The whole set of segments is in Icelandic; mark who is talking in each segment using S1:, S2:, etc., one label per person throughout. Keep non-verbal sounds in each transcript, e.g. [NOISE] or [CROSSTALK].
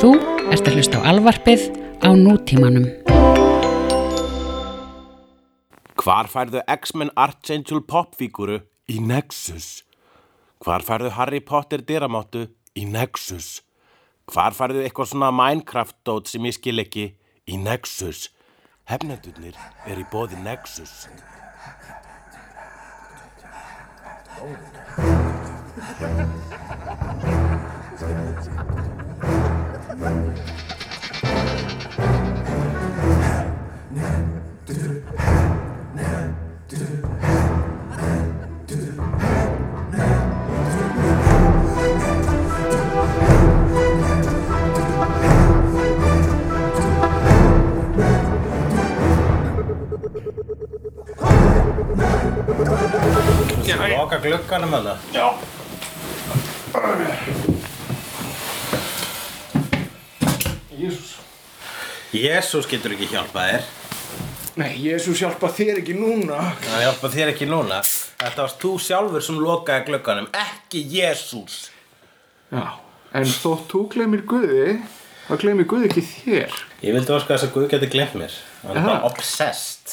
S1: Þú ert að hlusta á alvarpið á nútímanum.
S2: Hvar færðu X-Men Archangel popfíguru í Nexus? Hvar færðu Harry Potter dyramáttu í Nexus? Hvar færðu eitthvað svona Minecraft-dót sem ég skil ekki í Nexus? Hefnendurnir er í bóði Nexus. Loka glugganum að það.
S3: Jésús.
S2: Jésús getur ekki hjálpað þér.
S3: Nei, Jésús hjálpa þér ekki núna.
S2: Það hjálpað þér ekki núna. Þetta varst þú sjálfur sem lokaði glugganum, ekki Jésús.
S3: Já, en þótt þú glemir Guði, þá glemir Guði ekki þér.
S2: Ég vildi orska þess að Guð geti glemt mér Hann er
S3: Aha.
S2: bara obsessed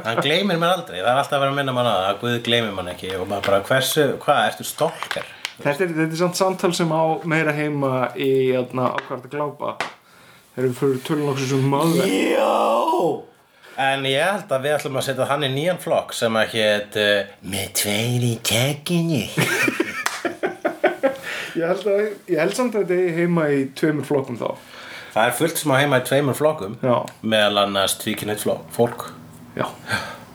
S2: Hann gleymir mér aldrei Það er alltaf að vera að minna mann að það að Guð gleymir mann ekki og maður bara hversu, hvað, ertu stolkar?
S3: Þetta er, þetta er samt samtal sem á meira heima í jæna, ákvært að glápa. Þegar við fyrir tölunoksu um maður.
S2: Jó! En ég held að við ætlum að setja hann í nýjan flokk sem að hét uh, Með tveir í tekinu
S3: Ég held, að, ég held samt að þetta er heima í tveimur flokkum þá.
S2: Það er fullt sem á heima í tveimur flokkum
S3: Já.
S2: meðal annars tvíkinnett fólk
S3: Já.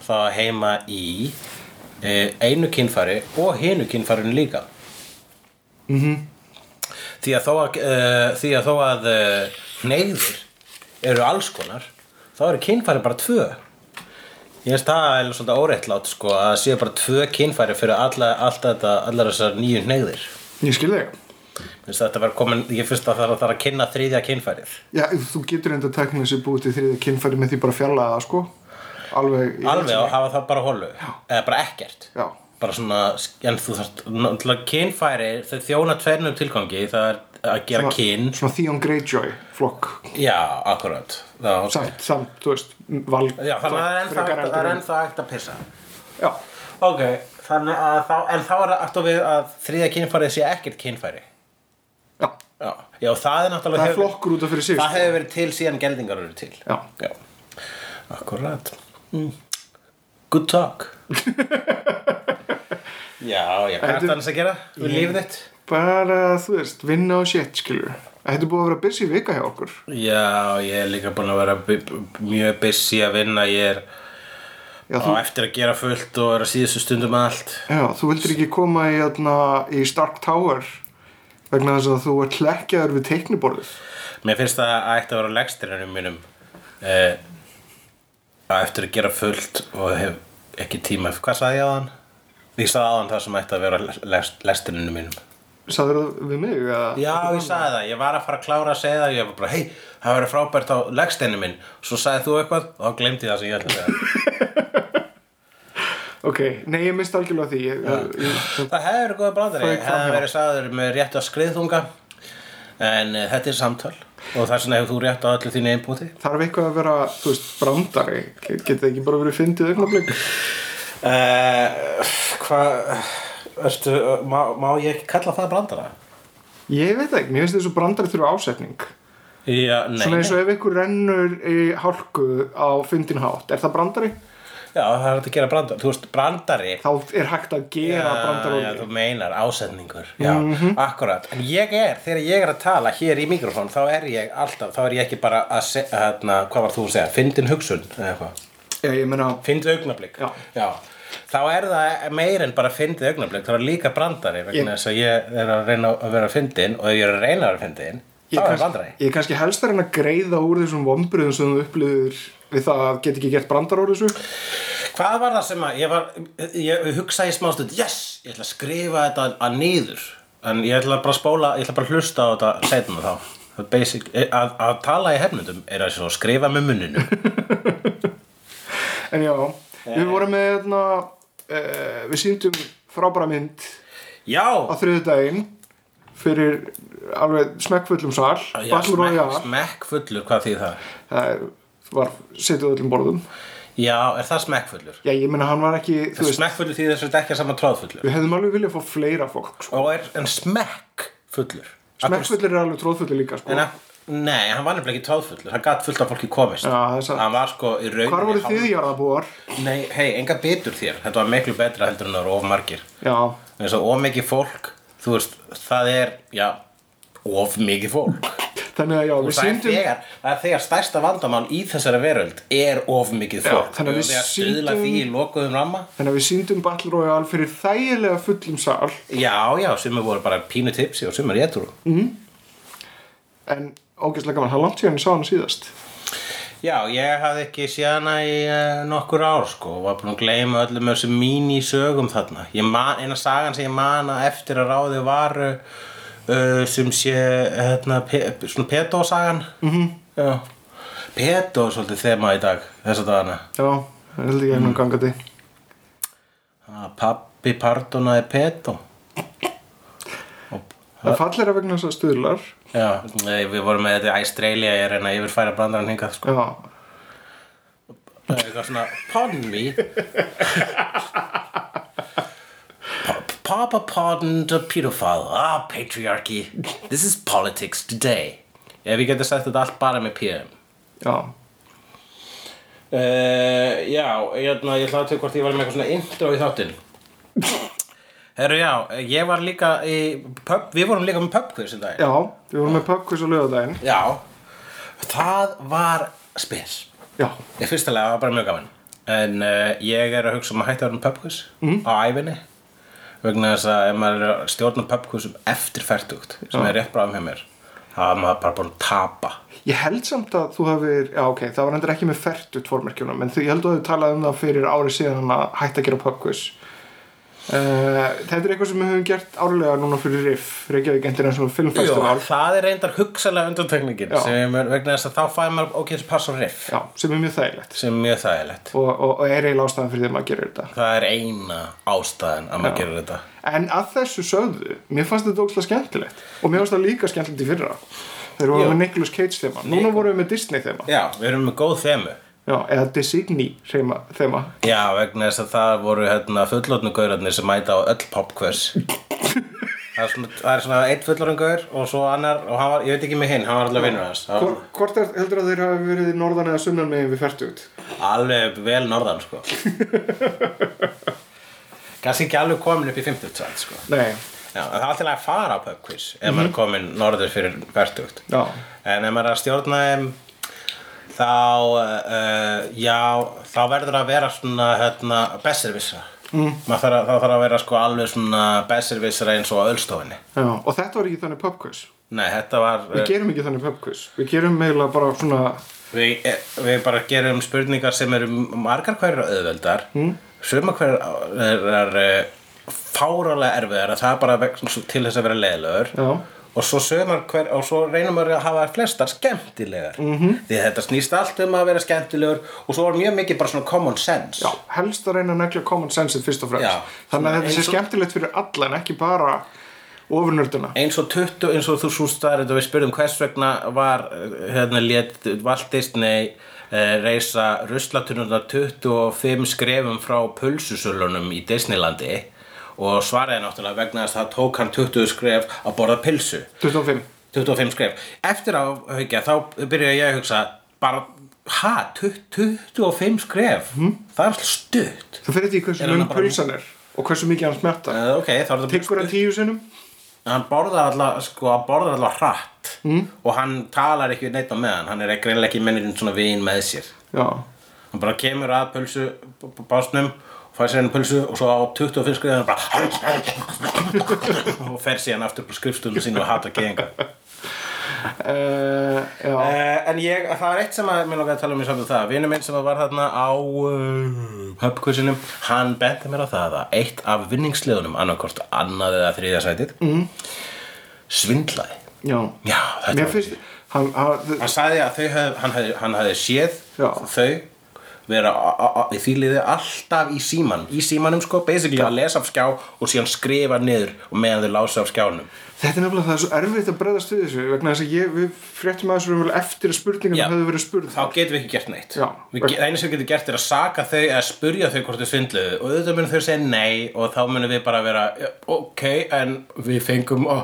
S2: það heima í eh, einu kynfæri og hinu kynfærinu líka
S3: Mhm.
S2: -hmm. því að þó að, uh, því að, þó að uh, neyður eru alls konar þá eru kynfæri bara tvö ég finnst það er svolítið óréttlátt sko, að það séu bara tvö kynfæri fyrir alla, allt þetta, allar þessar nýju neyðir
S3: Ég skil þig.
S2: þetta var komin, ég finnst að það þarf að kynna þriðja kynfærið
S3: Já, þú getur enda tæknum þessi búið til þriðja kynfæri með því bara að fjalla það, sko. Alveg. í
S2: alveg
S3: helsini.
S2: að hafa það bara hólu eða bara ekkert
S3: Já.
S2: bara svona, en þú þarft náttúrulega kynfæri, þau þjóna tvernum tilgangi, það er að gera kyn
S3: Svona Theon Greyjoy flokk.
S2: já, akkurat það,
S3: Samt, samt, þú veist, val.
S2: já, þannig að það er ennþá
S3: frekar
S2: hægt-
S3: heldur
S2: það er
S3: en-
S2: ennþá hægt að pissa
S3: Já,
S2: ok, þannig að þá en þá er aftur við að þriðja kynfærið sé ekkert kynfæri
S3: já,
S2: já, já það er náttúrulega
S3: það er
S2: hefur-
S3: flokkur út af fyrir sig
S2: það
S3: sko.
S2: hefur verið til síðan geldingar eru til
S3: Já.
S2: já. akkurat mm. good
S3: [LAUGHS]
S2: talk já, já, hvað er
S3: Þetta-
S2: þetta annars að gera við lífið þitt
S3: Bara, þú veist, vinna og shit, skilur Þetta er búið að vera busy vika hjá okkur
S2: Já, ég er líka búin að vera bu- bu- mjög busy að vinna, ég er
S3: Já,
S2: á
S3: þú,
S2: eftir að gera fullt og er að síðustu stundum með allt.
S3: já, þú vildir ekki koma í, atna, í Stark Tower vegna þess að þú er klekkjaður við teikniborðið
S2: Mér finnst það að ætti að vera á legstirinnum mínum eh, á eftir að gera fullt og hef ekki tíma. Hvað sagði ég á hann? Ég sagði á hann það sem ætti að vera á legstirinnum mínum.
S3: Sæður það við mig? Eða?
S2: Já, ég sagði það, ég var að fara að klára að segja það, ég var bara, hei, það verið frábært á legstirinnum minn. Svo sagði þú eitthvað og þá glemdi ég það sem ég ætlaði að segja.
S3: Ok, nei, ég misti algjörlega því ég, ég, ég,
S2: Það hefði verið góða brandari,
S3: Fór í
S2: hefði
S3: framhjá.
S2: verið sagður með rétt á skriðþunga en uh, þetta er samtal og þess vegna hefur þú rétt á öllu þínu einbúti
S3: Þarf eitthvað að vera, þú veist, brandari Get- Getið þið ekki bara verið fyndið augnablik
S2: uh, Hvað, ertu, má, má ég ekki kalla það brandara?
S3: Ég veit það ekki, mér finnst þessu brandari þurfa ásetning
S2: Já, nei,
S3: Svona eins og
S2: nei.
S3: ef ykkur rennur í hálku á fyndin hátt, er það brandari?
S2: Já, það er hægt að gera brandara, þú veist, brandari
S3: Þá er hægt að gera brandari
S2: Já, þú meinar ásetningur Já,
S3: Mhm.
S2: akkurat, en ég er, þegar ég er að tala hér í mikrofón, þá er ég alltaf þá er ég ekki bara að, se- hérna, hvað var þú að segja fyndin hugsun, eða eitthvað
S3: Já, ég meina,
S2: Fyndið augnablik
S3: Já.
S2: Þá er það meir en bara fyndið augnablik Það er líka brandari
S3: Ég-
S2: vegna þess að ég er að reyna að vera fyndin og ef ég er að reyna að vera fyndin þá
S3: ég,
S2: er
S3: kannski,
S2: brandari
S3: ég kannski helst að reyna að greiða úr þessum vombriðum sem þú upplýður við það að geta ekki gert brandari úr þessu.
S2: Hvað var það sem að ég var ég hugsaði í smástund Yes, ég ætla að skrifa þetta að niður En ég ætla bara að spóla, ég ætla bara að hlusta á þetta setna þá Það er Basic, e, að, að tala í hefnundum er að svo skrifa með munninu
S3: [LAUGHS] En já, við vorum með, hérna, uh, við síndum frábæra mynd
S2: Já,
S3: á þriðu daginn fyrir alveg smekkfullum sal Battle Royale
S2: Smekkfullur, hvað þýð það?
S3: það var setið á öllum borðum
S2: Já, er það smekkfullur?
S3: já ég meina hann var ekki þú veist,
S2: Smekkfullur því þess að þetta ekki er saman tróðfullur
S3: við hefðum alveg viljað fá fleira fólk sko.
S2: Og er en smekkfullur
S3: smekkfullir er alveg tróðfullir líka sko.
S2: En að- Nei, hann var nefnilega ekki tróðfullur Hann gat fullt af fólki komist
S3: Já, það er satt.
S2: Hann var sko í rauninni
S3: hvar voru þið jarðabúar
S2: Nei, hei, enga bitur þér Þetta var miklu betra heldur en það voru of margir
S3: já
S2: eins og of mikið fólk þú veist, það er, já of mikið fólk
S3: þannig að já við
S2: það er,
S3: síndum
S2: þegar, það er þegar stærsta vandamál í þessari veröld er of mikið
S3: Já,
S2: fólk
S3: þannig að við
S2: að stuðla
S3: sýndum-
S2: því í lokuðum ramma
S3: þannig að við síndum Battle Royale fyrir þægilega fullum sal
S2: já, já, sumir voru bara pínu tipsi og sumir ég trú
S3: en ógeðslega gaman, það er langt síðan ég sá hann síðast
S2: já, ég hafði ekki séð hana í uh, nokkur ár sko og var búin að gleyma öllum þessum mínisögum þarna ég man, eina sagan sem ég mana eftir að ráði var uh, uh, sem sé hérna, pe, svona petósagan mm -hmm. já Petó er svolítið þema í dag, þess að dagana.
S3: já, það held ég einum gangandi
S2: Ah, Pappi pardonaði Petó
S3: það er fallera vegna þess að stuðlar
S2: Já, nei, við vorum með þetta í Australia ég reyna að yfirfæra brandarann hingað sko.
S3: já,
S2: Það er eitthvað svona, pardon me Pa- Papa pardoned a pedophile Ah, patriarchy This is politics today Ef ég geti sagt þetta allt bara með PM
S3: já,
S2: Uh, já, ég, ég, ég ætla að tökja hvort ég var með eitthvað svona intro í þáttinn Herru, já, ég var líka í pub, við vorum líka með pubquiz í dag
S3: já við vorum með pubquiz á lögadaginn
S2: Já, það var spes.
S3: já,
S2: Ég fyrstulega var bara mjög gaman. En uh, ég er að hugsa um að hætta að vera með pubquiz á æfinni. Vegna þess að ef maður er að stjórna pubquizum eftir færtugt, sem er rétt bráðum hjá mér, það er maður bara búin að tapa.
S3: ég held samt að þú hefur já ok, það var endur ekki með fertut formörkjunum en þú, ég held að þú hefur talað um það fyrir ári síðan að hætta að gera pubquiz uh, þetta er eitthvað sem við höfum gert árlega núna fyrir RIF Reykjavík International Film Festival
S2: það er reyndar hugsalega undantekningin,
S3: Já.
S2: sem ég mun- vegna þess að þá fæði maður ókvæmst pass og riff,
S3: já, sem er mjög þægilegt
S2: sem er mjög þægilegt.
S3: og, og, og er eiginlega ástæðan fyrir því að maður gerir þetta
S2: Það er eina ástæðan að maður gerir þetta.
S3: En að þessu sögðu, mér fannst þetta ógslag skemmtilegt og mér fannst það líka skemmtilegt í fyrra þegar við
S2: Já.
S3: vorum með Nicolas Cage þema núna vorum við með Disney þema
S2: Já, við erum með góð þemu.
S3: Já, eða Disney þema, þema.
S2: Já, vegna þess að það voru hérna, fullorðnu gaurarnir sem mæta á öll popquiz það, er svona- það er svona eitt fullorðn gaur og svo annar, og hann var, ég veit ekki með hinn, hann var alltaf vinnur hans Það
S3: Hvor- Hvort er, heldur að þeir hafi verið norðan eða sunnan megin við fært út?
S2: var Alveg vel norðan, sko Kanski ekki alveg komin upp í 50 samt, sko
S3: Nei,
S2: Já, en það er alltaf að fara á popquiz ef maður er komin norður fyrir verðugt
S3: já,
S2: En ef maður er að stjórna þeim þá, uh, já, þá verður að vera svona, hérna, besservissra. Mm. Þarf að, þá þarf að vera sko alveg svona besservissra eins og á ölstofinni.
S3: já Og þetta var ekki þannig pubquiz
S2: Nei, þetta var,
S3: Við
S2: uh,
S3: gerum ekki þannig pubquiz Við gerum eiginlega bara svona
S2: við, eh, við bara gerum spurningar sem eru margar hverjar auðveldar, mm. suma hverjar er, er eh, fáralega erfiðar, það er bara vegna svo- til þess að vera leiðlegur.
S3: Já.
S2: Og svo, sumar hver, og svo reynum við að hafa þær flestar skemmtilegar mm -hmm. því að þetta snýst allt um að vera skemmtilegur og svo var mjög mikið bara svona common sense
S3: Já, helst að reyna að negla common sense fyrst og fremst
S2: Já.
S3: Þannig
S2: Svona
S3: að þetta sé
S2: eins og-
S3: skemmtilegt fyrir alla en ekki bara ofurnördina
S2: eins og 20, eins og þú sústar og við spurðum hvers vegna var eh, hérna lét Walt Disney eh, reisa ruslatunurna 25 skrefum frá pulsusölunum í Disneylandi og svaraði náttúrulega vegna þess að það tók hann 20 skref að borða pilsu
S3: 25
S2: 25 skref eftir á haugja þá byrjaði ég að hugsa bara, ha, 25 skref það er stutt
S3: Það fyrir því hversu
S2: Er hann
S3: lung
S2: bara-
S3: pulsan er og hversu mikið hann smerta
S2: Eh, ok, þá er þetta
S3: Tyggur hann tíu sinnum?
S2: hann borðar alltaf sko, hann borðar alltaf hratt mm. og hann talar ekki neitt á meðan hann er ekki reynilega ekki mennirinn svona vin með sér
S3: Já,
S2: hann bara kemur að pulsu b- b- básnum og fær sér henni pulsu og svo á 25 skriðan bara [LAUGHS] og fer síðan aftur på skrifstunum sínu og hata geðinga
S3: uh, já.
S2: uh, en ég, það var eitt sem að mér langaði að tala um í samtum það vinur minn sem var þarna á uh, pubquizinu, hann benti mér á það að eitt af vinningsliðunum annarkort annað eða þriðja sætið mm. svindlaði
S3: já.
S2: Já, þetta
S3: Mér
S2: var
S3: finnst hann, hann,
S2: hann sagði að þau hef, hann, hefði, hann hefði séð
S3: Já.
S2: þau vera a- a- a- því liði alltaf í síman í símanum sko, basically að lesa af skjá og síðan skrifa niður og meðan þau lása af skjánum
S3: Þetta er nefnilega það er svo erfitt að bregðast við þessu vegna þess að ég, við fréttum að þessu eftir að spurningarna
S2: Já.
S3: höfðu verið spurð
S2: þá getum við ekki gert neitt
S3: Já.
S2: Við ge- það einu sem við getum gert er að saka þau eða spurja þau hvort þau svindluðu og auðvitað munum þau segja nei og þá munum við bara vera "Ja, ok, en við fengum oh,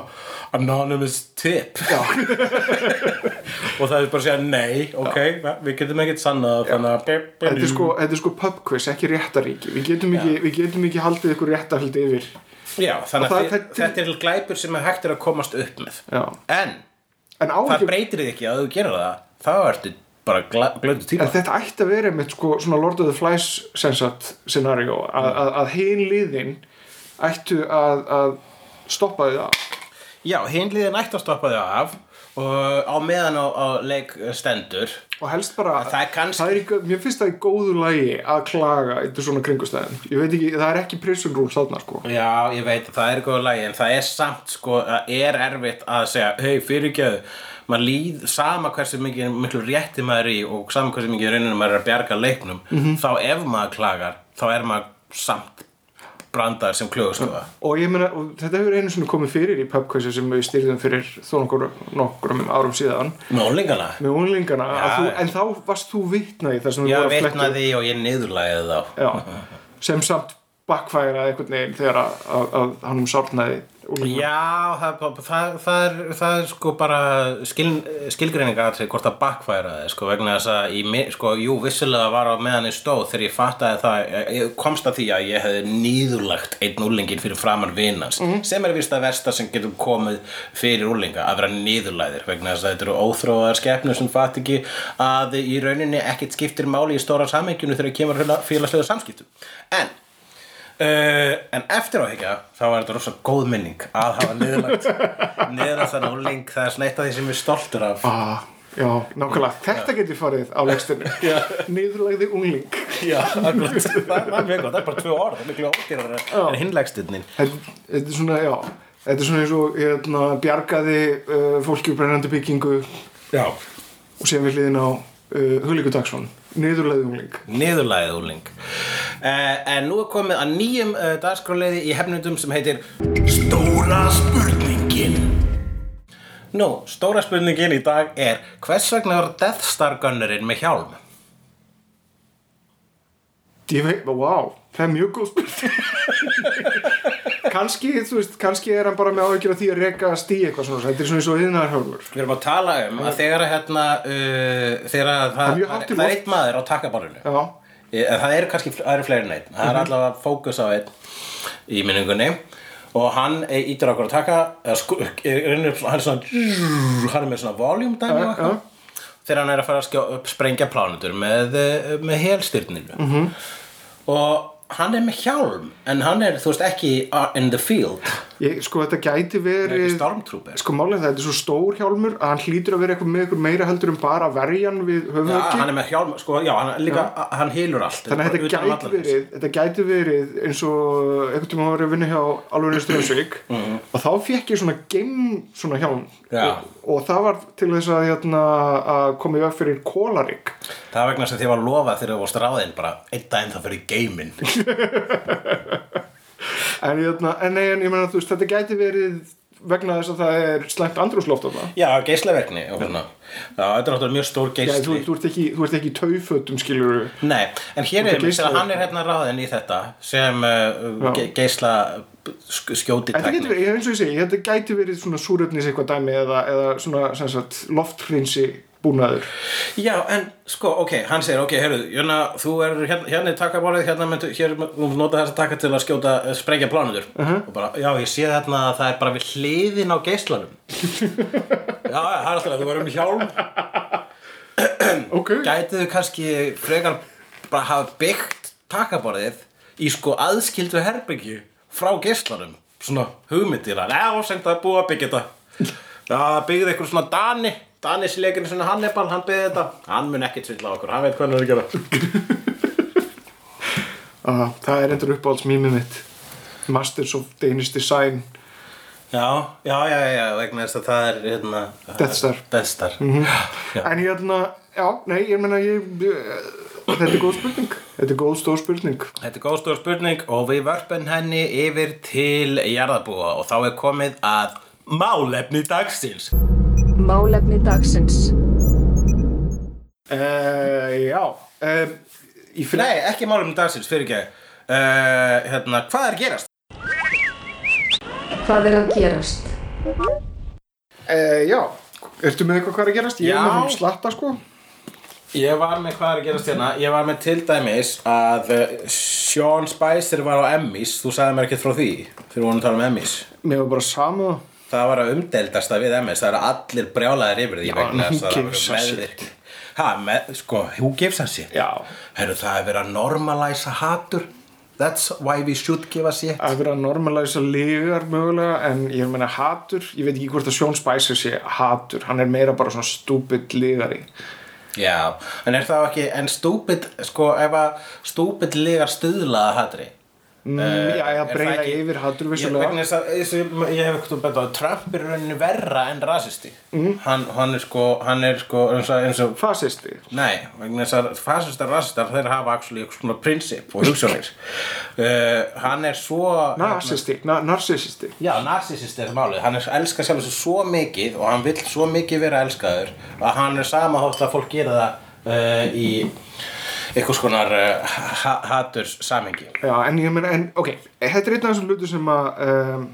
S2: anonymous tip [LAUGHS]
S3: Já.
S2: og það er bara að segja nei, ok, við getum ekkert sannað það, þannig
S3: Þetta
S2: að
S3: er sko, þetta er sko pub quiz, ekki réttaríki Við getum ekki, við getum ekki haldið ykkur réttarhaldi yfir
S2: Já, þannig að
S3: Og það-
S2: þið-
S3: það-
S2: þetta er glæpur sem er hægt er að komast upp með
S3: Já.
S2: en
S3: En á
S2: það
S3: ekki
S2: breytir þið ekki að ef þú gerir það þá ertu bara glöndu tíma
S3: En þetta ætti að vera einmitt sko svona Lord of the Flies sensat scenario að,
S2: Mm.
S3: að, að hin liðin ættu að, að stoppa því það
S2: Já, hinliðin ætti að stoppa þau af og á meðan á, á leik stendur
S3: og helst bara
S2: En það er kannski-
S3: það er í, gó- mér finnst það í góðu lagi að klaga eitthvað svona kringustæðin ég veit ekki, það er ekki prison rule þarna sko
S2: Já, ég veit að það er góð lagi en það er samt sko, það er erfitt að segja hei, fyrirgjöðu, maður líð sama hversu mikið, miklu rétti maður er í og sama hversu mikið rauninu maður er að bjarga leiknum
S3: Mhm.
S2: þá ef maður klagar þá er maður samt brandaður sem klögustofa
S3: og ég meina, og þetta hefur einu svona komið fyrir í pubquizu sem við styrðum fyrir þó nokkur, nokkrum árum síðan
S2: Með ólingana?
S3: með unglingana, að
S2: Já.
S3: þú, en þá varst þú vitna í það sem við
S2: Já,
S3: vorum að fletta upp.
S2: vitnaði og ég niðurlæði þá
S3: Já, sem samt backfæraði einhvern veginn þegar að, að, að hann um sárnaði úlingum.
S2: Já, það, það, það, er, það er sko bara skil, skilgreininga aðtrið hvort það backfæraði sko, vegna þess að í, mi- sko, jú, vissulega var á meðan ég stóð þegar ég fattaði það, ég- ég komst að því að ég hefði nýðurlagt einn úlingin fyrir framar vinnans, sem er vist að versta sem getur komið fyrir úlinga að vera nýðurlæðir, vegna þess að þetta eru óþróaðar skepnur sem fatt ekki að í rauninni ekkit skiptir máli í stóra samhengjunu þegar kemur að félagslegu samskiptum. En Uh, en eftir á higgja þá var þetta rosa góð minning að hafa niðurlagt niðurlagt þannig úling það er svona eitt af því sem ég er stoltur af
S3: Ah, já, nákvæmlega. Þetta getur farið á legstinu. Niðurlegði ungling.
S2: Já, akkurat [LAUGHS] það það er mjög gott, það er bara tvö orð það er miklu ódýrar en hinlegstinnin
S3: Þetta þetta er svona, já, þetta er svona eins og hérna, bjargaði uh, fólki úr brennandi byggingu og
S2: Já
S3: sem við hliðin á uh, Hulíku Dagsson. Niðurlegði ungling.
S2: Niðurlæðið úling uh, En nú er komið að nýjum uh, dagskráleiði í hefnundum sem heitir Stóra spurningin Nú, stóra spurningin í dag er Hvers vegna var Death Star Gunnurinn með hjálm?
S3: Ég veit, wow, það er mjög góð spurning. [LAUGHS] kannski, þú veist, kannski er hann bara með áhyggjur af því að reka stí eitthvað svona. Þetta er svona eins og yðnaðarhjálmur.
S2: Við erum að tala um að þegar að hérna, uh, þegar að
S3: Það er
S2: það,
S3: mjög hátt í
S2: það er
S3: loft.
S2: eitt maður á takkaborðinu.
S3: Já, Mhm.
S2: En það eru kannski það eru fleiri en einn. Það er allavega fókus á einn í minningunni og hann ítir okkur að taka, eða sku, eh, er, er, er, hann er svona, hann er með svona voljum dæmi og eitthvað. Þegar hann er að fara að skjá, upp, sprengja plánutur með, eh, með helstyrninu.
S3: Mhm.
S2: -hmm. Og hann er með hjálm, en hann er, þú veist, ekki uh, in the field.
S3: ég, sko þetta gæti
S2: Hann er ekki
S3: verið...
S2: stormtrooper.
S3: Sko málið er það, þetta er svo stór hjálmur að hann hlýtur að vera eitthvað með eitthvað meira heldur en bara verjan við
S2: Já,
S3: höfðöki
S2: hann er með hjálm, sko, já, hann, líka, hann hýlur allt
S3: þannig að
S2: Bara
S3: þetta
S2: utan um
S3: gæti,
S2: vallarins.
S3: verið, þetta gæti verið eins og einhvern tímann var ég að vinna hjá alveg Strömsvík og þá fekk ég svona game svona hjálm
S2: Mhm. Já.
S3: og, og það var til þess að, hérna, að koma í veg fyrir kólarík
S2: Það er vegna sem þið var lofað þegar þú varst ráðinn bara einn daginn það fyrir geiminn
S3: en, hérna, en, nei, en ég meina þú veist þetta gæti verið vegna þess að það er slæmt andrúsloft á það
S2: Já, geislaverkni og svona Já, þetta er náttúrulega mjög stór
S3: Já,
S2: geisli
S3: þú, þú, ert ekki, þú ert ekki í taufötum skilur
S2: Nei, en hér er
S3: geisla-
S2: þess að hann er hérna ráðinn í þetta sem uh,
S3: Já.
S2: ge geisla skjóti
S3: Þetta getur verið, eins og ég segi, þetta gæti verið svona súröfnis eitthvað dæmi eða, eða svona sem sagt, lofthreinsi búnaður.
S2: Já, en sko, ok, hann segir, ok, heyrðu, hérna, þú er hérna, hérna er takkabárið, hérna myndu, hér, þú nota þessa takka til að skjóta, eh, sprengja plánutur og bara, já, ég sé þarna að það er bara við hliðin á geislanum Já, já, það er alltaf, þú verður um hjálm
S3: Ok.
S2: Gætið þau kannski frekar bara hafa byggt takaborðið í sko aðskildu herbyggju frá geislarum svona hugmyndir að eða sem það er búið að byggja þetta það byggði eitthvað svona Dani Dani slegurinn svona Hannibal, hann byggði þetta hann mun ekkert svindla á okkur, hann veit hvað hann er að gera
S3: Uh, það er endur uppáhalds mýmið mitt. Masters of Danish Design.
S2: Já, já, já, já, já, vegna þess að það er hérna,
S3: Death Star.
S2: Death Star mm -hmm.
S3: En hérna, já, nei, ég meina, ég, eh, Þetta er góð spurning Þetta er góð stór spurning
S2: Þetta er góð stór spurning og við vörpum henni yfir til jarðabúa og þá er komið að málefni dagsins.
S4: Málefni dagsins.
S3: uh, Já uh, Í fyrir
S2: Nei, ekki málefni dagsins, fyrir ekki. Uh, hérna, hvað er að gerast?
S4: Hvað er að gerast?
S3: uh, Já Ertu með eitthvað hvað er að gerast? Ég er
S2: Já.
S3: með þeim slatta sko
S2: Ég var með hvað er að gerast hérna, ég var með til dæmis að uh, Sean Spicer var á Emmys, þú sagði mér ekkert frá því þegar við vorum að tala um Emmys.
S3: Mér var bara sama
S2: Það var að umdeldasta við MS, það eru allir brjálaðir yfir því vegna þess
S3: en who
S2: að það voru
S3: gives a shit?
S2: meðvirk. Ha, með, sko, who gives a shit?
S3: Já.
S2: Herru, það er verið að normalæsa hatur. That's why we should give a shit.
S3: að vera að normalæsa ligar mögulega en ég meina hatur, ég veit ekki hvort að Sjón Spicer sé hatur, hann er meira bara svona stúpid ligari
S2: Já, en er það ekki, en stúpid, sko, ef að stúpid ligar stuðlaða hatri.
S3: mm, Já, ég að breyða yfir hatur
S2: Ég, vegna
S3: vissulega
S2: þess að, þess að, ég hef ekkert um betað að Trump er í rauninni verra en rasisti.
S3: Mhm.
S2: Mm. Hann, hann er sko, hann er sko, eins og, eins og
S3: Fasisti
S2: Nei, vegna þess að fasistar rasistar þeir hafa actually eitthvað svona prinsip og
S3: [LAUGHS]
S2: hugsanir uh, Hann er svo
S3: Narsisti, na narsisti
S2: Já, narsisist er málið, hann er elskar sjálf þessu svo mikið og hann vill svo mikið vera elskaður að hann er samahátt að fólk gera það uh, í eitthvað skonar uh, ha haturs samengi
S3: Já, en ég meina, en ok, þetta er einn af þessum hlutu sem að um,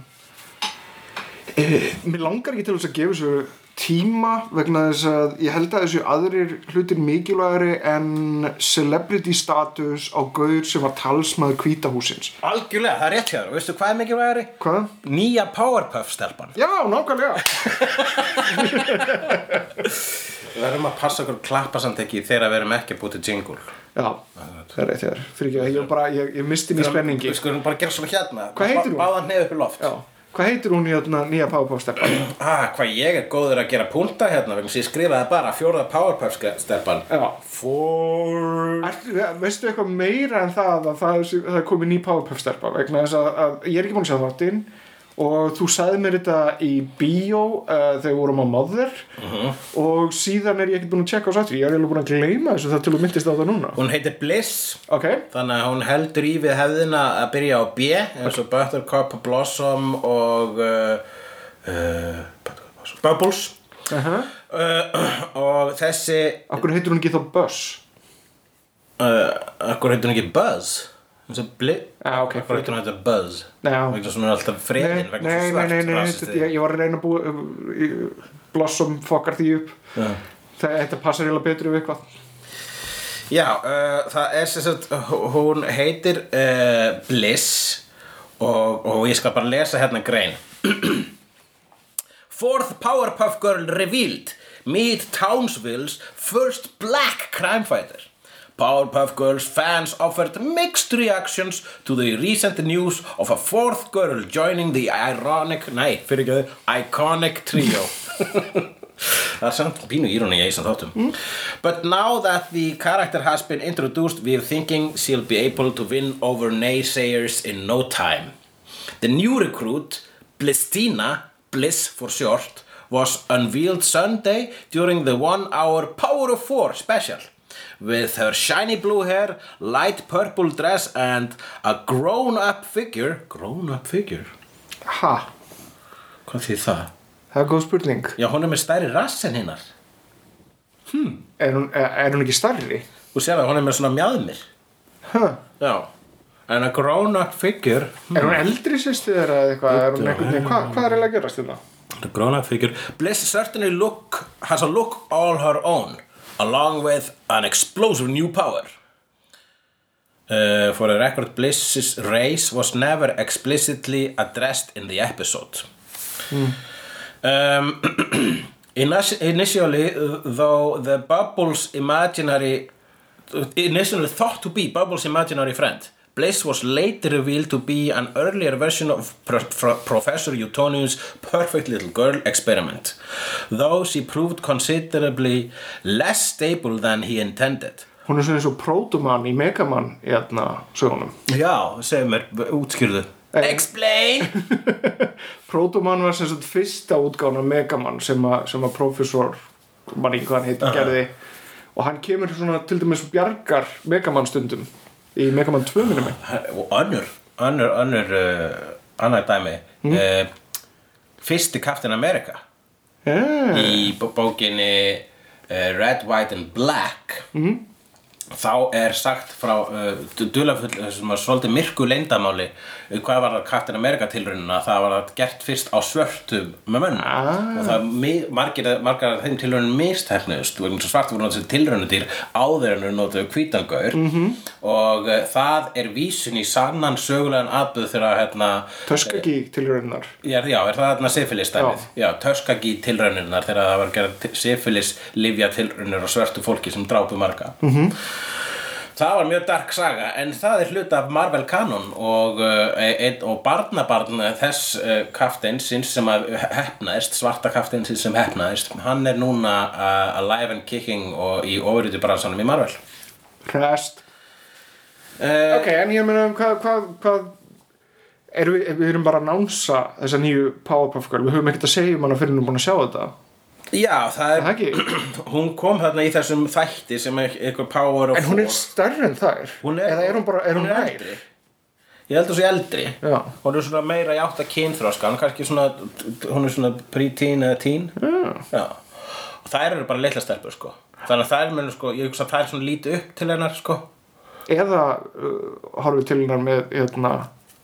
S3: e, Mér langar ekki til þess að gefa þessu tíma vegna þess að ég held að þessu aðrir hlutir mikilvægari en celebrity status á gauður sem var talsmaður kvítahúsins
S2: Algjörlega, það er rétt hjá þér, og veistu hvað er mikið væri?
S3: Hvað?
S2: Nýja Powerpuff-stelpan
S3: Já, nákvæmlega
S2: Við verðum að passa okkur klappa samt ekki þegar við erum ekki búið til jingle
S3: Já, það er rétt þér Fyrir ekki, ég, bara, ég, ég misti mér spenningi
S2: Við skulum bara gera svona hérna
S3: Hvað heitir hún?
S2: Báðan neyð upp í loft
S3: Já, hvað heitir hún í þarna nýja Powerpuff-stelpan?
S2: Ah, hvað ég er góður að gera púnta hérna vegna sem ég skrifaði bara fjórða Powerpuff-stelpan
S3: Já
S2: For...
S3: Ertu, eh, veistu eitthvað meira en það að það, sé- það er komið ný Powerpuff-stelpa vegna þess að, að ég er ekki búin að sjá þáttinn og þú sagði mér þetta í bíó uh, þegar við vorum á Mother Uh-huh. og síðan er ég ekki búin að checka á sattur ég er eiginlega búin að gleyma þessu þar til þú myndist á það núna
S2: Hún heitir Bliss
S3: Ok,
S2: Þannig að hún heldur í við hefðina að byrja á B eins og Buttercup, Blossom og uh, uh, Buttercup, Blossom, Bubbles
S3: uh
S2: uh, [CLEARS THROAT] og þessi
S3: okkur heitir hún ekki þá Buzz
S2: uh, Akkur heitir hún ekki Buzz? Eins og Bli...
S3: Já, Ah, ok.
S2: Akkur heitir hún heitir Buzz?
S3: Já.
S2: Vegna sem hún er alltaf
S3: Nei,
S2: friðin vegna
S3: nei,
S2: sem
S3: nei,
S2: svart
S3: nei, nei,
S2: rasisti.
S3: þetta- ég, ég var að reyna að búa um, Blossom fokkar því upp
S2: Já.
S3: Það, þetta passar eiginlega betur við eitthvað
S2: Já, uh, það er sem sagt, hún heitir uh, Bliss og, og ég skal bara lesa hérna grein. Fourth Powerpuff Girl revealed. Meet Townsville's first black crime fighter. Powerpuff Girls fans offered mixed reactions to the recent news of a fourth girl joining the ironic, nei, fyrir ekki iconic trio. Það er samt pínu íroni í þessum þáttum. But now that the character has been introduced, we're thinking she'll be able to win over naysayers in no time. The new recruit, Blistina, Bliss for short, was unveiled Sunday during the one hour Power of Four special. With her shiny blue hair, light purple dress, and a grown up figure. Grown up figure?
S3: Ha,
S2: Hvað þýð það?
S3: það er góð spurning
S2: Já, hún er með stærri rass en hinnar.
S3: Er hún, er, er hún ekki starri?
S2: Þú sér að hún er með svona mjadmir.
S3: Huh.
S2: Já. En a grown up figure. hmm,
S3: Er hún eldri sýstu þeirra eða eitthvað? Er hún einhvern veginn, hvað, hvað er eiginlega að gerast hérna? þetta?
S2: The grown up figure. Bliss certainly look, has a look all her own. Along with an explosive new power. Uh, for the record, Bliss's race was never explicitly addressed in the episode. Um, initi- initially, uh, though, the Bubbles imaginary, initially thought to be Bubbles' imaginary friend, Bliss was later revealed to be an earlier version of Pro- Pro- Professor Utonium's perfect little girl experiment, though she proved considerably less stable than he intended.
S3: Hún er svona eins og prótumann í Megaman í þarna sögunum.
S2: Já, segðu mér, útskýrðu. Explain!
S3: Prótumann var sem sagt fyrsta útgána Megaman sem að, sem að professor, mann ekki hvað hann heitir, gerði og hann kemur svona til dæmis og bjargar Megaman stundum í Megaman 2 minnum mig
S2: og [LAUGHS] önnur önnur, önnur uh, annar dæmi uh, fyrsti Captain America
S3: yeah.
S2: í bó- bókinni uh, Red, White and Black þá er sagt frá uh, dulafull sem var svolítið myrku leyndamáli uh, hvað var það Captain America tilraunina það var það gert fyrst á svörtum með mönn
S3: Ah.
S2: og það mi- margir, margar af þeim tilraunin mistæknuðust og eins og svart voru náttúrulega tilraunudýr áður en við notuðu hvítangaur mm -hmm. og uh, það er vísun í sannan sögulegan atbyrð þegar hérna,
S3: Töskagík til raunar
S2: Já, já, er það þarna syfilis dæmið? Já, töskagi tilraunirnar þegar það var gerð syfilis livja tilraunir og svörtu fólki sem drápu marga.
S3: Mhm.
S2: -hmm. Það var mjög dark saga en það er hluta af Marvel kanon og, uh, ein, og barnabarn þess uh, kafteinsins sem að hefnaðist, svarta kafteinsins sem hefnaðist, hann er núna uh, alive and kicking og í ofurýtu bransanum í Marvel.
S3: Rest
S2: Uh,
S3: Ok, en ég meina um hvað, hvað, hvað erum við, við erum bara að nánsa þessa nýju Powerpuff Girl við höfum ekkert að segja um hana fyrir við erum búin að sjá þetta
S2: Já, það
S3: Er
S2: er,
S3: það ekki?
S2: [CLEARS THROAT] hún kom þarna í þessum þætti sem er eitthvað power of
S3: En hún er
S2: four.
S3: stærri en þær
S2: Hún er-
S3: Eða er hún bara, er hún, nær?
S2: eldri. Ég held að hún sé eldri
S3: Já.
S2: Hún er svona meira í átta kynþróska Hún er kannski svona, hún er svona pre-teen eða teen Já,
S3: Mm.
S2: Og þær eru bara litla stelpur sko Þannig að þær munu sko, ég hugsa að þær svona líti upp til hennar sko
S3: Eða uh, horfum við til hennar með hérna,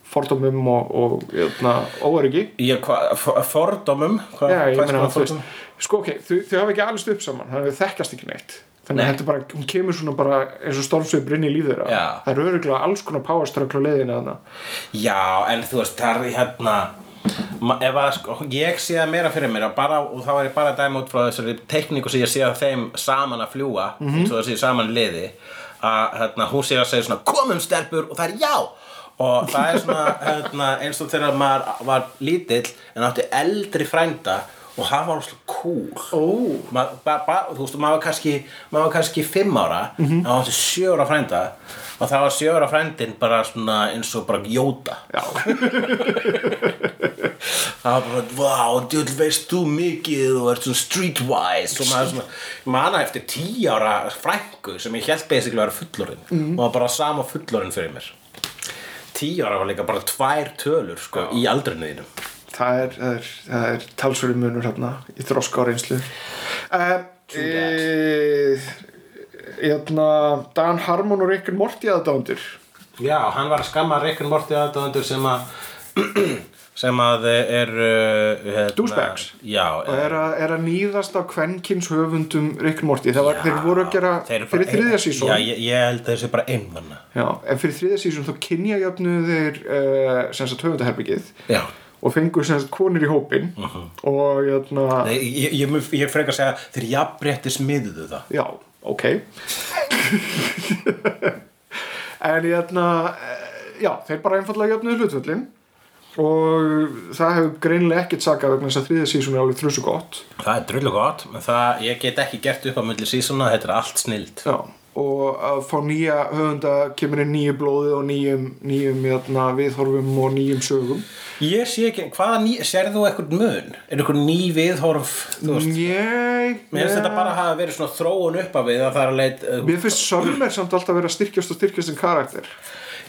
S3: fordómum og, og hérna, óöryggi
S2: Ég, hva, for- fordómum hva,
S3: Já, ég
S2: hvað skoða
S3: meina að þú
S2: fordómum?
S3: veist Sko, ok, þau, þau hafa ekki allist upp saman þannig að þau þekkjast ekki neitt Þannig að
S2: Nei.
S3: þetta bara, hún kemur svona bara eins og stormsveipur inn í líður
S2: Já.
S3: Það eru örugglega alls konar powerströggla leiðin að hana
S2: Já, en þú veist, það er hérna ma- ef að sko, ég sé það meira fyrir mér og, bara, og þá er ég bara að dæma út frá þessari tekníku sem ég sé að þeim saman að fljúa eins og það sé saman liði að hérna, hún sé að segja svona komum stelpur og það er já og það er svona [LAUGHS] hérna, eins og þegar maður var lítill en átti eldri frænda og hann var svona cool
S3: Ó,
S2: Ma, ba, ba, þú veist, maður var kannski, maður var kannski fimm ára,
S3: Mhm.
S2: en það var sjö ára frænda og það var sjö ára frændin bara svona eins og bara jóta
S3: já
S2: [LAUGHS] það var bara, vá, djöld veist þú mikið og ert svona streetwise og maður svona, manna eftir tíu ára frængu sem ég held basically að vera fullorinn
S3: Mhm.
S2: og var bara sama fullorinn fyrir mér tíu ára var líka bara tvær tölur sko, í aldrinu þínum
S3: það er, það er, það er talsverið munur hérna í þroska og reynslu uh, e, hérna Dan Harmon og Rickon Morty aðdándir
S2: Já, hann var að skamma Rick and Morty aðdóðendur sem að [CLEARS THROAT] sem að er uh, hérna,
S3: Douchebags.
S2: Já, eh,
S3: og er, a, er að nýðast á kvenkins höfundum Rickon Morty það var, þeir voru að gera
S2: þeir eru
S3: fyrir
S2: bara
S3: þriðja
S2: ein-
S3: sísón
S2: Já, ég, ég held að þessi bara einmanna
S3: Já, en fyrir þriðja sísón þá kynja jöfnu þeir uh, sem sagt höfundaherbyggið
S2: Já
S3: og fengu sem sagt konir í hópin og hérna
S2: Mhm. Nei, ég, ég, mun- ég frekar að segja þeir jafnbretti smiðuðu það
S3: Já, ok En hérna eh, Já, þeir bara einfallega jöfnuðu hlutvöllin og það hefur greinilega ekkert sakað vegna þess að þriðja sísón er alveg þrjusu gott
S2: Það er drullu gott, menn það, ég get ekki gert upp á milli sísona, þetta er allt snild
S3: Já, og að fá nýja höfunda kemur inn nýju blóði og nýjum, nýjum hérna, viðhorfum og nýjum sögum
S2: Ég sé ekki, hvaða ný, sérðu þú eitthvað mun? Er eitthvað ný viðhorf, þú veist?
S3: Ég
S2: Mér finnst þetta
S3: Eh.
S2: bara að hafa verið svona þróun upp af við að það er að leit uh,
S3: Mér finnst Summer samt alltaf að vera að styrkjast og styrkjast sem karakter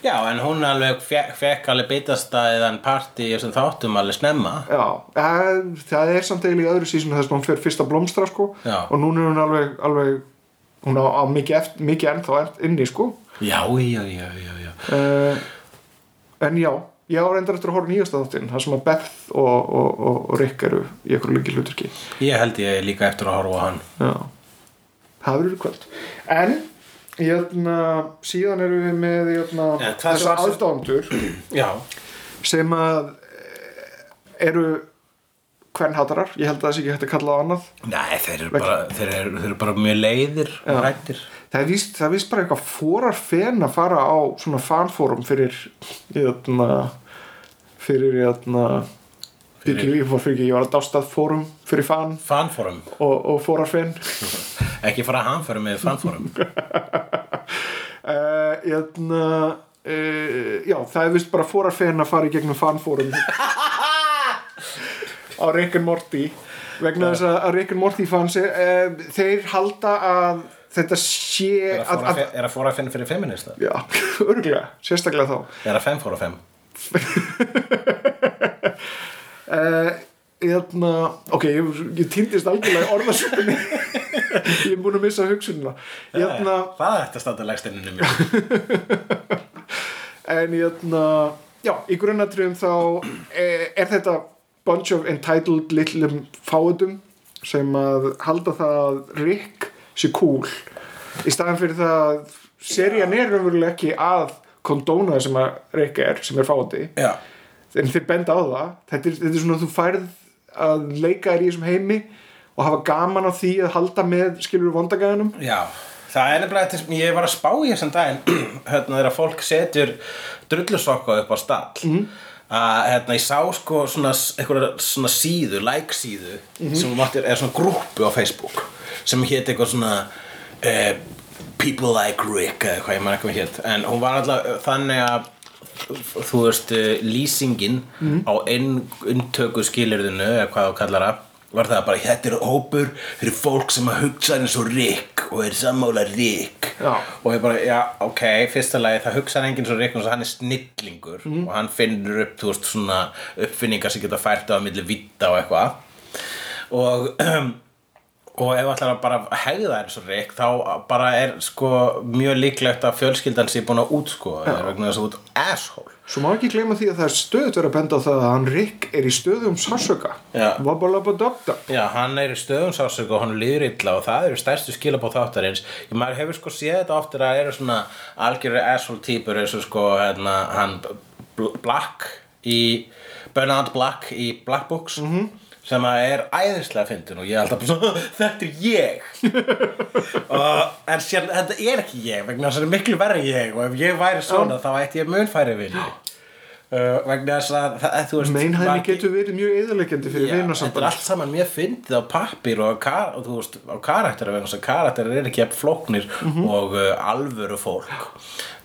S2: Já, en hún alveg fekk, fekk alveg bitastæðan partí sem þáttum alveg snemma.
S3: Já, eh, það er samt eiginlega í öðru sísonu þess að hún fer fyrst að blómstra sko
S2: Já.
S3: og núna er hún alveg, alveg hún á, á mikið, eft, mikið ennþá eft- inni sko
S2: Já, já, já, já, já.
S3: uh, en já ég á reyndar eftir að horfa á nýjasta þáttinn það sem að Beth og, og, og, og Rick eru í ykkur líki hluturki
S2: Ég held ég líka eftir að horfa á hann.
S3: Já, það verður í kvöld en jötna, síðan eru við með jötna,
S2: En hvað sem
S3: þessa
S2: var sem-
S3: aðdándur
S2: Já.
S3: sem að eh, eru hvernhatarar, ég held að það sé ekki hægt að kalla það annað
S2: Nei, þeir eru bara, þeir eru, þeir eru bara mjög leiðir, og rættir.
S3: Það er víst, það er víst bara eitthvað fórar fen að fara á svona fanfórum fyrir jötna, fyrir jötna, fyrir,
S2: Fyrir-
S3: fyrir, ég, fór- fyrir, ég var að dástað fórum fyrir fan
S2: Fanforum.
S3: og, og fórar fen
S2: Ekki fara að hanforum með fanforum.
S3: uh, jötna, uh, já það er víst bara fórar fen að fara í gegnum fanfórum á Rick and Morty vegna þess að Rick and Morty fans eh, þeir halda að þetta sé
S2: Er
S3: að, að,
S2: að fóra að finna fyrir feminista?
S3: já, [LAUGHS] örgulega, sérstaklega þá
S2: Er að fem fóra fem?
S3: Eh, Hérna, ok, ég, ég týndist algjörlega í orðasöpunni [LAUGHS] Ég er búin að missa hugsunina Hérna,
S2: Það ætti að standa legstinninu mér.
S3: en hérna Já, í grunnatriðum þá eh, er þetta bunch of entitled litlum fáutum sem að halda það að Rick sé cool í staðan fyrir það að serían er raunverulega ekki að kondóna það sem að Rick er, sem er fáuti
S2: Já.
S3: en þeir benda á það þetta er, þetta er svona að þú færð að leika þér í þessum heimi og hafa gaman á því að halda með skilur vondagæðanum
S2: Já. Það er nefnilega þetta sem ég var að spá í þessum daginn [CLEARS THROAT] hérna þegar fólk setur drullusokka upp á stall að hérna ég sá sko svona einhverja svona síðu, like síðu sem þú máttir, er svona grúppu á Facebook sem hétt eitthvað svona eh, People Like Rick eða hvað ég maður ekki hvað hétt en hún var alltaf þannig að þú veist, eh, lýsingin á inntöku skilirðinu eða hvað þú kallar það var það bara, þetta er hópur fyrir fólk sem að hugsa eins og Rick og er sammála Rick
S3: Já.
S2: og ég bara, já, ok, fyrsta lagi það hugsa enginn svo Rick og hann er snillingur og hann finnur upp, þú veist, svona uppfinningar sem geta fært á að milli vitta og eitthvað og [CLEARS THROAT] og ef ætlar að bara hegða þær svo reik þá bara er sko mjög líklegt að fjölskyldan sé búin að útskoða þér vegna þess að þú ert asshole
S3: svo má ekki gleyma því að það er stöðut verið að benda á það að hann Rick er í um stöðum sásöka
S2: Já.
S3: vabalabadabda
S2: Já, hann er í stöðum sásöku og hann líður illa og það eru stærstu skilabóð þáttarins ég maður hefur sko séð þetta oftir að eru svona algjörri asshole típur eins og sko hérna, hann Bl- Black í Bernard Black í Black Books sem að er æðislega fyndin og ég er alltaf bara svona, [LAUGHS] þetta er ég og, en sér, þetta er ekki ég vegna þess að þetta er miklu verri ég og ef ég væri svona þá ætti ég munfæri vinni uh, vegna þess að það, þú veist
S3: meinhæmi
S2: maður-
S3: getur verið mjög eðalegjandi fyrir
S2: Já, þetta er
S3: vinasamband
S2: allt saman mjög fyndið á pappir og, á kar, og þú veist, á karakter vegna þess að karakterar eru ekki jafn flóknir
S3: Mhm.
S2: og uh, alvöru fólk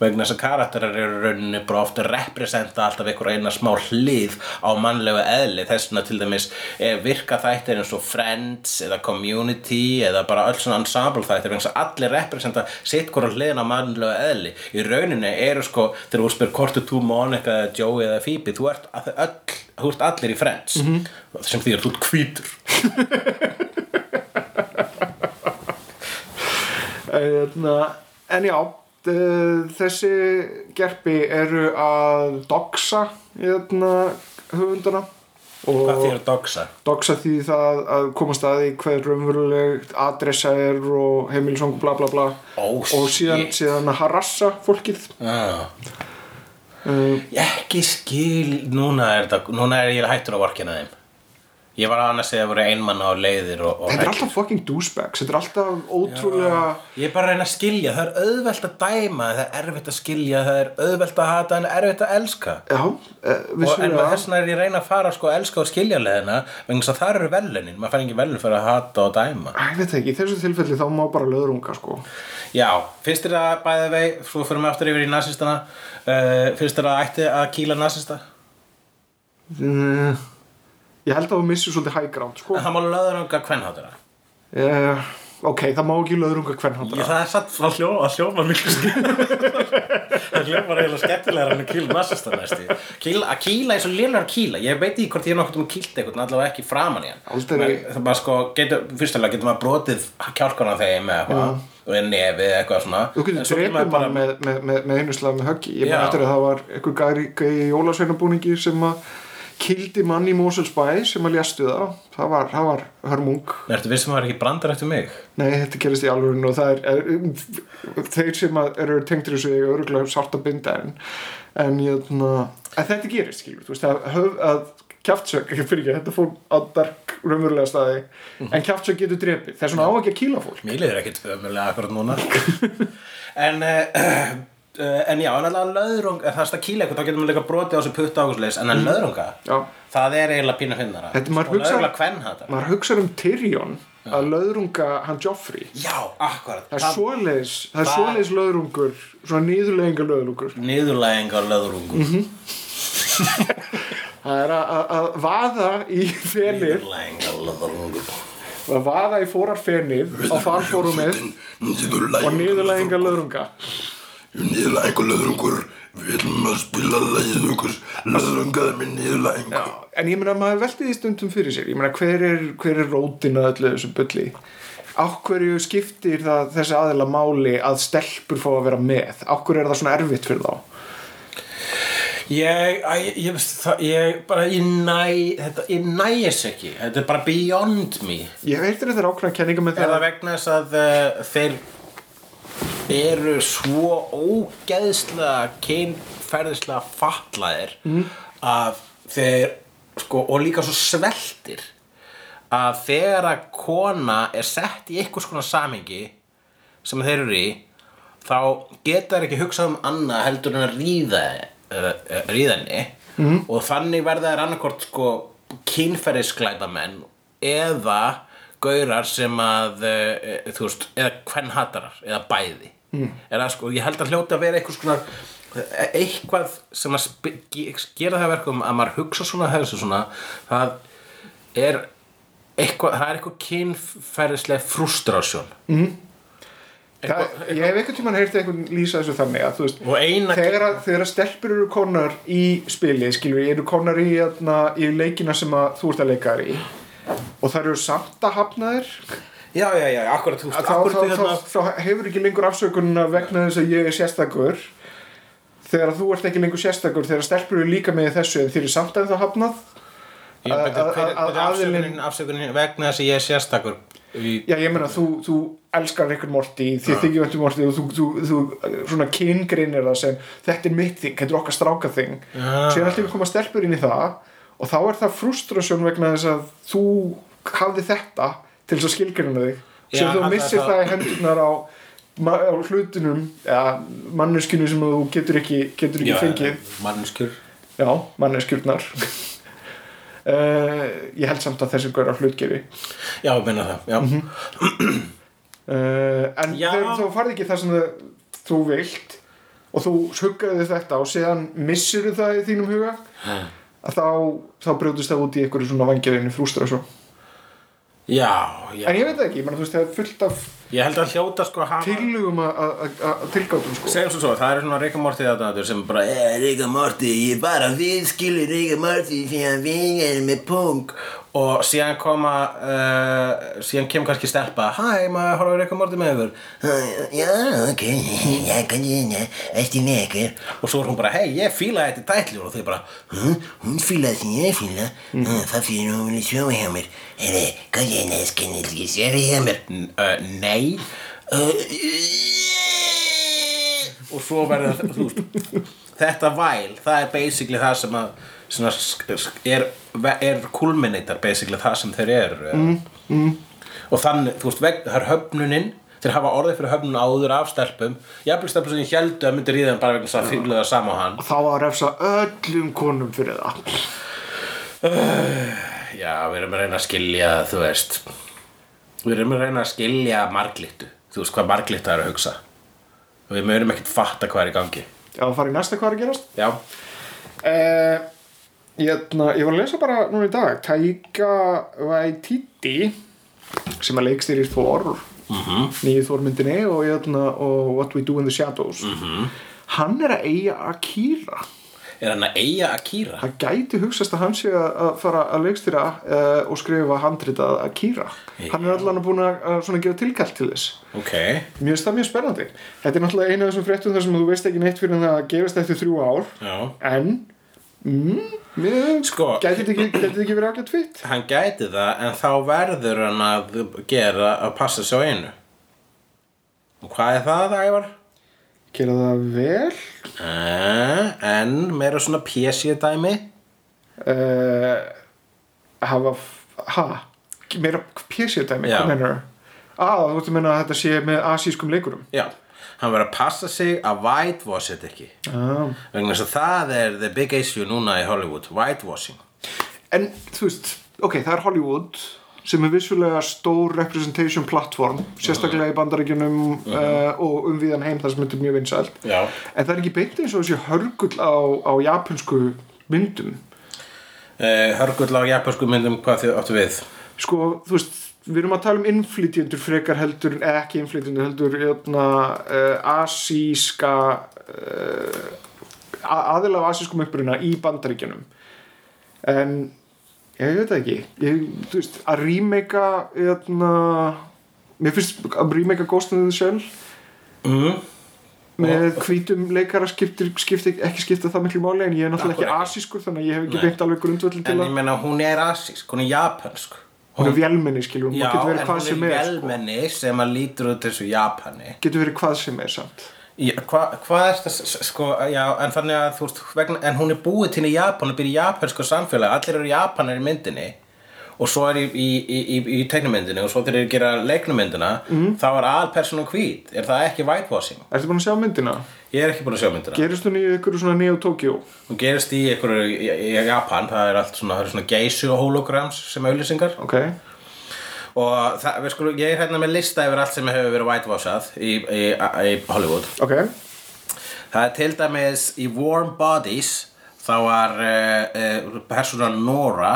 S2: vegna þess að karakterar eru í rauninni bara ofta representa alltaf einhver eina smá hlið á mannlega eðli þess vegna til dæmis eh, virka þættir eins og Friends eða Community eða bara öll svona ensemble þættir vegna þess að allir representa sitt hvora hliðin á mannlega eðli í rauninni eru sko, þegar þú spyr hvort þú Monica eða Joey eða Phoebe þú ert að- öll þú ert allir í Friends
S3: Mhm.
S2: sem því að þú ert hvítur
S3: hérna, en já eh, þessi gerpi eru að doxa hérna, höfundana og
S2: hvað því er dogsa
S3: doxa því það að komast að því hver raunverulegt adressa er og heimilisong bla bla bla
S2: Ó,
S3: og síðan,
S2: shit.
S3: síðan að harassa fólkið
S2: ah.
S3: uh,
S2: Mm. ég ekki skil núna er, þetta, núna er ég hættur að vorkina þeim ég var annars eða voru einmann á leiðir og, og
S3: þetta er
S2: hræddir.
S3: alltaf fucking douchebags þetta er alltaf ótrúlega
S2: ég er bara að reyna að skilja, það er auðvelt að dæma það er erfitt að skilja, það er auðvelt að hata en erfitt að elska
S3: já, uh,
S2: og, en
S3: vissulega
S2: þess vegna er ég að reyna að fara sko að elska og skilja leðina vegna þess að það eru velunin, maður fær engin velun fyrir að hata og dæma
S3: Æ, ég veit það ekki, í þessu tilfelli þá má bara löðrunga sko.
S2: Já, fyrst er það bæðið vei, svo fyrir við aftur yfir í nazistana uh, Fyrst er það ætti að kýla nazista
S3: Mm, ég held að það missi svolítið high ground sko.
S2: En það má löðrunga kvennháttura
S3: uh, ok, það má ekki löðrunga hvern
S2: Það er satt frá hljóma, hljóma miklu skemmt [LAUGHS] Það hljóma reyla skemmtilegar en að kýla nazista næsti kýla, Að kýla eins og lénar kýla Ég veit ekki hvort ég er nokkuð um kýlt eitthvað en allavega ekki framan í hann
S3: Aldrei.
S2: Men Það bara sko, getur, fyrstulega getur maður brotið kjálkana þeim eða eitthvað og er nefið eða eitthvað svona
S3: Þú getur
S2: En svo getur
S3: drepið
S2: maður bara-
S3: mann með, með, með, með einu slag með höggi. Ég
S2: Já.
S3: man eftir að það var einhver gæri, gæri jólasveinabúningi sem að kildi mann í Moselsbæ sem að ljastu það. Það var, það var hörmung.
S2: Ertu vissum að það er ekki brandar eftir mig?
S3: Nei, þetta gerist í alvörun og það er, er þeir sem að eru tengtir þessu eiga öruglega sárt að binda en, en, jötna, en þetta gerist, skilur. Þú veist, að, höf, að kjaftsök, ekki fyrir ekki, þetta fór á dark raunverulega staði, en kjaftsök getur drepið. Það er svona á ekki að kýla fólk.
S2: Mér liður ekkert ömurlega akkurat núna [LAUGHS] En [CLEARS THROAT] uh, uh, En já, en allavega löðrung Það er stað kýla eitthvað, þá getur maður líka brotið á þessu putta ákvæmsleis En að löðrunga,
S3: Mm. Já.
S2: það er eiginlega pínu finnara
S3: Þetta maður
S2: Og
S3: hugsar-
S2: löðrunga kvennhatar
S3: Maður hugsar um Tyrion að löðrunga hann Joffrey.
S2: Já, akkurat
S3: Það er svoleiðis, það er
S2: það-
S3: svoleiðis löðrungur, svona nýðurleginga löðrungur.
S2: Niðurlægingar löðrungur
S3: Mhm. Það er að- að að vaða í felir
S2: Niðurlægingar
S3: og að vaða í fórarfenið á farfórumið og niðurlæginga löðrunga
S5: Nýðlæðingur löðrungur Við viljum að spila lægið okkur Löðrungaði með nýðlæðingur
S3: en ég meina maður velti því stundum fyrir sér ég meina hver er, hver er rótin að öllu þessu bulli á hverju skiptir það þessi aðila máli að stelpur fá að vera með á hverju er það svona erfitt fyrir þá
S2: Ég, æ, ég, ég, veist það- ég bara, ég næ, þetta, ég næ þess ekki. Þetta er bara beyond me.
S3: ég veit þetta er ákveðan kenninga með
S2: Er það
S3: það
S2: vegna þess að uh, þeir eru svo ógeðslega kynferðislega fatlaðir að þeir, sko, og líka svo sveltir að þegar að kona er sett í einhvers konar samingi sem þeir eru í þá geta þær ekki hugsað um annað heldur en að ríða uh, ríðanni mm. og þannig verða þær annarkort sko kynferðisglæpamenn eða gaurar sem að uh, þú veist, eða kvennhatarar eða bæði mm. eða sko, ég held að hljóti að vera einhvers konar eh, eitthvað sem að sp- ge- gera það að verkum að maður hugsa svona þessu svona það er eitthvað, það er eitthvað kynferðislega frústrásjón
S3: Það, ég hef einhvern tímann heyrti einhvern lýsa þessu þannig að þú veist
S2: Og eina-
S3: þegar, að, þegar að stelpur eru konar í spili skilur við, eru konar í, atna, í leikina sem að þú ert að leika þær í og þær eru samt að hafna þær
S2: já, já, já, akkurat, þú
S3: þá,
S2: veist,
S3: þá,
S2: akkurat hérna
S3: þá,
S2: við
S3: þá,
S2: þarna
S3: hefur ekki lengur afsökunna vegna þess að ég er sérstakur þegar að þú ert ekki lengur sérstakur þegar að stelpur eru líka með í þessu en þeir eru samt að það hafnað
S2: Já,
S3: að-
S2: betur,
S3: að-
S2: hver er-
S3: að-
S2: betur afsökunin,
S3: aðilinn-
S2: afsökunin vegna þess að ég er sérstakur í-
S3: Já, ég meina, þú, þú elskar einhvern Morty, þið þykir væntum Morty og þú, þú, þú svona kyngrinir það sem þetta er mitt þing, þetta er okkar stráka þing
S2: Já.
S3: síðan alltaf koma stelpur inn í það og þá er það frustrasjón vegna þess að þú hafði þetta til þess að skilgrina þig
S2: Já,
S3: sem þú
S2: hann-
S3: missir
S2: það-
S3: það í hendurnar á, ma- á hlutunum eða manneskinu sem þú getur ekki, getur ekki
S2: Já,
S3: fengið
S2: manneskjur
S3: Já, manneskjurnar [LAUGHS] uh, Ég held samt að þessi gaur á hlutgefi
S2: já, ég meina það já.
S3: Mhm. uh, en
S2: Já.
S3: þegar þú farði ekki það sem þau- þú vilt og þú huggaði þetta og síðan missir það í þínum huga að þá, þá brjóðist það út í einhverju svona vangjaðinu frústra svo
S2: já, já,
S3: en ég veit það ekki, ég meina, þú veist það er fullt af
S2: ég held að hljóta sko að hafa
S3: tillugum að- að að- að tilgátum sko
S2: segjum svo svo, það er svona Rick and Morty aðdæðandur sem bara, eh, Rick and Morty, ég bara viðskilur Rick and Morty því að við erum með punk og síðan koma uh, síðan kemur kannski stelpa hæ, maður horfum Rick and Morty með "Eh, yfir
S6: Já, ok, ég kannu, eftir með ykkur.
S2: og svo er hún bara, hei, ég fíla þetta tætlur og þau bara,
S6: Hm, Hún fílaði sem ég fíla. Hm, Það fyrir nú vilja sjóa hjá mér. Herri,
S2: "Eh,
S6: hvað er næst kannið ekki sjóa hjá mér?
S2: N- ö, nei "Eh, og svo verður það- þú veist, þetta væl, það er basically það sem að svona, sk- sk- er, er kulminator basically það sem þeir eru mm, mm. og þannig, þú veist, veg, það er höfnunin þeir hafa orðið fyrir höfnun áður af stelpum jafnvel stelpum sem ég held að myndi ríða þeim bara vegna þess að fylgðu það sama á hann
S3: þá að refsa öllum konum fyrir það
S2: já, við erum að reyna að skilja, þú veist við erum að reyna að skilja marglittu, þú veist hvað marglitta er að hugsa og við mögum ekkert fatta hvað er í gangi
S3: já, það fara í næsta hvað er að gerast
S2: Já,
S3: Uh, hérna, ég var að lesa bara núna í dag Taika Waititi sem að leikstýrir Thor mm -hmm. nýju Thor-myndinni og, hérna, og What We Do in the Shadows -hmm. hann er að eiga Akira
S2: er hann að eiga Akira?
S3: það gæti hugsast að hann sé að að fara að leikstýra uh, og skrifa handritað Akira hann er allan að búin að að svona gera tilkallt til þess
S2: Ok
S3: Mér finnst það mjög spennandi. Þetta er náttúrulega eina af þessum fréttum þar sem þú veist ekki neitt fyrir en það gerist eftir þrjú ár.
S2: Já.
S3: En, mm, mér,
S2: Sko-
S3: gæti þetta ekki, gæti þetta ekki verið ágætt fýtt?
S2: Hann gæti það en þá verður hann að gera að passa sig á einu Og hvað er það, Ævar?
S3: Gera það vel?
S2: Eh, En meira svona PC dæmi
S3: Uh, hafa, ha? Meira pjessjöldæmi,
S2: Já.
S3: hvað mennur það? Ah, þú ert að menna að þetta sé með asískum leikurum.
S2: Já Hann verður að passa sig að whitewash þetta ekki
S3: Ah.
S2: Vegna þess að það er the big issue núna í Hollywood Whitewashing
S3: En, þú veist, ok, það er Hollywood sem er vissulega stór representation platform, sérstaklega í bandaríkjunum uh, og umvíðan heim þar sem þetta er mjög vinsælt.
S2: Mhm. Já
S3: En það er ekki beint eins og þessi hörgull á, á japansku myndum
S2: eh, Hörgull á japansku myndum hvað þið áttu við
S3: sko, þú veist við erum að tala um innflytjendur frekar heldur en ekki innflytjendur heldur jötna, uh, asíska uh, aðilega af asískum uppruna í bandaríkjunum en ég veit það ekki ég, þú veist, að rímeika jötna, mér finnst að rímeika Ghost in the Shell
S2: mm.
S3: með hvítum leikara skiptir, skiptir ekki skipta það miklu máli en ég er náttúrulega ekki asískur þannig að ég hef ekki beint alveg grundvöldin til
S2: En ég
S3: að
S2: meina hún er asísk, hún er japansk
S3: hún er vélmenni skiljum, hún
S2: Já,
S3: getur
S2: en
S3: verið hvað
S2: hún
S3: sem
S2: er
S3: er sko.
S2: velmenni sem að lítur út þessu japani
S3: getur verið hvað sem er samt
S2: Já, hva, hvað er þetta, sko, já, en þannig að þú veist, vegna, en hún er búið til í Japan og býr í japansku samfélagi, allir eru japanar í myndinni og svo er í, í, í, í, í teiknumyndinni og svo þegar þeir gera leiknumyndina, mm. þá er alpersonum hvít, er það ekki whitewashing?
S3: Ertu búin að sjá myndina?
S2: Ég er ekki búin að sjá myndina.
S3: Gerist hún í ykkur svona Neo Tokyo?
S2: Hún gerist í einhverju, í, í Japan, það er allt svona, það eru svona geysu og holograms sem auðlýsingar
S3: Ok,
S2: og það, við skulum, ég er hérna með lista yfir allt sem hefur verið whitewashað í, í, í Hollywood.
S3: ok,
S2: Það er til dæmis í Warm Bodies þá var uh, uh, persónan Nora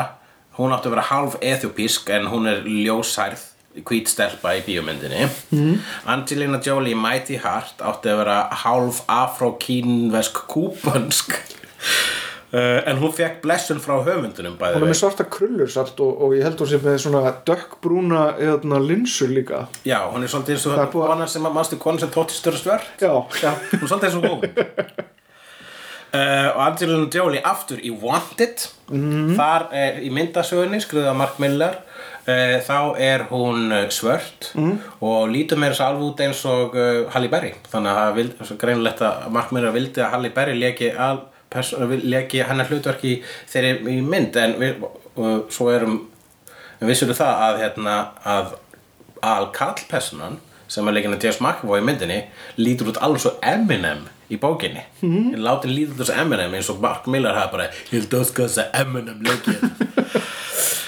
S2: hún átti að vera halv ethiopísk en hún er ljósærð hvít stelpa í bíómyndinni
S3: Mhm.
S2: mm. Angelina Jolie í Mighty Heart átti að vera halv afro-kínvesk [LAUGHS] kúpansk uh, en hún fekk blessun frá höfundunum bæði
S3: hún er með svarta krullur samt og, og ég held hún sem með svona dökkbrúna eða linsur líka
S2: Já, hún er svolítið eins og
S3: Það er búið-
S2: konan sem að mannstu konan sem tótti störst verð
S3: Já, já,
S2: hún er svolítið eins og hún Uh, og Angelina Jolie aftur í Wanted þar er í myndasögunni skriðið af Mark Miller uh, þá er hún eh, svört og lítur meira svo alveg út eins og uh, Halle Berry þannig að það vild, svo greinilegt að Mark Miller vildi að Halle Berry leki, al, pers, leki hennar hlutverki þeirri í mynd en við, uh, svo erum en vissur það að, hérna, að al kallpersonan sem er leikinn að James McAvoy í myndinni lítur út alveg svo Eminem í bókinni mm -hmm. látin lítur út þessu Eminem eins og Mark Miller hafa bara ég dósku þess að Eminem leikinn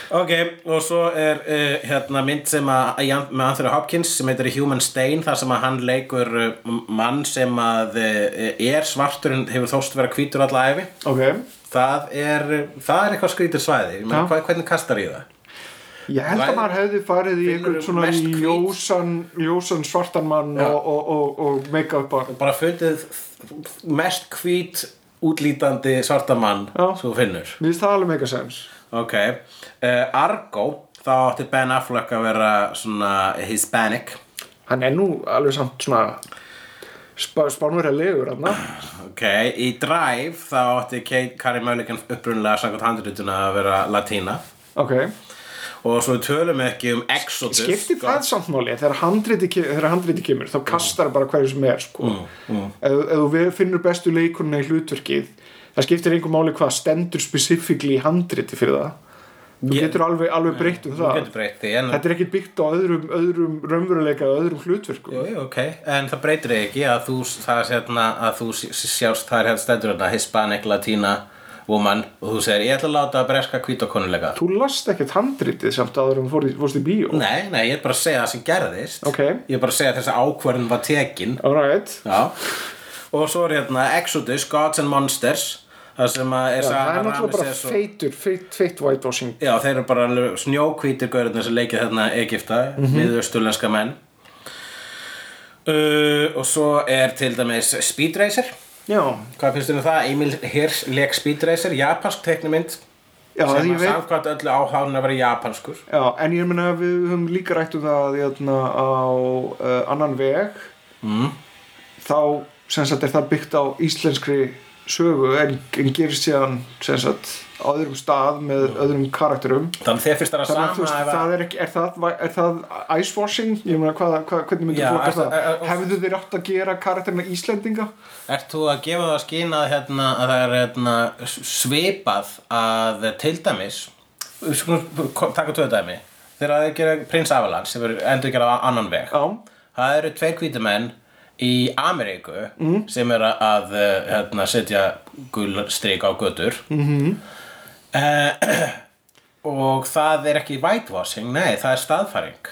S2: Ok, og svo er uh, hérna mynd sem að Jan- með Anthony Hopkins sem heitir Human Stain þar sem að hann leikur uh, mann sem að uh, er svartur en hefur þóst vera hvítur alla æfi
S3: ok
S2: það er, eh, það er eitthvað skrítur svæði Ég meina,
S3: Já.
S2: hvað, hvernig kastar í það?
S3: Ég held að
S2: Væri-
S3: maður hefði farið í
S2: Finnur
S3: einhvern
S2: þú
S3: svona
S2: mest hvít?
S3: ljósan, ljósan svartan mann og, og, og, og make-up á-
S2: bara fundið mest hvít útlítandi svarta mann
S3: Já.
S2: sem þú finnur
S3: Mér finnst það alveg make-a-sense
S2: ok, uh, Argo þá átti Ben Affleck að vera svona Hispanic
S3: Hann er nú alveg samt svona sp spánverja legur hann
S2: ok, í Drive þá átti Kate Carey Mulligan upprunlega samkvæmt handrituna að vera latína
S3: Ok,
S2: og svo við tölum ekki um Exodus
S3: skipti
S2: sko.
S3: það samt máli þegar handriti, ke- þegar handriti kemur þá kastar bara hverju sem er sko.
S2: Mm,
S3: ef, ef þú finnur bestu leikurna í hlutverkið það skiptir einhver máli hvað stendur spesifíkli í handriti fyrir það þú
S2: Ég-
S3: getur alveg, alveg breytt um
S2: Þú
S3: það
S2: getur breytt því, en-
S3: þetta er ekkert byggt á öðrum, öðrum raunveruleika eða öðrum hlutverkum
S2: Jú, jú, ok, en það breytir þig ekki að þú, það, er hérna, að þú s- s- sjást það er hérna stendur hérna Hispanic, Latina, woman og þú segir ég ætla að láta að breska kvítakonulega
S3: þú last ekkert handritið samt áður en þú fór í- fórst í bíó
S2: Nei, nei, ég er bara að segja það sem gerðist
S3: Ok.
S2: Ég er bara að segja að þessi ákvörðin var tekin
S3: alright
S2: Já Og svo er hérna Exodus, Gods and Monsters Það sem að er
S3: Já,
S2: Sara
S3: það er náttúrulega bara
S2: Ramesses og-
S3: feitur, feit, feit whitewashing
S2: Já, þeir eru bara alveg snjóhvítir gaurðin sem leikið þarna Egipta, mm
S3: Mhm.
S2: -hmm. miðausturlenska menn uh, Og svo er til dæmis Speed Racer
S3: já,
S2: Hvað finnst þér um það? Emil Hirsch leik Speed Racer, japansk teknimynd
S3: já
S2: sem
S3: ég
S2: að
S3: veit
S2: samkvæmt öllu áháðun að vera japanskur
S3: Já, en ég meina að við höfum líka rætt um það jötna, á uh, annan veg Mm. þá sem sagt er það byggt á íslenskri sögu en, en gerist síðan sem sagt á öðrum stað með öðrum karakterum
S2: Þannig þér finnst það að
S3: þannig að þú
S2: sama
S3: veist,
S2: ef að-
S3: það er ekki, er það, er það icewashing? Ég meina, hvað, hvað, hvernig myndir
S2: Já,
S3: fólk
S2: er það-
S3: það?
S2: er- er-
S3: Hefðu þeir átt að gera karakterina Íslendinga?
S2: Ert þú að gefa það að skýna að, hérna, að það er hérna, svipað að til dæmis við skulum ko- taka tvö dæmi þegar þeir gera prins Avalanche sem verður endur gera á annan veg
S3: Já,
S2: það eru tveir hvítumenn í Ameríku sem er að eh, hérna, setja gul strik á götur mm [CLEARS THROAT] og það er ekki whitewashing, nei það er staðfæring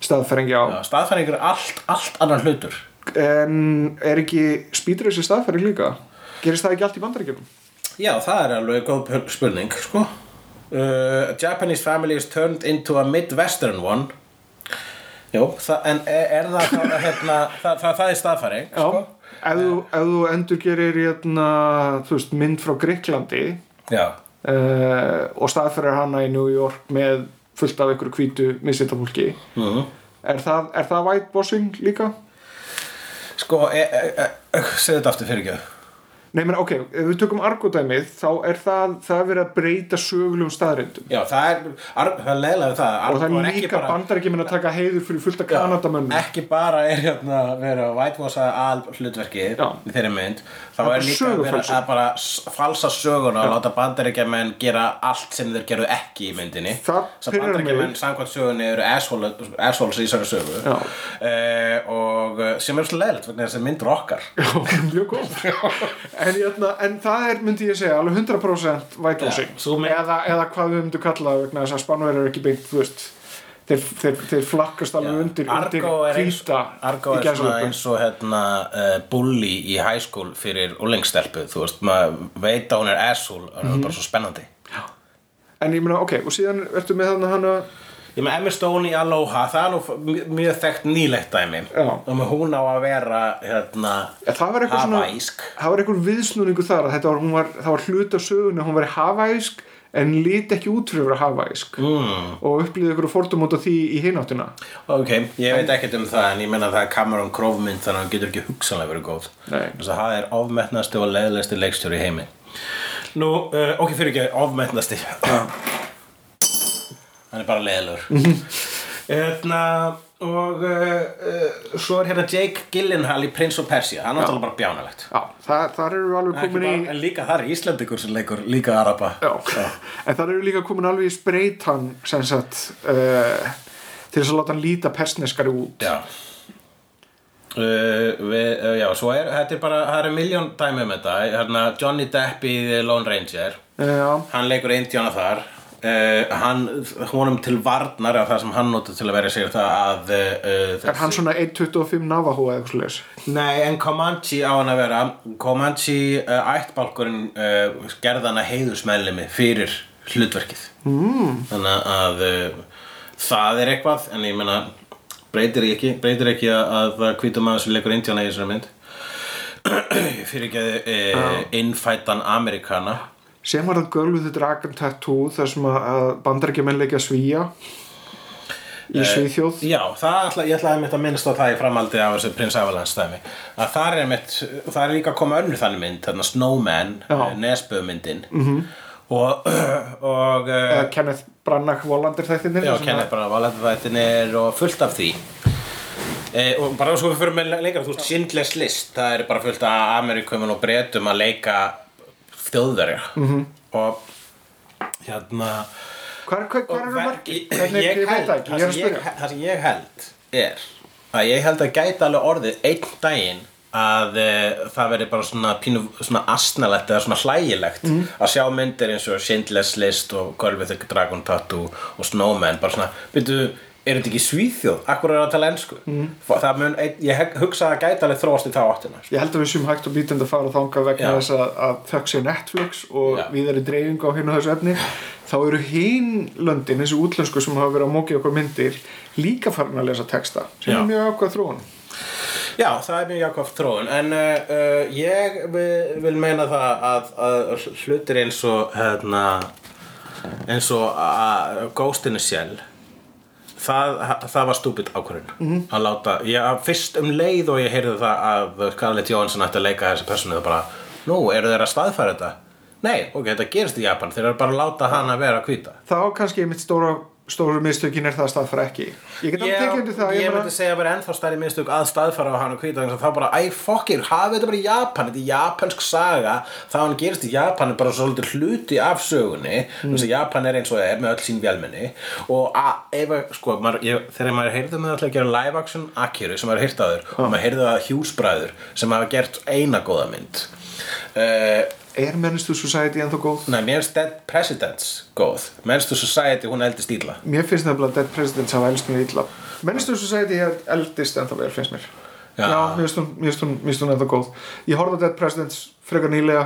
S3: staðferðing, já.
S2: Já, staðfæring er allt, allt annan hlutur
S3: En er ekki spýtreysi staðferðing líka? Gerist það ekki allt í bandaríkjum?
S2: Já, það er alveg góð spurning, sko uh, Japanese family is turned into a midwestern one Jó, það, en er, er það, það, hérna, það, það, það er staðfæring sko?
S3: Já, sko. Eh. ef þú, ef þú endurgerir hérna, þú veist, mynd frá Greiklandi
S2: Já,
S3: uh, og staðferðar hana í New York með fullt af einhverju hvítu missýttafólki Uh-huh. er, það, er það whitewashing líka?
S2: sko, e, e, e, e, segðu þetta aftur fyrir ekki
S3: Nei, menn, ok, ef við tökum argodæmið þá er það, það er verið að breyta sögulegum staðrindum
S2: Já, það er, ar, það er leiðlega við það
S3: og það
S2: Arnór
S3: er
S2: ekki
S3: líka bara...
S2: bara-
S3: bandarækjumenn að taka heiður fyrir fullt af kanadamönnum
S2: ekki bara er hérna verið að whitewasha al hlutverki
S3: Já.
S2: í þeirri mynd þá
S3: Það er
S2: er líka
S3: sögufölsun.
S2: verið að bara s- falsa söguna og láta bandaríkjamenn gera allt sem þeir gerðu ekki í myndinni
S3: Það
S2: sem
S3: pirrar mig.
S2: bandaríkjamenn samkvæmt sögunni eru asshole- assholes í þessari sögu
S3: Já.
S2: eh, og eh, sem er svo leiðilegt vegna þess að mynd rockar
S3: Já, mjög
S2: [LAUGHS]
S3: góð en, jötna, en það er, myndi ég segja, alveg 100%
S2: Já,
S3: whitewashing
S2: svo með-
S3: eða, eða hvað við myndum kalla það vegna þess að spánverðar er ekki beint þú veist, þeir, þeir, þeir flakkast alveg undir, undir
S2: Argo er eins,
S3: hvíta
S2: Argo
S3: í
S2: er svona
S3: gæsalöpum.
S2: eins og hérna uh, bully í high school fyrir úlengstelpu, þú veist, maður veit að hún er asshole, en hún er bara svo spennandi
S3: en ég meina, ok, og síðan ertu með þarna hana
S2: Ég með Emma Stone í Aloha, það er nú f- mjög- mjög þekkt nýlegt dæmi
S3: Já.
S2: og með hún á að vera hérna
S3: Ja, það var eitthvað svona-
S2: hawaiisk.
S3: það var einhver viðsnúningu þar að þetta var, hún var, það var hlut af söguna hún var hafæsk en líti ekki út fyrir að vera hafæsk
S2: Hmm.
S3: mm. og upplýði ykkur fordum út af því í hináttina
S2: Ok, ég veit ekkert um það en ég menna það er Cameron Crowe mynd þannig að hún getur ekki hugsanlega verið góð
S3: Nei.
S2: þess að það er ofmetnasti og leðilegsti leikstjóri í heimi Nú, uh, ok, fyrir ekki, ofmetnasti [LAUGHS] Hann er bara [LAUGHS] leðilegur Hérna og uh, uh, svo er hérna Jake Gyllenhaal í Prince of Persia hann er náttúrulega bara bjánalegt
S3: Já, það, þar eru alveg
S2: Ekki
S3: komin í
S2: bara, en líka það er Íslandikur sem leikur líka Araba
S3: Já. en það eru líka komin alveg í spreytan sem sagt uh, til þess að láta hann líta persneskari út
S2: Já. Uh, við, uh, já, svo er þetta er bara, það er miljón dæmi um þetta hérna, Johnny Depp í The Lone Ranger
S3: Já,
S2: hann leikur Indiana þar uh, hann, honum til varnar af það sem hann notur til að vera sér það að uh,
S3: er hann svona 1.25 Navajo eða eitthvað slags
S2: Nei, en Comanche á hann að vera Comanche uh, ættbálkurinn uh, gerði hann að heiðusmeðlimi fyrir hlutverkið mm. þannig að uh, það er eitthvað en ég meina breytir ekki, breytir ekki að, að það hvítum maður sem leikur Indiana í þessari mynd [CLEARS THROAT] fyrir ekki að uh, innfættan Amerikana
S3: sem var það gölvuðu Dragon Tattoo þar sem að- að bandarækjumenn leikja svíja
S2: Eh,
S3: í Svíþjóð
S2: Já, það ætla, ég ætlaði mitt að minnst á það í framaldi af þessu Prins Avalanche dæmi að þar er, mitt, þar er líka að koma önnur þannig mynd þarna Snowman,
S3: Já. Mhm.
S2: Nesbömyndin mm -hmm. og, [CLEARS THROAT] og
S3: eða
S2: uh,
S3: Kenneth Branagh Volander þættinir
S2: já,
S3: þar sem að-
S2: kennið bara valendavættinir og fullt af því e, og bara svo við fyrir með leikar þú veist, Schindler's List, það er bara fullt af Amerikumum og Bretum að leika þjóðverja
S3: Mhm.
S2: -hmm. og hérna
S3: hvar, hvar, hvar eru margir? Hvernig,
S2: ég
S3: ég, veit
S2: held,
S3: það ekki, ég er að
S2: ég,
S3: spyrja
S2: það sem ég held er að ég held að gæti alveg orðið einn daginn að e, það veri bara svona pínu, svona asnalegt eða svona hlægilegt
S3: Mhm.
S2: að sjá myndir eins og Schindler's List og Golfið þykir Dragon Tattoo og Snowman bara svona, byrju, er þetta ekki svíþjóð? Akkur er það að tala ensku?
S3: Mhm.
S2: Mm. Það mun, einn- ég heg- hugsa að gæti alveg þróast í þá áttina sko.
S3: Ég held að við séum hægt og bítandi að fara þangað vegna
S2: Já.
S3: þess að, að þökk sé Netflix og
S2: Já.
S3: viðari dreifingu á hérna þessu efni þá eru hinn löndin, þessi útlensku sem hafa verið að mókið okkur myndir líka farin að lesa texta sem
S2: Já.
S3: er mjög ákvað þróun
S2: Já, það er mjög jákvæmt þróun en uh, uh, ég vil, vil meina það að, að hlutir eins og hérna, eins og uh, að góstinu sjálf það, það var stúpid ákvörðun að láta, ég fyrst um leið og ég heyrði það að Scarlett Johansson ætti að leika þessi personu það bara, nú eru þeir að staðfæra þetta nei, ok, þetta gerist í Japan þeir eru bara að láta hana vera að hvita
S3: Þá kannski mitt stóra, stóra mistökin er það að staðfara ekki Ég get alveg tekið undir það
S2: ég,
S3: ég meina-
S2: myndi segja að vera ennþá stærri mistök að staðfara á hann og hvita þannig að það bara, æ, fokkir, hafið þetta bara í Japan þetta er japansk saga, það hann gerist í Japan er bara svolítið hluti af sögunni mm. þess að Japan er eins og er með öll sín vélmenni og að, ef, að- sko, maður, ég, þegar maður heyrði með alltaf að gera live action Akiru sem maður heyrði að þur og maður heyrði að hjúsbræður sem hafa gert eina góða mynd uh,
S3: Er mennistu society ennþá góð?
S2: Nei, mér finnst Dead Presidents góð Menstu Society, hún eldist íla
S3: Mér finnst það að Dead Presidents hafa elst mjög illa Mennistu society hef eldist ennþá vel finnst mér
S2: Já.
S3: Já mér finnst hún- mér finnst hún mér finnst hún ennþá góð Ég horfði að Dead Presidents frekar nýlega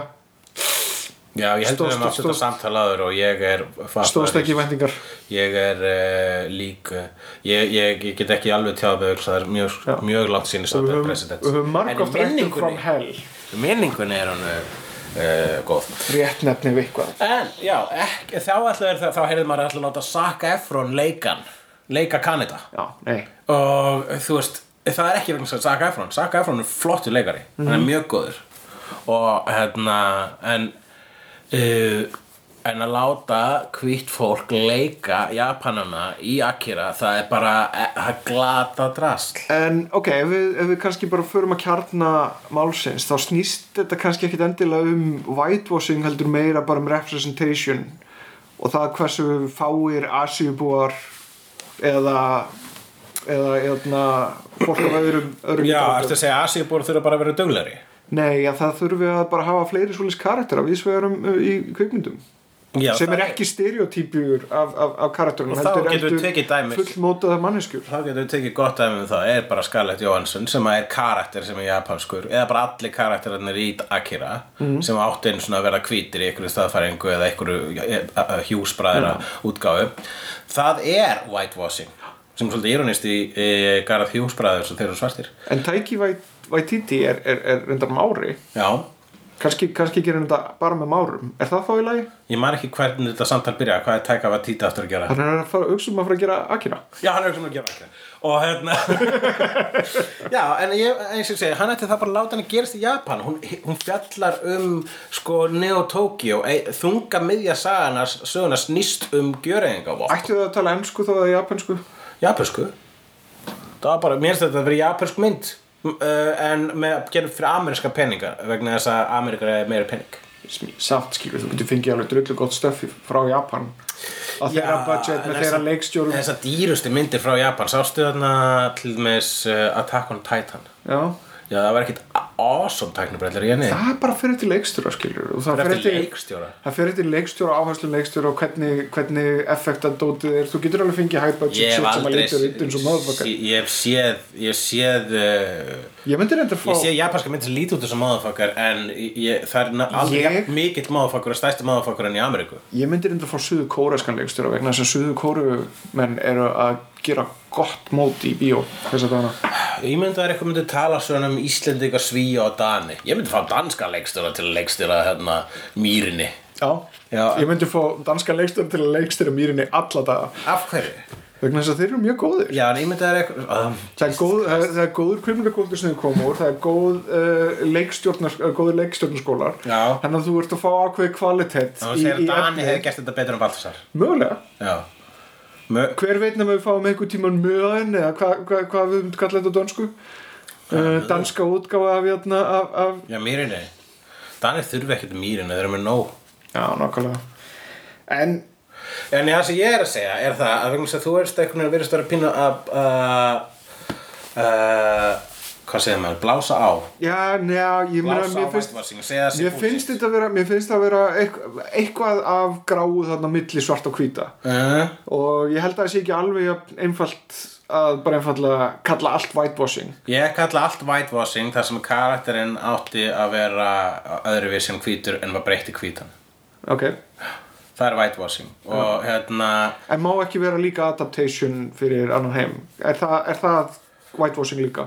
S2: Já, ég heldur
S3: Stóðst-
S2: þeim aftur þetta
S3: stóðst-
S2: samtalaður og ég er fatlaður.
S3: stóðst ekki í væntingar
S2: Ég er uh, lík uh, ég, ég, ég get ekki alveg tjáð með auks það er mjög,
S3: Já.
S2: mjög langt síni
S3: Við
S2: samt
S3: höfum-
S2: president
S3: við höfum um margóft rættum from
S2: minningunni,
S3: hell
S2: í minningunni er hann uh, uh, góð
S3: rétt nefni við eitthvað
S2: En, já, ekki, þá ætlaður það þá heyrði maður ætla að láta Saka Efron leikan leika Kanada
S3: já, nei,
S2: og eh, þú veist það er ekki vegna þess að Zac Efron Zac Efron er flottur leikari, hann
S3: Mhm.
S2: er mjög góður og hérna en uh, en að láta hvitt fólk leika Japanana í Akira það er bara, eh, það er glata drasl
S3: En ok, ef við, ef við kannski bara förum að kjarna málsins þá snýst þetta kannski ekkit endilega um whitewashing heldur meira bara um representation og það hversu fáir asjubúar eða eða eðna, fólk af öðrum, öðrum
S2: Já,
S3: íþróttum.
S2: eftir að segja að Asíubor þurfa bara að vera duglegri
S3: Nei, já, það þurfum við að bara hafa fleiri svoleiðis karakter af ísvegarum í kvikmyndum
S2: Já,
S3: sem
S2: það
S3: er ekki stereotypjur af, af, af karakterunum
S2: Og þá getum við tekið dæmi.
S3: fullmótaða manneskjur
S2: Þá getum við tekið gott aðeins um það, er bara Scarlett Johansson sem er karakter sem er japanskur eða bara allir karakterarnir í Akira sem átti einu svona að vera hvítir í einhverju staðfæringu eða einhverju e, hjúsbræðra útgáfu Það er whitewashing sem er svolítið ironist í e, Gareth hjúsbræður sem þeir eru svartir
S3: en Taiki Wait- Waititi er, er, er reyndar mári
S2: Já,
S3: kannski, kannski gerum þetta bara með márum er það þá í lagi?
S2: ég man ekki hvernig þetta samtal byrja hvað er tæka að títa aftur að gera
S3: hann er að fara auksum að fara að gera Akira
S2: Já, hann er ekki sem að gera ekki Og hérna [LAUGHS] Já, en ég, eins og ég segi, hann ætti það bara að láta hann að gerast í Japan Hún, hún fjallar um sko Neo-Tokyo e- Þunga miðja sagana söguna snýst um gjöreðingavopn
S3: ættu þau að tala ennsku þá eða japansku?
S2: Japansku Það var bara, mér finnst þetta að vera japansk mynd uh, En með, gerum fyrir ameríska peninga Vegna þess að Ameríkar er meira pening
S3: Sm- samt skilur, þú getur fengið alveg drullu gott stöfi frá Japan á þeirra budget með þeirra leikstjórum
S2: Þessar dýrustu myndir frá Japan Sástu þarna til með uh, Attack on Titan
S3: já
S2: Já, það var ekkert awesome tæknibrellur í henni
S3: það er bara fyrir til leikstjóra skilur og það
S2: Það er
S3: fer
S2: eftir
S3: eftir-
S2: leikstjóra
S3: það fer eftir leikstjóra, áherslu leikstjóra og hvernig, hvernig effektan dótið er þú getur alveg fengið high budget
S2: Ég hef
S3: shit sem að
S2: aldrei
S3: lítur út eins og
S2: sé-
S3: maðurfokkar
S2: Ég hef séð Ég hef séð uh,
S3: ég myndi reynda að
S2: Ég sé
S3: fá
S2: japanska mynd sem líti út þessu maðurfokkar en ég, það er na- aldrei
S3: Ég-
S2: jafn mikill maðurfokkar og stærsti maðurfokkar enn í Ameríku
S3: ég myndi reynda að fá suðu kóreskan leikstjóra vegna þess að suðu kórumenn eru að gera gott mót í bíó þess að dana
S2: Ég myndi að það er eitthvað myndi tala svona um Íslendinga, Svíja og Dani Ég myndi fá danska leikstjóra til að leikstjóra hérna mýrinni
S3: Já,
S2: Já.
S3: ég myndi fá danska leikstöru til að leikstýra mýrinni alla daga
S2: Af hverju?
S3: vegna þess að þeir eru mjög góðir
S2: Já, en ég myndi að það er eitthvað um,
S3: það er, góð, það, er, það er góður kvimlakóldur sem þau koma úr það er góð, uh, leikstjórnar, uh, góður leikstjórnarskólar
S2: Já.
S3: þannig að þú ert að fá ákveði kvalitet
S2: Það segir að Dani
S3: efni.
S2: hefði gert þetta betur en Baltasar
S3: mögulega
S2: Já Mö,
S3: hver veit nema við fáum einhver tíman möðan eða hvað hva, hva við myndum kalla þetta á dönsku uh, danska útgáfa af, jæna, af, af
S2: Já, mýrinni Danir þurfi ekkert mýrinni, þeir eru með nóg
S3: já, nákvæmlega en
S2: En það sem ég er að segja er það að vegna þess að þú erst einhvern veginn að verðist að vera pínu að uh, uh, hvað segir maður, blása á
S3: já, njá, ég meina
S2: blása á
S3: mér finnst
S2: vætvarsing og segja það
S3: Mér finnst þetta vera, mér finnst það vera eitthvað, eitthvað af gráu þarna milli svart og hvíta
S2: uh,
S3: og ég held að það sé ekki alveg jafn einfalt að bara einfallega kalla allt whitewashing
S2: Ég kalla allt whitewashing þar sem karakterinn átti að vera öðruvísi en hvítur en var breytti hvítan
S3: ok,
S2: Það er whitewashing og hérna
S3: en má ekki vera líka adaptation fyrir annan heim er það, er það whitewashing líka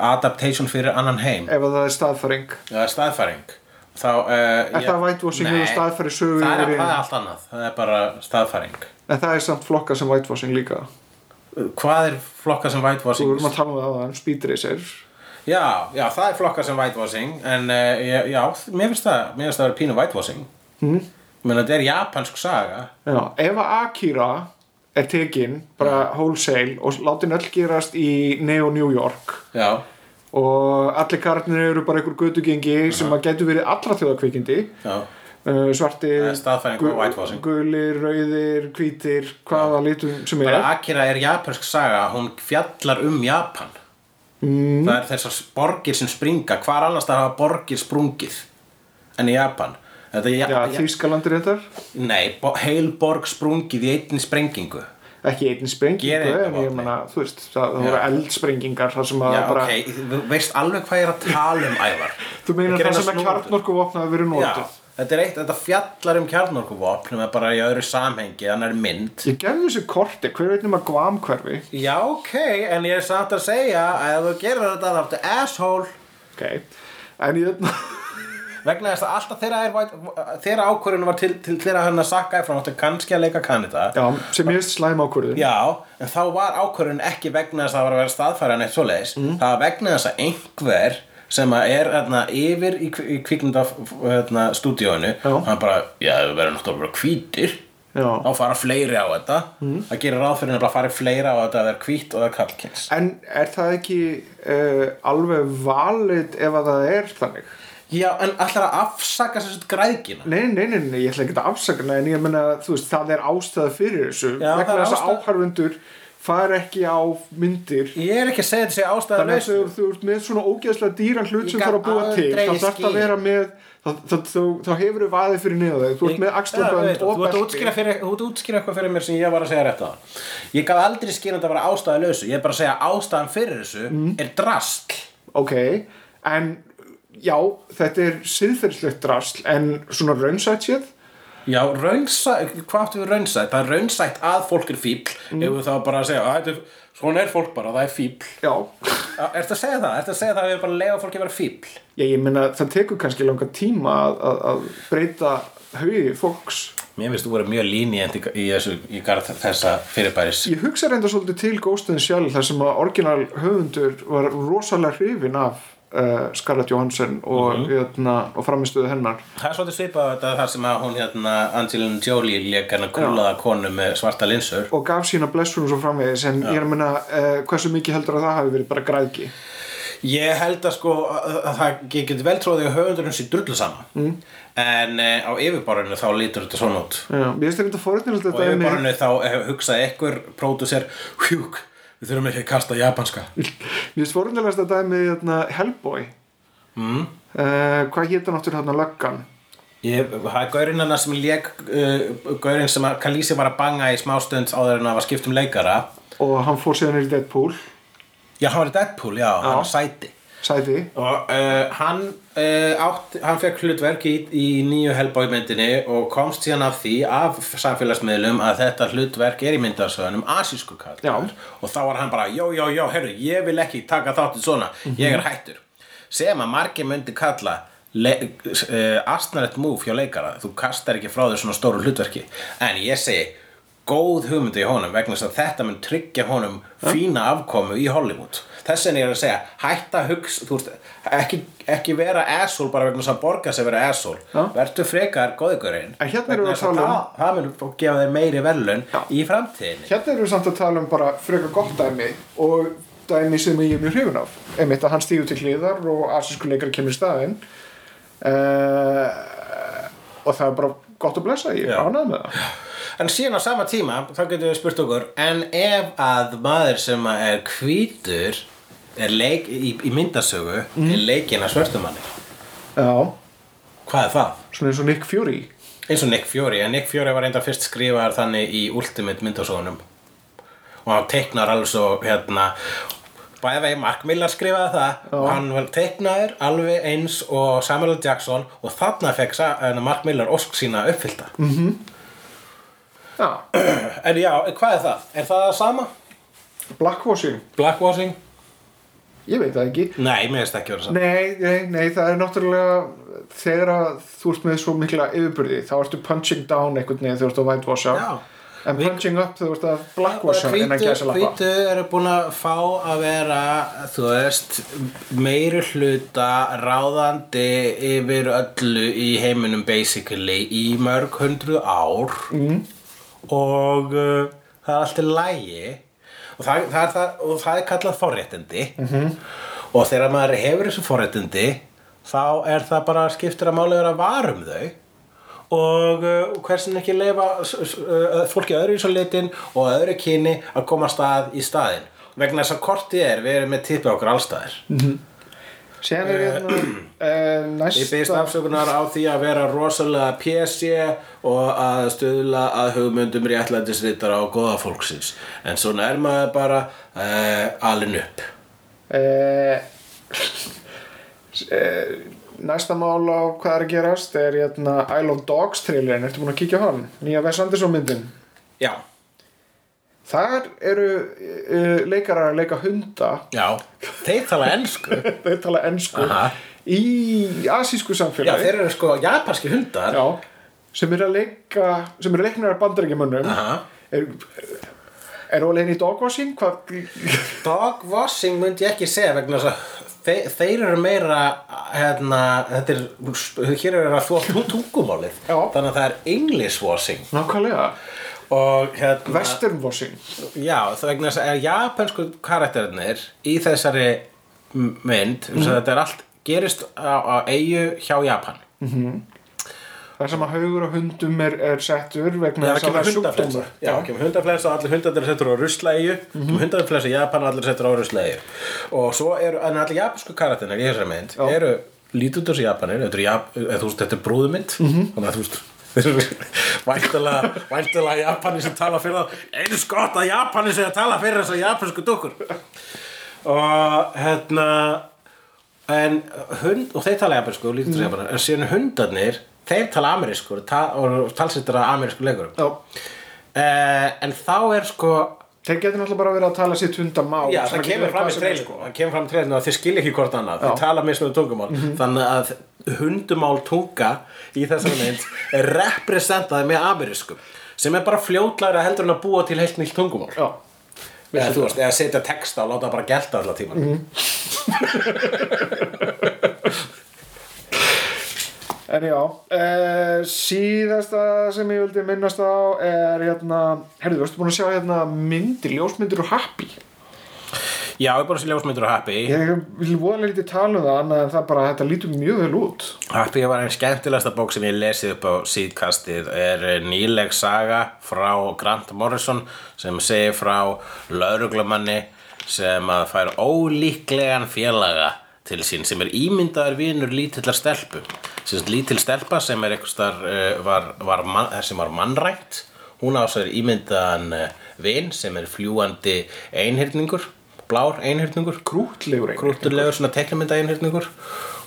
S2: adaptation fyrir annan heim
S3: ef að það er staðfæring
S2: Það er staðfæring Þá, uh, er
S3: það whitewashing hefur staðfæri sögu
S2: Það er,
S3: yfir í-
S2: það er allt annað, það er bara staðfæring
S3: en það er samt flokka sem whitewashing líka
S2: Hvað er flokka sem
S3: þú
S2: whitewashing?
S3: erum að tala um það aðan, speed racer
S2: Já, já, það er flokka sem whitewashing en uh, já, já, mér finnst það mér finnst það að vera pínu whitewashing mm.
S3: Mhm.
S2: menn þetta er japansk saga
S3: Já, ef að Akira er tekin bara wholesale og látin öll gerast í Neo New York
S2: Já,
S3: og allir kararnir eru bara einhver gödugengi sem að getur verið allra þjóðakvikindi
S2: já,
S3: uh, svartir,
S2: Það er staðfæring og whitewashing.
S3: gulir, rauðir, hvítir hvaða litum sem er
S2: bara Akira er japansk saga hún fjallar um Japan
S3: Mhm.
S2: mm. það er þessar borgir sem springa hvar annars það hafa borgir sprungið en í Japan Þetta er,
S3: Já,
S2: ja, ja,
S3: Þýskalandir þetta
S2: nei, bo, heil borg sprungið í einni sprengingu
S3: ekki einn sprengingu
S2: Gerið þetta
S3: en ég
S2: vopni.
S3: manna, þú veist, það, það voru eldsprengingar þar sem að
S2: Já,
S3: bara
S2: ok, þú veist alveg hvað ég er að tala um ævar
S3: þú
S2: Ég
S3: meinar
S2: gerði
S3: það
S2: hana
S3: sem að
S2: snúður.
S3: kjarnorku vopna að vera
S2: Já,
S3: notið
S2: Þetta er eitt, þetta fjallar um kjarnorkuvopn með bara í öðru samhengi, þannig er mynd
S3: Ég gefði þessu korti, hver veit nema Guam hverfi
S2: Já, ok, en ég er samt að segja að ef þú gerir þetta þá ertu asshole
S3: Ok, en ég
S2: vegna þess að alltaf þeirra, er, þeirra ákvörðun var til, til þeirra hann að sakka eftir áttu kannski að leika Kanada
S3: Já, sem ég veist slæm ákvörðin
S2: Já, en þá var ákvörðun ekki vegna þess að það var að vera staðfæra neitt svoleiðis það var vegna þess að einhver sem að er hérna, yfir í, kvi- í kvikmynda hérna, stúdíóinu
S3: Já.
S2: hann bara, já, við verðum náttúrulega bara hvítir
S3: Já.
S2: þá fara fleiri á þetta það gerir ráð fyrir að fara fleiri á þetta að það er hvít og það er kallkins
S3: En er það ekki uh, alveg valid ef að það er þannig?
S2: Já, en allar að afsaka þessu græðkina
S3: Nei, nei, nei, nei, ég ætla ekki að afsaka nei, en ég meina, þú veist, það er ástæða fyrir þessu
S2: Já, það
S3: vegna
S2: er
S3: þess að
S2: ástæða.
S3: áhærfundur fara ekki á myndir
S2: Ég er ekki að segja þetta sé ástæða
S3: þannig að þegar þú ert með svona ógeðslega dýran hlut
S2: Ég
S3: sem
S2: gat
S3: þarf að búa til
S2: aldrei
S3: þá þarf að
S2: skil.
S3: vera með þá, þá, þá, þá hefur þú vaðið fyrir niður þau þú ert með axlabönd og
S2: belti Þú ert að útskýra fyrir- þú ert að útskýra eitthvað fyrir mér sem ég var að segja rétt á Ég gaf aldrei skýra að það var ástæða lausu Ég er bara að segja að ástæðan fyrir þessu
S3: Mm.
S2: er drasl
S3: ok, en já, þetta er siðferðslegt drasl en svona raunsætt séð
S2: Já, raunsætt, hvað áttu við raunsætt? Það er raunsætt að fólk er fíbl
S3: Mm.
S2: ef við þá bara að segja, "Æ, þetta er, svona er fólk bara, það er fíbl
S3: já,
S2: Ertu að segja það? Ertu að segja það að við bara að leifa fólki að vera fíbl?
S3: ég, ég meina það tekur kannski langa tíma að, að, að breyta haugi fólks
S2: Mér finnst þú vera mjög línið í, í, þessu, í garð þessa fyrirbæris
S3: ég hugsa reynda svolítið til góðstöðin sjálf þar sem að orginal höfundur var rosalega hrifin af uh, Scarlett Johansson og, mm og framistöðu hennar
S2: Það er svolítið svipað á þetta þar sem að hún hérna Angelina Jolie leik hérna kúlaða konu með svarta linsur
S3: og gaf sína blessunum svo framvegis en ég er að menna uh, hversu mikið heldur að það hafi verið bara græðgi
S2: Ég held að sko að að það ég get vel tróði að höfundurinn sér drullu saman mm. en e, á yfirborðinu þá lítur þetta svona út
S3: Já, ég veist ekki að fórhundin
S2: og á
S3: þetta er með
S2: yfirborðinu þá eh, hugsaði ekkur pródusser hjúk, við þurfum ekki að kasta japanska
S3: Mér finnst forundilegast að dæmi hérna, Hellboy mm. Hvað hétt hann áttur hérna löggan?
S2: Ég, það er gaurinn hennar sem leik uh, gaurinn sem að Kalísi var að banga í smástund áður en að var skipt um leikara
S3: Og hann fór síðan í Deadpool
S2: Já, hann var í Deadpool, já, hann var sæti
S3: Sæti
S2: og uh, hann uh, átt, hann fekk hlutverk í, í nýju Hellboy myndinni og komst síðan af því af samfélagsmiðlum að þetta hlutverk er í myndasöðunum asísku kall
S3: Já.
S2: og þá var hann bara, já, já, já, herru, ég vil ekki taka þáttið svona, ég er
S3: Mhm.
S2: hættur sem að margir myndi kalla le- eh, astnarlegt múf hjá leikara þú kastar ekki frá þér svona stóru hlutverki en ég segi góð hugmyndi í honum vegna þess að þetta mun tryggja honum fína afkomu í Hollywood þess vegna ég er að segja hætta hugs þú veist, ekki, ekki vera asshole bara vegna þess að borga sig að vera asshole
S3: Já.
S2: vertu frekar góðugurinn
S3: En hérna erum við að tala um-
S2: það, það mun gefa þér meiri verðlun
S3: Já.
S2: í framtíðinni
S3: Hérna erum við samt að tala um bara frekar gott dæmi og dæmi sem ég er mjög hrifin af einmitt að hann stíður til hliðar og asísku leikar kemur í staðinn uh, og það er bara gott að blessa ég
S2: Já.
S3: er ánað með það
S2: En síðan á sama tíma, þá getum við spurt okkur En ef að maður sem að er hvítur er leik, í, í myndasögu er leikinn að svörstumanni
S3: Já,
S2: Hvað er það?
S3: svona eins og Nick Fury
S2: Eins og Nick Fury, en Nick Fury var reynda fyrst skrifaðar þannig í Ultimate myndasögunum og hann teiknar alveg svo hérna Bæði vegi Mark Millar skrifaði það og hann var teiknaður alveg eins og Samuel L. Jackson og þarna fekk sa- hérna, Mark Millar ósk sína uppfyllta
S3: Já,
S2: En já, hvað er það? Er það sama?
S3: Blackwashing,
S2: Blackwashing?
S3: ég veit það ekki
S2: Nei, mér finnst ekki verið saman
S3: Nei, nei, nei, það er náttúrulega þegar að þú ert með svo mikla yfirbyrði, þá ertu punching down einhvern veginn þegar þú ert að whitewasha
S2: Já.
S3: en punching up þegar þú ert að blackwasha innan gæsa lappa
S2: Hvítu eru búin að fá að vera þú veist, meiri hluta ráðandi yfir öllu í heiminum basically í mörg hundru ár mm. og uh, það er allt í lægi og það, það, er það, og það er kallað forréttindi
S3: Mhm.
S2: -hmm. og þegar maður hefur þessu forréttindi þá er það bara skiptir að máli vera að vara um þau og uh, hversin ekki leifa uh, fólki öðru í svo litin og öðru kyni að koma stað í staðin vegna þess að kortið er við erum með tippi okkur allstaðir
S3: Sen er hérna uh,
S2: Eh, ég byrðist
S3: næsta
S2: afsökunar á því að vera rosalega PC og að stuðla að hugmyndum réttlætisrittara og góða fólksins en svona er maður bara
S3: eh,
S2: uh, alin upp
S3: uh, næsta mál á hvað er að gerast er jæna, Isle of Dogs trailerin, ertu búin að kíkja á hann? Nýja Wes Anderson myndin
S2: Já,
S3: Þar eru uh, leikarar að leika hunda [LAUGHS]
S2: já, þeir tala ennsku
S3: þeir tala ennsku
S2: Aha.
S3: í asísku
S2: Já,
S3: samfélagi
S2: þeir eru sko japanski hundar
S3: Já, sem eru að leika sem eru leiknar af bandaríkjumönnum
S2: Aha.
S3: er, er ólegin í dogwashing hvað
S2: Dogwashing myndi ég ekki segja vegna þess að þeir, þeir eru meira hérna, þetta er, hér eru að þú tungumálið
S3: Já.
S2: þannig að það er English washing
S3: nákvæmlega,
S2: og hérna
S3: western washing
S2: Já, það vegna þess að japansku karakterinir í þessari m- mynd mm. þetta er allt gerist á, á eigu hjá Japan
S3: þar sem að haugur og hundum er, er settur vegna
S2: það
S3: þess að það
S2: kemur
S3: er
S2: hundaflensa
S3: sjúkdómur
S2: Já, það kemur hundaflensa og allir hundarnir eru settur á ruslaeyju mm -hmm. hundaflensa í Japan og allir eru settur á ruslaeyju og svo eru, en allir japansku karakterinir í þessari mynd
S3: Já.
S2: eru lítundur sem Japanir þetta er, Jap, eða, þú veist, þetta er brúðumynd þannig að þú veist væntalega, væntalega Japanir sem tala fyrir það eins gott að Japanir sem tala fyrir þess að japansku dukkur og hérna en hund, og þeir tala japansku og lítundur mm. japanar, en síðan hundarnir þeir tala amerískur ta, og talsettur að amerísku leikurum
S3: Já,
S2: Uh, en þá er sko
S3: þeir getur náttúrulega bara verið að tala sitt hundamál
S2: Já,
S3: sem
S2: það
S3: að
S2: kemur
S3: getur
S2: fram
S3: hvað
S2: í
S3: sem er,
S2: treilinu sko. Það kemur fram í treilinu að þið skilja ekki hvort annað Þið
S3: Já.
S2: tala mismunum tungumál Þannig að hundumál tunga í þessari mynd er representaði með amerískum sem er bara fljótlæra heldur en að búa til heilt nýtt tungumál
S3: Já,
S2: eða, þú veist, eða setja texta og láta bara gelta allar tíma
S3: En já, e, síðasta sem ég vildi minnast á er hérna, herrðu, varstu búin að sjá hérna myndir, ljósmyndir og happy?
S2: Já, ég er bara að sé ljósmyndur og Happy
S3: Ég vil voðalega lítið tala um það annað en það bara að þetta lítur mjög vel út.
S2: Happy var einn skemmtilegasta bók sem ég lesið upp á síðkastið er eh, nýleg saga frá Grant Morrison sem segir frá lauruglumanni sem að fær ólíklegan félaga til sín sem er ímyndaður vinur lítillar stelpu sem sagt, lítil stelpa sem er einhverstar uh, var, var man, sem var mannrætt hún á sér ímyndaðan uh, vin sem er fljúandi einhyrningur blár einhyrningur
S3: Krúttlegur einhyrningur.
S2: krúttulegur svona teiknumynda einhyrningur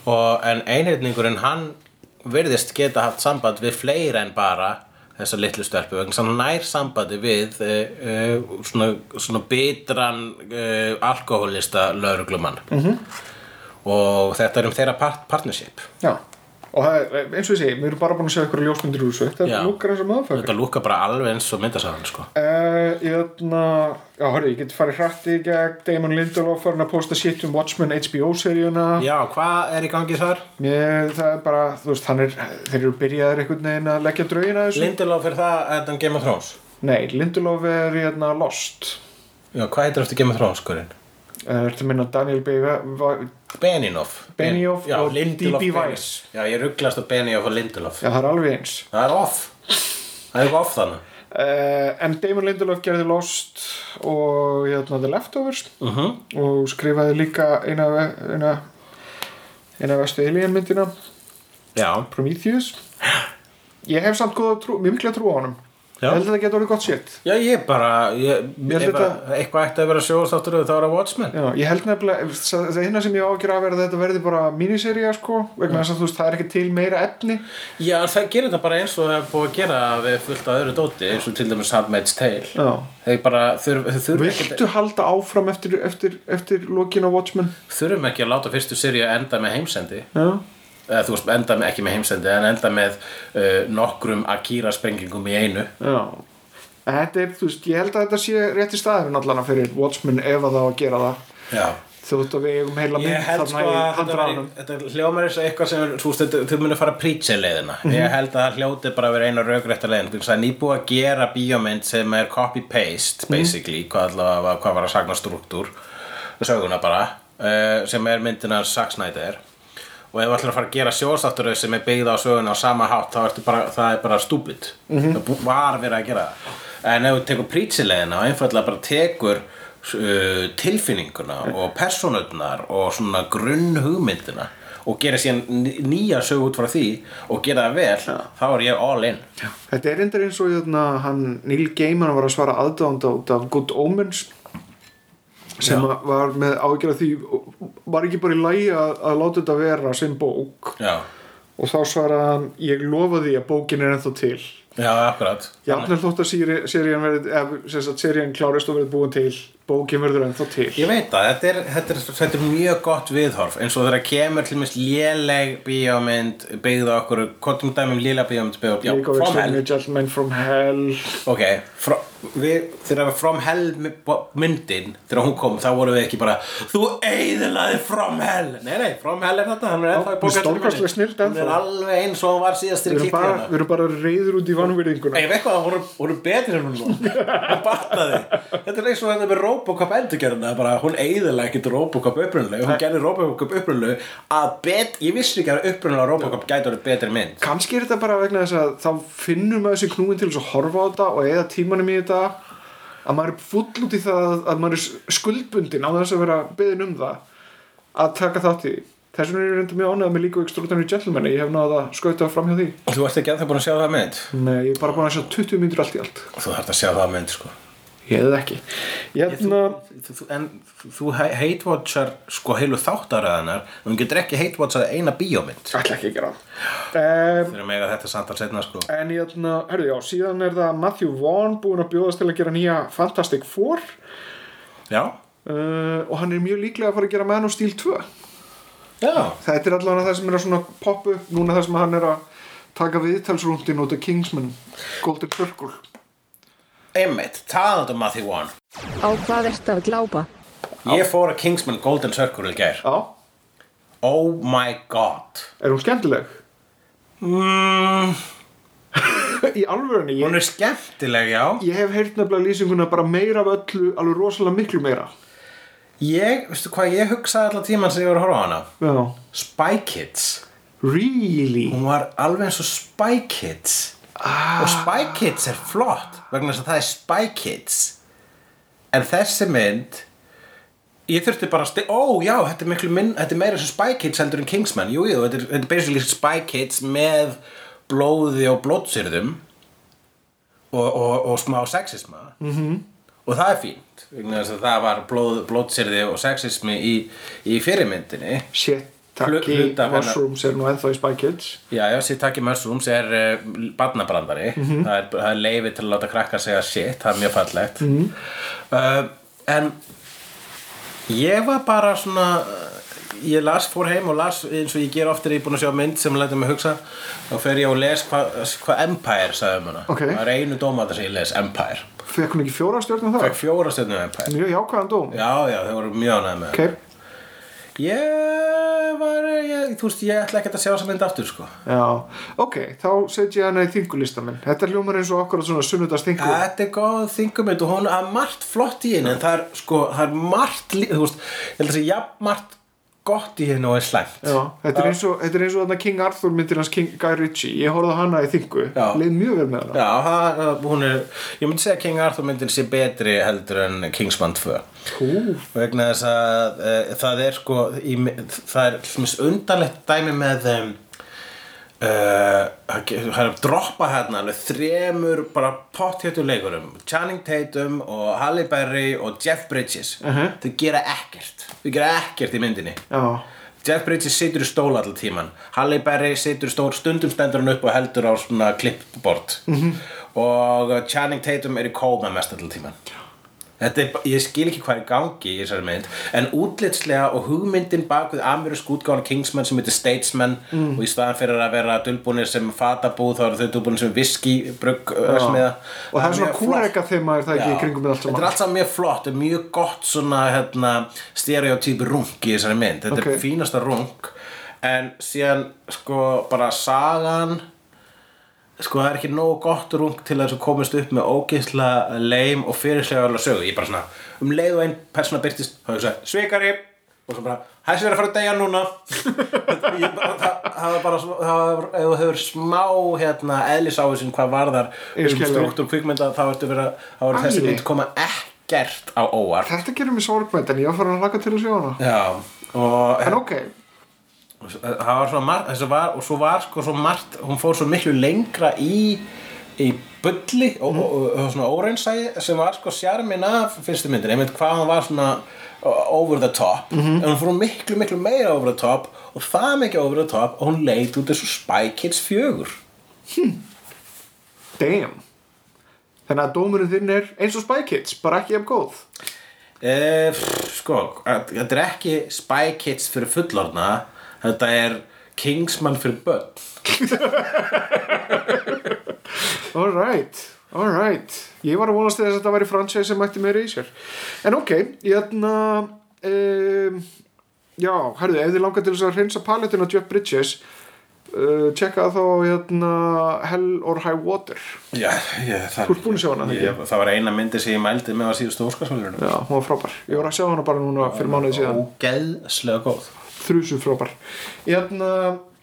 S2: og en einhyrningurinn hann virðist geta haft samband við fleira en bara þessa litlu stelpu vegna sem hann nær sambandi við uh, uh, svona, svona bitran uh, alkoholista lauruglumann -hmm. og þetta er um þeirra part partnership
S3: Já, og það, er, eins og ég segi, við erum bara búin að sjá ykkur ljósmyndir úr þessu.
S2: Já.
S3: Þetta lukkar eins og maðurfækir.
S2: þetta lúka bara alveg eins og myndasafan sko.
S3: Uh, jötna, já, hörru, ég geti farið hrætti í gegn Damon Lindelof farin að posta shit um Watchmen HBO-seríuna.
S2: já, hvað er í gangi þar?
S3: Mér, það er bara, þú veist, hann er, þeir eru byrjaðir einhvern veginn að leggja draugina þessu.
S2: Lindelof er það þetta um Game of Thrones
S3: Nei, Lindelof er hérna Lost. Eh,
S2: já, hvað heitir eftir Game of Thrones skurinn?
S3: Er þetta minna Daniel B. Va-
S2: Beninoff
S3: Benioff
S2: já,
S3: og
S2: Lindelof
S3: D.B.
S2: Benioff.
S3: Weiss.
S2: já, ég rugglast á Benioff og Lindelof
S3: Já, það er alveg eins.
S2: það er off það er eitthvað off þannig
S3: Uh, en Damon Lindelof gerði Lost og hérna, The Leftovers -huh. og skrifaði líka eina, ve- eina, eina vestu Alien myndina
S2: já,
S3: Prometheus. Ég hef samt góða trú, mjög mikla trú á honum.
S2: Já.
S3: Ég held að það geta orðið gott shit.
S2: já ég bara ég,
S3: Ég
S2: ef
S3: held
S2: að- eitthvað ætti að vera sjóðstáttur þá er að Watchmen
S3: Já, ég held nefnilega, það er hérna sem ég ágjör að vera að þetta verði bara míniserja sko, vegna þess að þú veist, það er ekki til meira efni.
S2: já, það gerir þetta bara eins og það er búið að gera við fullt af öðru dóti eins og til dæmis Handmaid's Tale
S3: Já.
S2: þeir bara þurf, þau þurf ekki,
S3: Viltu halda áfram eftir, eftir, eftir lokin á Watchmen?
S2: þurfum ekki að láta fyrstu seri að enda með heimsendi
S3: Já.
S2: eða þú veist, enda með, ekki með heimsendi en enda með uh, nokkrum Akira sprengingum í einu
S3: Já. En Þetta er, þú veist, ég held að þetta sé rétti staðurinn allana fyrir Watchmen ef að það á að gera það.
S2: já
S3: Þú veist að við eigum heila mynd
S2: Ég held sko
S3: í
S2: að þetta, væri,
S3: handranum.
S2: þetta hljómar eins og eitthvað sem er, þú veist, þetta- þau munu fara að prýtsa leiðina.
S3: Mhm.
S2: Ég held að það hljóti bara að vera eina raugrætta leiðin. Þannig að nýbúið að gera bíómynd sem er copy-paste,
S3: Mhm.
S2: basically, hvað, allavega, var- hvað var að sagna struktúr, söguna bara, uh, sem er myndina Zack Snyder. Og ef þú ætlar að fara að gera sjóðstáttur sem er byggð á söguna á sama hátt, þá ertu bara, það er bara stúbid. Það bú- var verið að gera það. En ef þú tekur prýtsilegina og einfallega bara tekur uh, tilfinninguna og persónutnar og svona grunn hugmyndina og gera síðan ný- nýja sög út frá því og gera það vel, þá er ég all in.
S3: Þetta er endur eins og jötna, hann, Neil Gaiman var að svara aðdánda út af Good Omens sem að var með ágjörð því var ekki bara í lagi að, að láta þetta vera sem bók
S2: já,
S3: og þá svaraði hann ég lofa því að bókin er ennþá til
S2: já, akkurat
S3: jafnvel þótt að seri- serían verið eða sem sagt serían klárist og verið búin til bókin verður ennþá til
S2: Ég veit það, þetta er, þetta, er, þetta er mjög gott viðhorf eins og þegar kemur til mér léleg bíómynd byggð á okkur hvortum dæmum léleg um bíómynd byggð á já,
S3: League of
S2: From Hell
S3: Extraordinary Gentlemen from Hell
S2: ok, frá, við, þegar From Hell my- bo- myndin, þegar hún kom þá vorum við ekki bara, þú eiðilaði From Hell, nei nei, From Hell er þetta hann er ennþá í
S3: hún er
S2: bókartinu minni.
S3: stórkostleg snilld
S2: hún er
S3: ennþá.
S2: alveg eins og hún var síðast
S3: við
S2: þegar
S3: erum
S2: kýtti
S3: bara,
S2: hérna
S3: við erum bara reyður út í vanvirðinguna
S2: Nei, ég veit hvað, það voru, voru betri en hún var Hún battaði Þetta er eins og þetta með Robocop endurgerðina bara, Hún eiðilega ekkert Robocop upprunnuleg Hún gerði Robocop upprunnuleg að bet, Ég vissi ekki að upprunnulega Robocop gæti orðið betri mynd
S3: kannski er þetta bara vegna þess að þá finnum maður sér knúin til þess að horfa á þetta og eða tímanum í þetta að maður er full út í það að- að maður er skuldbundin á þess að vera beðin um það að taka þátt í því. þess vegna er ég reynda mjög ánægð með líka extraordinary gentleman ég hef náða að skauta fram hjá því
S2: Þú ert ekki að það búin að sjá það mynd
S3: Nei, ég er bara búin að sjá 20 mínútur allt í allt
S2: Þú þarft að sjá það mynd sko
S3: ég hefði ekki hérna,
S2: Þú- þú- En þú hatewatchar sko heilu þáttaröðanar Þú getur ekki hatewatchað eina bíómynd
S3: ætla ekki að gera það um,
S2: Þegar mega þetta samtal setna sko
S3: En hérna, herru, já, síðan er það Matthew Vaughn búinn að bjóðast til að gera nýja Fantastic Four
S2: Já,
S3: uh, og hann er mjög líklega að fara að gera Man of Steel 2
S2: já
S3: Þetta er allavega það sem er að svona poppu núna það sem hann er að taka viðtalsrúndin út af Kingsman Golden Circle
S2: Einmitt, talandi um Matthew Wan
S4: Á hvað ert að glápa?
S2: Ég fór að Kingsman Golden Circle í gær
S3: Já,
S2: Oh my god
S3: er hún skemmtileg?
S2: mm,
S3: [LAUGHS] Í alvörunni,
S2: Hún
S3: ég,
S2: er skemmtileg, já
S3: ég hef heyrt nefnilega lýsinguna bara meira af öllu, alveg rosalega miklu meira
S2: Ég, veistu hvað, ég hugsaði allan tíman sem ég var að horfa á hana
S3: Já,
S2: Spy Kids
S3: really?
S2: Hún var alveg eins og Spy Kids ah. Og Spy Kids er flott vegna þess að það er Spy Kids En þessi mynd Ég þurfti bara að sti... Ó, já, þetta er miklu minn... Þetta er meira sem Spy Kids heldur en Kingsman Jú, jú, þetta er, þetta er basically Spy Kids með blóði og blótsyrðum og, og, og smá sexisma -hmm. og það er fínt vegna þess að það var blóð, blótsyrði og sexismi í, í fyrirmyndinni
S3: Shit,
S2: Hlu-
S3: takki,
S2: hluta af hennar.
S3: Mushrooms er nú ennþá í Spy Kids
S2: Já, já, Sitaki Mushrooms er uh, barnabrandari
S3: Mhm.
S2: það, er, það er leifi til að láta krakka segja shit, það er mjög fallegt
S3: Mhm.
S2: uh, En ég var bara svona uh, ég las, fór heim og las eins og ég ger oftir ég er búin að sjá mynd sem lætur mig hugsa og fer ég og les hvað hva Empire sagði um hana,
S3: Ok.
S2: það er einu dómaður sem ég les Empire,
S3: Fekk hún ekki fjóra stjórnum
S2: það er
S3: það?
S2: fjóra stjórnum Empire
S3: Mjög jákvæðan dóm
S2: Já, já, þau voru mjög ánægð með það.
S3: Ok,
S2: Ég var, ég, þú veist, ég ætla ekkert að sjá þessa mynd aftur, sko
S3: já, ok, þá setj ég hana í þingulista minn. Þetta hljómar eins og okkur svona sunnudags þingu.
S2: Þetta er góð þingumind og hún er margt flott í henni en það er, sko, það er margt lí- þú veist, ég held að segja jafn margt gott í henni og er slæmt
S3: Já, þetta er eins og, þetta er eins og þarna King Arthur myndir hans King Guy Ritchie. Ég horfði á hana í þingu,
S2: Já.
S3: leið mjög vel með hana.
S2: Já, það, það- hún er, ég myndi segja að King Arthur myndin sé betri heldur en Kingsman 2
S3: Ú,
S2: vegna þess að e, það er sko í, það er hljumins undanlegt dæmi með um, uh, það er að droppa hérna alveg þremur bara potthjötu leikurum Channing Tatum og Halle Berry og Jeff Bridges þau gera ekkert þau gera ekkert í myndinni
S3: já,
S2: Jeff Bridges situr í stól allan tíman Halle Berry situr í stól stundum stendur hann upp og heldur á svona klippbord
S3: Mhm.
S2: -hmm. og uh, Channing Tatum er í kóma mest allan tíman Þetta er, ba- ég skil ekki hvað er í gangi í þessari mynd en útlitslega og hugmyndin bak við amerísk útgáðan Kingsman sem heitir Statesman
S3: Mhm.
S2: og í staðan fyrir að vera dulbúnir sem fatabú þá eru þau dulbúnir sem uh, viski brugg
S3: já. Og það er svona kúreka þeim er það ekki í
S2: Já.
S3: kringum með allt
S2: Þetta er
S3: saman.
S2: allt saman mjög flott og mjög gott svona hérna, stereotypi rung í þessari mynd Þetta
S3: Ok.
S2: er fínasta rung En síðan sko bara sagan Sko það er ekki nógu gott rung til að þú komist upp með ógeisla leim og fyrirslegaðarlega sögu Ég er bara svona um leið og einn persóna byrtist þá er ég sagði svikari og svo bara hæsir er að fara að deyja núna [LAUGHS] Ég bara, það, það var bara svo- það var, ef þú hefur smá hérna, eðlisávísin hvað varðar
S3: Ég
S2: um
S3: skil þig.
S2: strúkt og kvikmynda þá ertu verið að þá eru þessi
S3: Æi.
S2: mynd koma ekkert á óvart
S3: Þetta gerir mér sorgmætt en ég var farin að laka til að sjá hana.
S2: Já, og
S3: En ok,
S2: það var svo margt þessi var, og svo var sko svo margt hún fór svo miklu lengra í í
S3: Mhm.
S2: bulli og, og, og, og svona órensæði sem var sko sjarmin af fyrstu myndin, einmitt hvað hún var svona over the top
S3: Mhm.
S2: en hún fór miklu miklu meira over the top og það mikið over the top og hún leit út þessu Spy Kids fjögur
S3: Damn Þannig að dómurinn þinn er eins og Spy Kids bara ekki ef góð
S2: Eh, pff, sko, að- þetta er ekki Spy Kids fyrir fullorna þetta er Kingsman fyrir börn
S3: Alright, alright Ég var að vonast til þess að þetta væri franchise sem mætti meira í sér En ok, ég ætna um, Já, herðu, ef þið langar til þess að hreinsa palettinn á Jeff Bridges uh, Tjekka þá hérna Hell or High Water
S2: Já, ég, það,
S3: Þú ert búin að sjá hana, ekki?
S2: ég, það var eina myndi sem ég mældi með á síðustu óskarsvælunum
S3: Já, hún var frábær Ég var að sjá hana bara núna fyrir mánuði síðan
S2: Ógeðslega góð
S3: Þrjusu frábær Ég ætna,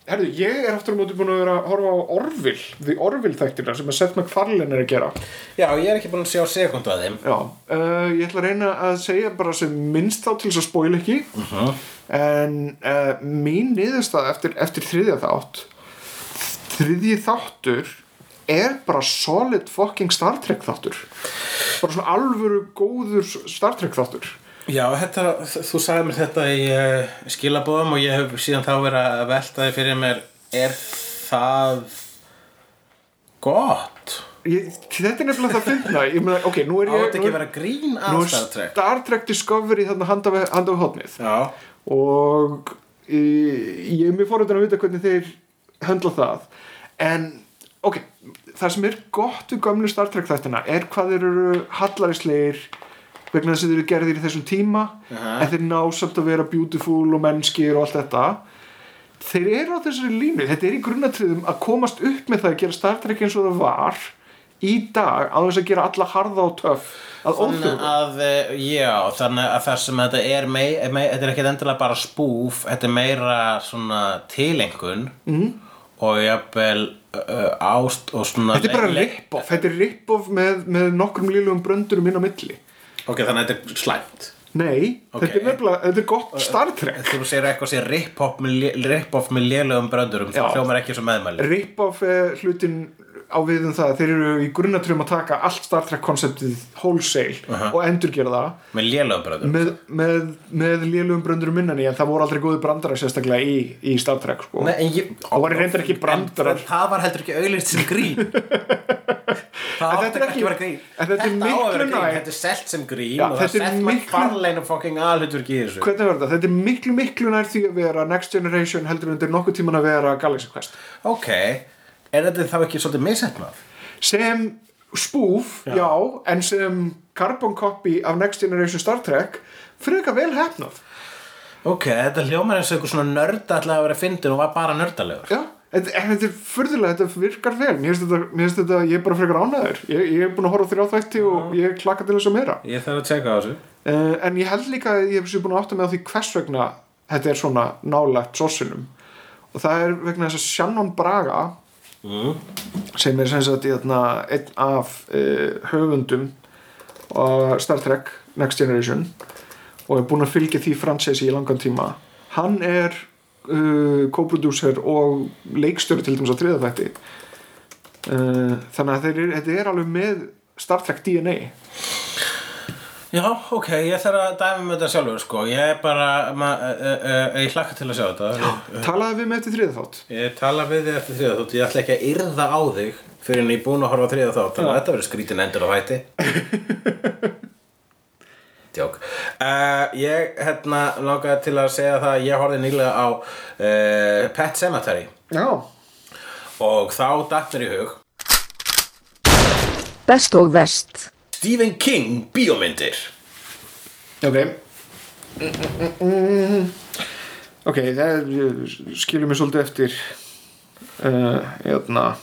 S3: herðu, ég er aftur á móti búin að vera að horfa á Orville Því Orville þættina sem að Seth MacFarlane er að gera
S2: Já, ég er ekki búin að sjá sekundu að þeim
S3: Já, uh, ég ætla að reyna að segja bara sem minnst þá til þess að spóila ekki en uh, mín niðurstað eftir, eftir þriðja þátt þriðji þáttur er bara solid fucking Star Trek þáttur bara svona alvöru góður Star Trek þáttur
S2: Já, þetta, þú sagði mér þetta í uh, skilabóðum og ég hef síðan þá verið að velta því fyrir mér er það gott?
S3: ég, þetta er nefnilega það að finna ég meina, ok, nú er
S2: Á
S3: ég
S2: þetta
S3: nú
S2: ekki
S3: er-
S2: að vera grín
S3: nú
S2: að
S3: er
S2: Star Trek?
S3: Star Trek Discovery þarna handa við, handa við hotnið
S2: Já,
S3: og e, ég er mjög fórhundan að vita hvernig þeir höndla það en ok, það sem er gott við gömlu Star Trek þættina er hvað þeir eru hallarisleir vegna þess að þeir eru gerðir í þessum tíma en þeir ná samt að vera beautiful og mennskir og allt þetta þeir eru á þessari línu þetta er í grunnatriðum að komast upp með það að gera Star Trek eins og það var í dag á þess að gera alla harða og töff að
S2: þannig
S3: óþjóða
S2: að, eh, já, þannig að það sem þetta er, mei, mei, þetta er ekki endilega bara spúf, þetta er meira svona tilengun mm.
S3: Mhm.
S2: og jafnvel uh, ást og svona
S3: Þetta er bara
S2: le- le-
S3: rip-off, þetta er rip-off með, með nokkrum lílugum bröndurum inn á milli.
S2: Ok, þannig að þetta er slæmt
S3: Nei,
S2: Ok.
S3: þetta er nefnilega, þetta er gott Star Trek.
S2: Þú segir eitthvað sem rip-off með, lé- rip-off með lélögum bröndurum,
S3: Já.
S2: það hljómar ekki sem meðmæli
S3: Rip-off er hlutin á við um það að þeir eru í grunnatrjum að taka allt Star Trek konceptið wholesale og endurgera það
S2: Með lélögum bröndurum
S3: með, með, með lélugum bröndurum innan í en það voru aldrei góði brandarar sérstaklega í, í Star Trek sko.
S2: Nei, en ég,
S3: Það voru reyndar ekki brandarar.
S2: En það var heldur ekki auðlýst sem
S3: [LAUGHS]
S2: grín Það
S3: En
S2: átti
S3: þetta er
S2: ekki
S3: ekki-
S2: að vera grín
S3: en þetta er
S2: á að
S3: miklu
S2: vera grín,
S3: nær-
S2: Þetta er selt sem grín
S3: Já,
S2: og það
S3: þetta er
S2: er selt
S3: miklu-
S2: miklu... farlein og fucking alhutur í þessu
S3: Hvernig verður það? Þetta er miklu, miklu nær því að vera Next Generation heldur undir nokkuð tíman að vera Galaxy Quest.
S2: Ok, er þetta þá ekki svolítið misetnað?
S3: sem spoof, já. en sem carbon copy af Next Generation Star Trek frekar vel hefnað
S2: Ok, þetta hljómar eins og einhver svona nörda ætlaði að vera fyndin og var bara nördalegur
S3: já, en, en þetta er furðulega, þetta virkar vel mér finnst þetta, mér finnst þetta ég er bara frekar ánæður ég, ég er búin að horfa á þrjá þætti og ég klakka til þess að meira
S2: Ég þarf að tjekka á þessu
S3: uh, en ég held líka að ég sé búin að átta mig á því hvers vegna þetta er svona nálægt sossinum og það er vegna þess að Shannon Braga sem er sem sagt hérna, einn af uh, höfundum á Star Trek Next Generation og er búin að fylgja því fransesi í langan tíma hann er uh, co-producer og leikstjóri til dæmis að þriða þætti uh, þannig að þeir, eru- þetta er alveg með Star Trek DNA
S2: Já, ok, ég þarf að dæmi með þetta sjálfur sko Ég er bara, ma, uh, uh, uh, ég hlakka til að sjá þetta Já.
S3: talaði við með þetta þriða þátt
S2: Ég tala við þig eftir þriða þótt Ég ætla ekki að yrða á þig Fyrir en ég er búin að horfa á þriða þátt Þannig að þetta verður skrítin endur á hætti Djók uh, Ég, hérna, langaði til að segja það að Ég horfði nýlega á uh, Pet Sematary
S3: já,
S2: Og þá datt mér í hug
S4: Best og vest.
S2: Stephen King bíómyndir
S3: Ok Ok, það skilur mér svolítið eftir uh, Jörna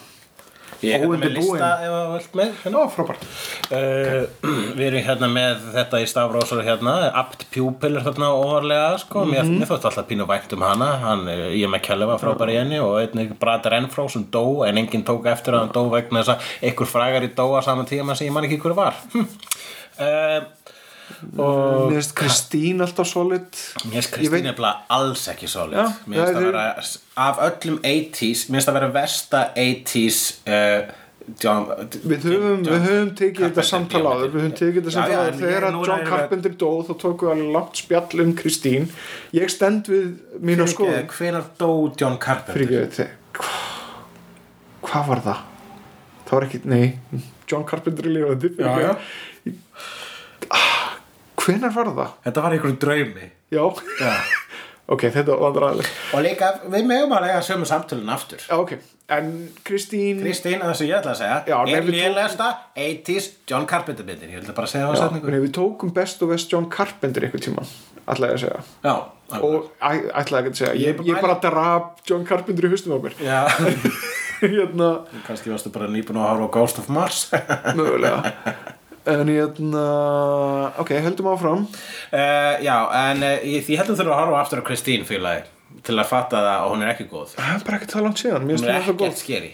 S2: Ég er hérna með
S3: Óundirbúin.
S2: lista ef að vilt með hérna.
S3: Nó, frábært
S2: Uh, við erum hérna með þetta í stafrósur hérna, apt pupil er þarna óvarlega sko, mér,
S3: Mhm.
S2: mér þótt alltaf pínu vænt um hana, hann, eh, ég með Kjellefa frábær í henni og einnig Brad Renfró sem dó en enginn tók eftir að hann dó vegna þess að einhver frægari dó að saman tíma sem ég man ekki hver var hm. uh,
S3: Mér finnst Kristín alltaf solid
S2: Mér finnst
S3: Ég veit-
S2: Kristín nefnilega alls ekki solid
S3: Já,
S2: Mér finnst
S3: já,
S2: að
S3: þeir-
S2: vera, af öllum 80s, mér finnst að vera versta 80s uh, John,
S3: Við höfum, við höfum tekið þetta samtal áður Við höfum tekið þetta
S2: Já,
S3: samtal
S2: já,
S3: áður
S2: en ég-
S3: Þegar að
S2: núna
S3: John
S2: erum við-
S3: Carpenter dó þá tókum við alveg langt spjall um Kristín Ég stend við mína skoðun
S2: Hvenar eh, dó John Carpenter?
S3: Fyrirgefið þið Hva- Hvað var það? Það var ekki, nei John Carpenter er lífandi
S2: Já, já.
S3: Hvenær var það?
S2: Þetta var einhverjum draumi
S3: Já, ok, þetta var vandræðileg
S2: Og líka, við megum að lega sömu samtölun aftur
S3: Já, ok, en Kristín
S2: Kristín, að það sem ég ætla að
S3: Já,
S2: segja
S3: nei,
S2: Ég
S3: við
S2: ég lesta 80s John Carpenter myndin Ég ætla bara að segja það
S3: Já,
S2: setningu
S3: nei, Við tókum best og best John Carpenter einhvern tímann ætla ég að segja
S2: Já,
S3: og æ- ætlaði ekki að segja ég,
S2: Ég-
S3: ég bara draf John Carpenter í hustum á mér
S2: já
S3: [LAUGHS]
S2: [LAUGHS]
S3: hérna,
S2: Kannski varstu bara nýbúin að horfa á Ghost of Mars [LAUGHS]
S3: mögulega en hérna ok, höldum áfram
S2: Uh, já, en uh, ég, ég heldur þurfa að horfa aftur á Kristín félagi til að fatta það og hún er ekki góð
S3: það er bara ekki það langt síðan, mér
S2: Hún
S3: finnst
S2: er
S3: hún alltaf
S2: ekkert
S3: góð
S2: skeri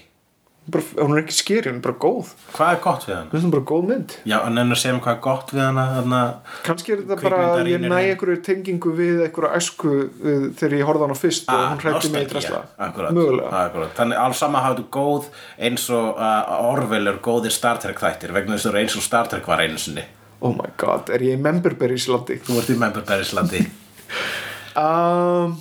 S3: bara, hún er ekki skeri, hún er bara góð mér
S2: Hvað er gott við hana?
S3: finnst hún bara góð mynd
S2: Já, en ennur segjum hvað er gott við hana þarna
S3: kannski er þetta bara að ég
S2: Kvikmyndarýnir
S3: næ
S2: heim.
S3: einhverju tengingu við einhverju æsku uh, þegar ég horfði á hana fyrst og hún hrætti
S2: Ah,
S3: mig í
S2: nostalgía,
S3: drasla
S2: Akkúrat,
S3: mögulega
S2: akkúrat. Þannig alls sama hafðu góð eins og uh, Orwell er góðir Star Trek þættir vegna þess að þú eru eins og Star Trek var einu sinni
S3: oh my god, er ég í memberberry í landi
S2: Þú ert í Memberbergislandi
S3: um,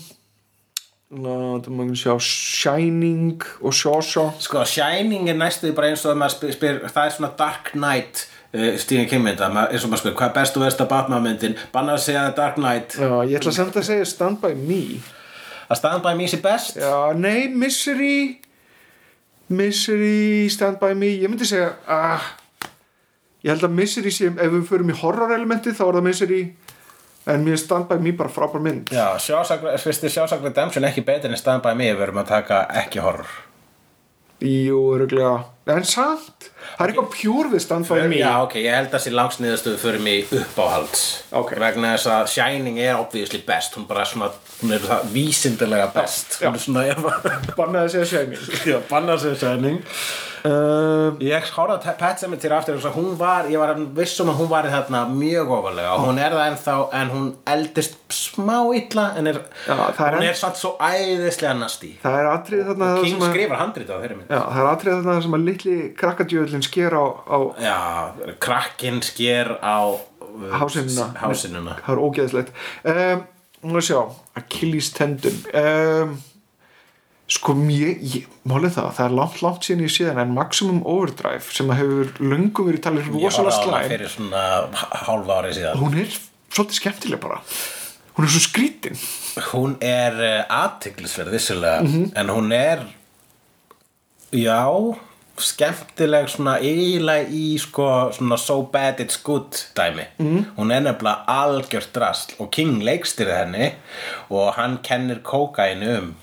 S3: ná, það má ekki sjá Shining og Shawshank
S2: [LAUGHS] Sko, Shining er næstuði bara eins og að maður spyr, spyr, það er svona Dark Knight uh, Stephen King mynda, maður- eins og maður spyr hvað er best og versta Batman myndin, bannað að segja Dark Knight
S3: Já, ég ætla samt að segja Stand By Me
S2: að Stand By Me sé best
S3: Já, nei, Misery Misery, Stand By Me Ég myndi segja ah, Ég held að Misery sé Ef við förum í horror elementið þá er það Misery En mér er Stand By Me bara frábær mynd
S2: Já, sjásag, fyrsti sjásag Redemption ekki betur en Stand By Me ef við erum að taka ekki horror
S3: Jú, öruglega En samt, það er eitthvað pjúr við Stand By Me
S2: Já, ok, ég held að sé langsniðastöðu fyrir mig uppáhalds
S3: Ok.
S2: vegna þess að Shining er obviously best hún bara svona, hún er það vísindilega best
S3: Já.
S2: hún er svona, ef
S3: [LAUGHS] Bannaði að segja Shining
S2: Já, bannað segja Shining
S3: um,
S2: Ég horfði að Pet Sematary aftur og hún var, ég var viss um að hún var þarna mjög ofalega og hún er það ennþá en hún eldist smá illa en er,
S3: Já, það er
S2: hún
S3: enn-
S2: er samt svo æðislega nastí
S3: Það er atrið þarna það
S2: King
S3: sem að,
S2: skrifar handrit á þeirri minn
S3: Já, það er atrið þarna það sem að litli krakkadjöðlinn sker á, á
S2: Já, krakkinn sker á uh,
S3: hásinuna
S2: hásinuna.
S3: það er ógeðslegt um, nú að sjá, Achilles tendon um, sko ég, ég málið það, það er langt langt síðan ég síðan en Maximum Overdrive sem að hefur löngum verið talið
S2: Ég horfði á
S3: rosalega
S2: hana
S3: slæm
S2: fyrir svona hálfa ári síðan
S3: hún er svolítið skemmtileg bara hún er svo skrítin
S2: Hún er aðtiklisverð vissulega
S3: Mhm.
S2: en hún er já skemmtileg svona eiginlega í sko svona so bad it's good dæmi
S3: Mhm.
S2: mm. hún er nefnilega algjört drasl og King leikstýrði henni og hann kennir kókaini um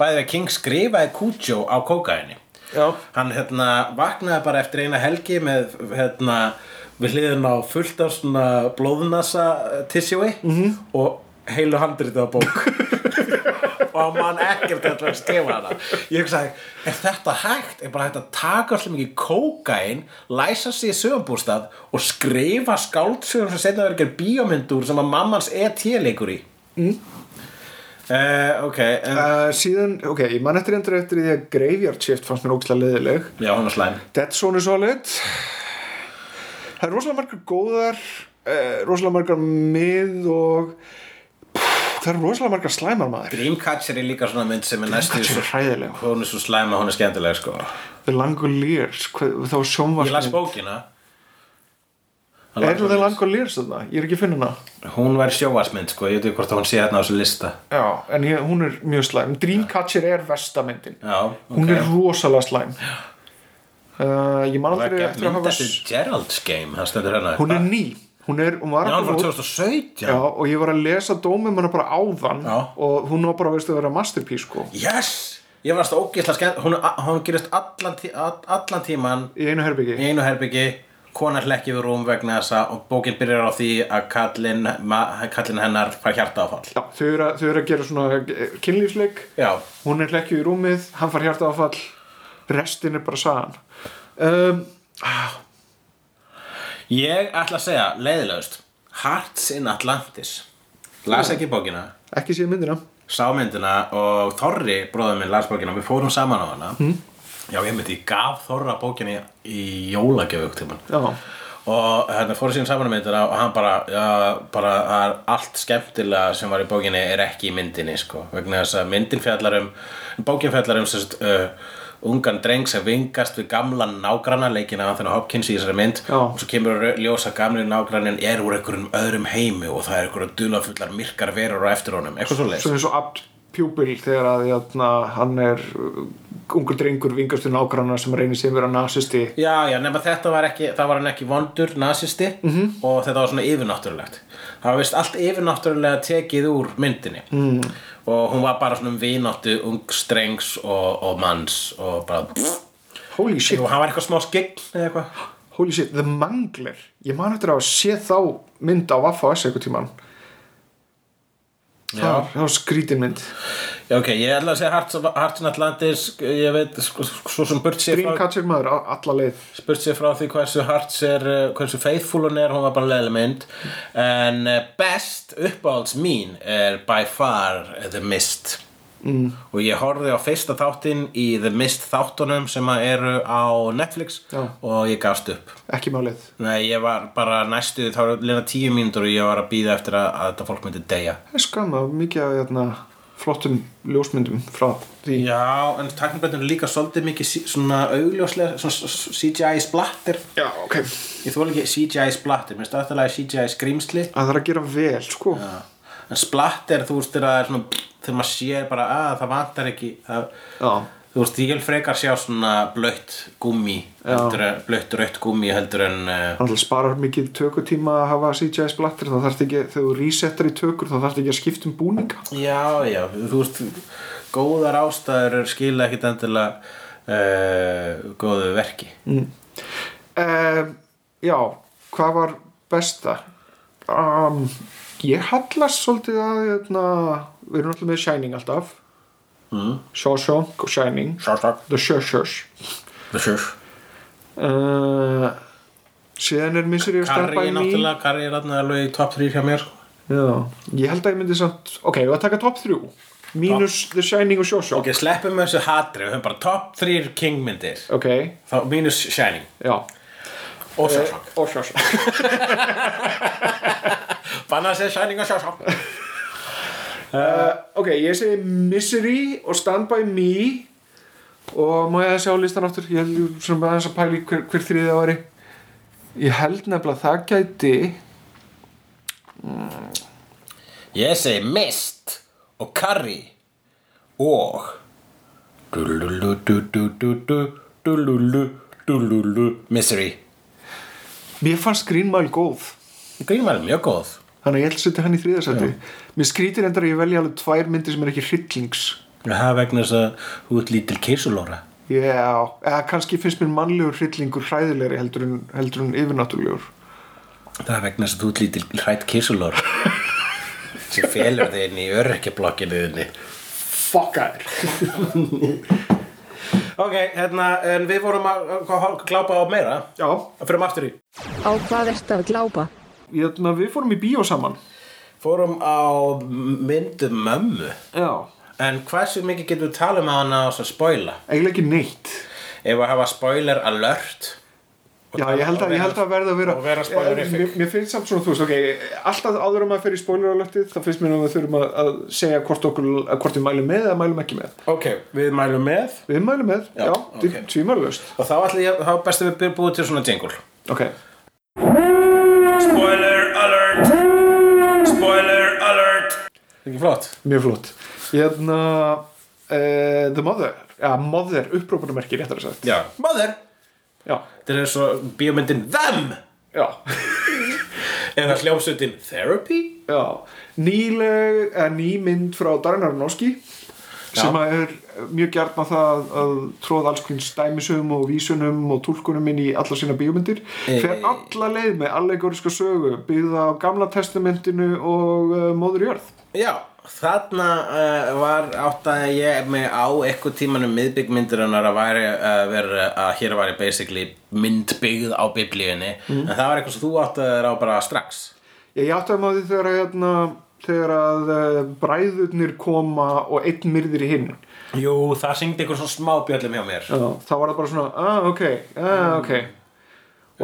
S2: bæði við King skrifaði Cujo á kókaini
S3: Já.
S2: hann hérna vaknaði bara eftir eina helgi með hérna við hliðin á fullt af svona blóðnasa tissjói mm -hmm. og heilu handrið á bók [LAUGHS] og mann ekkert ætlaði að skrifa hana ég hugsaði, er þetta hægt? er bara hægt að taka allir mikið kókain læsa sig í sögumbústað og skrifa skáldsögum sem setna verður ekki bíómyndur sem að mammans E.T. leikur í mm. ok en,
S3: uh, síðan, ok, ég man eftir endur eftir því að Graveyard Shift fannst mér ógeðslega leðileg
S2: já, hún er slæm
S3: Dead Zone er solid það er rosalega margar góðar uh, rosalega margar mið og pff, það er rosalega margar slæmar maður
S2: Dreamcatcher er líka svona mynd sem er næstu
S3: Dreamcatcher er hræðileg.
S2: hún er svo slæm að hún er skemmtileg sko.
S3: The Langoliers hvað, það var
S2: ég las
S3: sjónvarsmynd
S2: bókina
S3: er það The Langoliers þarna? ég er ekki að finna hana
S2: hún var sjóvarsmynd sko. ég veit ekki hvort að hún sé hérna á þessu lista
S3: já, en ég, hún er mjög slæm Dreamcatcher er vestamyndin
S2: já, ok
S3: hún er rosalega slæm uh, ég man
S2: Það er
S3: aldrei
S2: gert
S3: eftir að
S2: mynd
S3: hafa
S2: eftir Gerald's Game það stendur hérna
S3: hún er ný hún, er, hún var
S2: já, hún var
S3: aldrei út.
S2: 2017
S3: Já, og ég var að lesa dómum hana bara áðan
S2: Já.
S3: og hún var bara veist að vera masterpiece sko.
S2: yes ég varst ógeðslega skemmt hún, hún gerist allan, tí, allan tíman
S3: í einu herbyggi
S2: í einu herbyggi konar hlekki við rúm vegna þessa og bókin byrjar á því að kallin, ma- kallin hennar fær hjarta áfall
S3: Já, þau eru, að, þau eru að gera svona eh, kynlífsleik
S2: já,
S3: hún er lekkju í rúmið, hann far hjarta áfall restin er bara sagan um,
S2: Ég ætla að segja, leiðilegust Hearts in Atlantis Las ekki bókina,
S3: ekki síðan myndina
S2: sá myndina og Þorri, bróður minn, las bókina Við fórum saman á hana mm. Já, ég myndi, ég gaf Þorra bókinni í jólagjöfu ykkur tímann
S3: Já,
S2: og hérna fór síðan saman um myndina og hann bara, já, bara það er allt skemmtilega sem var í bókinni er ekki í myndinni sko, vegna þess að myndin fjallar um bókin fjallar um sérst, uh, ungan dreng sem vingast við gamlan nágranna leikina af þannig Hopkins í þessari mynd
S3: Já.
S2: og svo kemur að ljósa gamli nágrannin er úr einhverjum öðrum heimi og það er einhverjum dulafullar myrkar verur á eftir honum, eitthvað svo leist
S3: svo eins og apt pjúbil þegar að játna, hann er uh, ungur drengur vingastur nágranna sem reynir sem vera nasisti
S2: Já, já, nema þetta var ekki, það var hann ekki vondur nasisti -hmm. og þetta var svona yfirnáttúrulegt. Það var vist allt yfirnáttúrulega tekið úr myndinni mm. og hún var bara svona um vináttu ungstrengs og, og manns og bara,
S3: Holy shit,
S2: og hann var eitthvað smá skegg eða eitthvað.
S3: holy shit, The Mangler Ég man eftir að sé þá mynd á Vaffa S eitthvað tíman
S2: Já.
S3: Það var skrítin mynd
S2: já, ok, ég ætla að segja Hearts of- Hearts in Atlantis, ég veit, sko, svo sem burt sér frá,
S3: Dreamcatcher maður, á- alla leið
S2: spurt sér frá því hversu Hearts er, eh, hversu faithful hún er, hún var bara leðileg mynd, en eh, best uppáhalds mín er by far The Mist. og ég horfði á fyrsta þáttinn í The Mist þáttunum sem að eru á Netflix
S3: Já.
S2: og ég gafst upp
S3: Ekki málið
S2: Nei, ég var bara næstu, þá var lína tíu mínútur og ég var að býða eftir að, að þetta fólk myndi deyja
S3: Það er skama, mikið af játna, flottum ljósmyndum frá því
S2: Já, en taknibættin er líka svolítið mikið sí- svona augljóslega, svona s- s- CGI splattir
S3: Já, ok
S2: Ég þóla ekki CGI splattir, minnst aðstæðlega CGI skrýmsli
S3: Það þarf að gera vel, sko
S2: En splattir, þú veist, þegar það er svona, þegar maður sér bara, að það vantar ekki það,
S3: Já.
S2: Þú veist, ég vil frekar sjá svona blött gummi, heldur en, blött rautt gummi heldur en uh,
S3: Það sparar mikið tökutíma að hafa CGI splattir þá þarft ekki, þegar þú resetar í tökur þá þarft ekki að skipta um búninga
S2: Já, já, þú veist, góðar ástæður eru skila ekkit endilega uh, góðu verki
S3: um, Já, hvað var besta? Um, ég hallast svolítið að hérna, við erum alltaf með Shining alltaf mm. Shawshank og Shining
S2: Sjálfsagt
S3: The Shawshank
S2: Karri
S3: uh, Síðan er Misery of Stand
S2: er
S3: By Me
S2: náttúrulega, Karri er náttúrulega alveg í top 3 hjá mér sko.
S3: Já, ég held að ég myndi samt ok, við að taka top 3 mínus The Shining og Shawshank
S2: Ok, sleppum við þessu hatri, við höfum bara top 3 kingmyndir
S3: ok,
S2: Þá mínus Shining
S3: já Eh,
S2: og Sjálfsagt
S3: og Shawshank
S2: Banna að segja Shining og Sjálfsagt
S3: Ok, ég segi Misery og Stand By Me og má ég að sjá listan aftur ég held ég svona aðeins að pæli hver, hver þriðið ári ég held nefnilega að það gæti
S2: Ég segi mist og karri og Dululu, du, du, du, du, dululu, dululu, Misery
S3: mér fannst Green Mile góð
S2: Grínmæli mjög góð
S3: þannig að ég held að setja hann í þriðasætti mér skrítir endar að ég velja alveg tvær myndir sem er ekki hryllings
S2: Það er vegna þess að þú ert lítil kísulóra
S3: já, eða kannski finnst mér mannlegur hryllingur hræðilegri heldur en, heldur en yfirnáttúrulegur
S2: Það er vegna þess að þú ert lítil hrætt kísulóra sem felur þig inn í öryrkjablokkinu þinni
S3: fuckar
S2: [LAUGHS] Ok, hérna, en við vorum að glápa á meira
S3: já,
S2: Fyrir aftur í
S4: Á hvað ertu að glápa?
S3: ég, na, við fórum í bíó saman
S2: Fórum á myndu mömmu
S3: já,
S2: En hversu mikið getum við tala um hana og svo spoila?
S3: eiginlega ekki neitt
S2: Ef að hafa spoiler alert
S3: Já, ég held að, ég held að verða að vera Eh,
S2: Og vera spoilerific.
S3: Mér, mér finnst samt svona, þú veist, ok, alltaf áður um að fyrir spoileralöftið, þá finnst mér að við þurfum að, að segja hvort okkur, að hvort við mælum með eða mælum ekki með.
S2: Ok, við mælum með
S3: Við mælum með, já, já
S2: ok.
S3: okay. tvímælust.
S2: Og þá ætla ég, þá er best að við byrjum búið til svona jingle
S3: Ok,
S2: Spoiler alert Spoiler alert Ekki flott
S3: mjög flott. Ég hefna, uh, The Mother, já, Mother, upprópunamerki, réttar að sagt.
S2: Já Mother
S3: Já,
S2: Þetta er svo bíómyndin Them
S3: já,
S2: Eða hljómsutin Therapy
S3: já. Nýleg, eða ný mynd frá Darren Aronofsky, sem að er mjög gert með það að tróða alls hvern stæmisum og vísunum og túlkunum inn í alla sína bíómyndir fer alla leið með allegoriska sögu byggða á gamla testamentinu og uh, móður jörð
S2: Já, þarna uh, var áttaði ég mig á eitthvað tímanum miðbyggmyndirinnar að væri að vera að hér væri basically myndbyggð á Mhm. biblíunni en það var eitthvað sem þú áttaði þér á bara strax
S3: ég áttaði maður því þegar að hérna, þegar að uh, bræðurnir koma og einn myrðir í hinn
S2: Jú, það syngdi ykkur svona smá bjöllum hjá mér
S3: Já, þá var það bara svona, ah, ok, ah, ok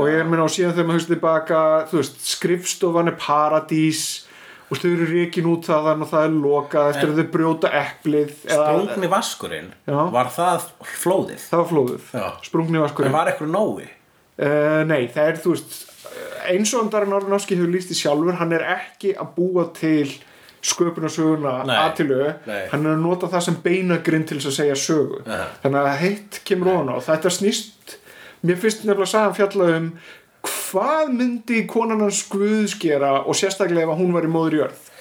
S3: og ég er minna á síðan þegar maður hugsa tilbaka, þú veist, skrifstofan er paradís og þau eru rekin út þaðan og það er lokað eftir að þau brjóta eplið eða,
S2: Sprungni vaskurinn
S3: Já.
S2: Var það flóðið?
S3: það var flóðuð,
S2: Já.
S3: sprungni
S2: Það
S3: vaskurinn
S2: var ekkur nógu
S3: Uh, nei, það er, þú veist, eins og Darren Aronofsky hefur líst í sjálfur, hann er ekki að búa til sköpunarsöguna
S2: Nei,
S3: aðtilögu,
S2: nei.
S3: hann er að nota það sem beinagrind til þess að segja sögu.
S2: Aha.
S3: Þannig að hitt kemur ofan á. Þetta snýst, mér finnst nefnilega sagan fjalla um hvað myndi konan hans Guðs gera og sérstaklega ef hún var í móður jörð.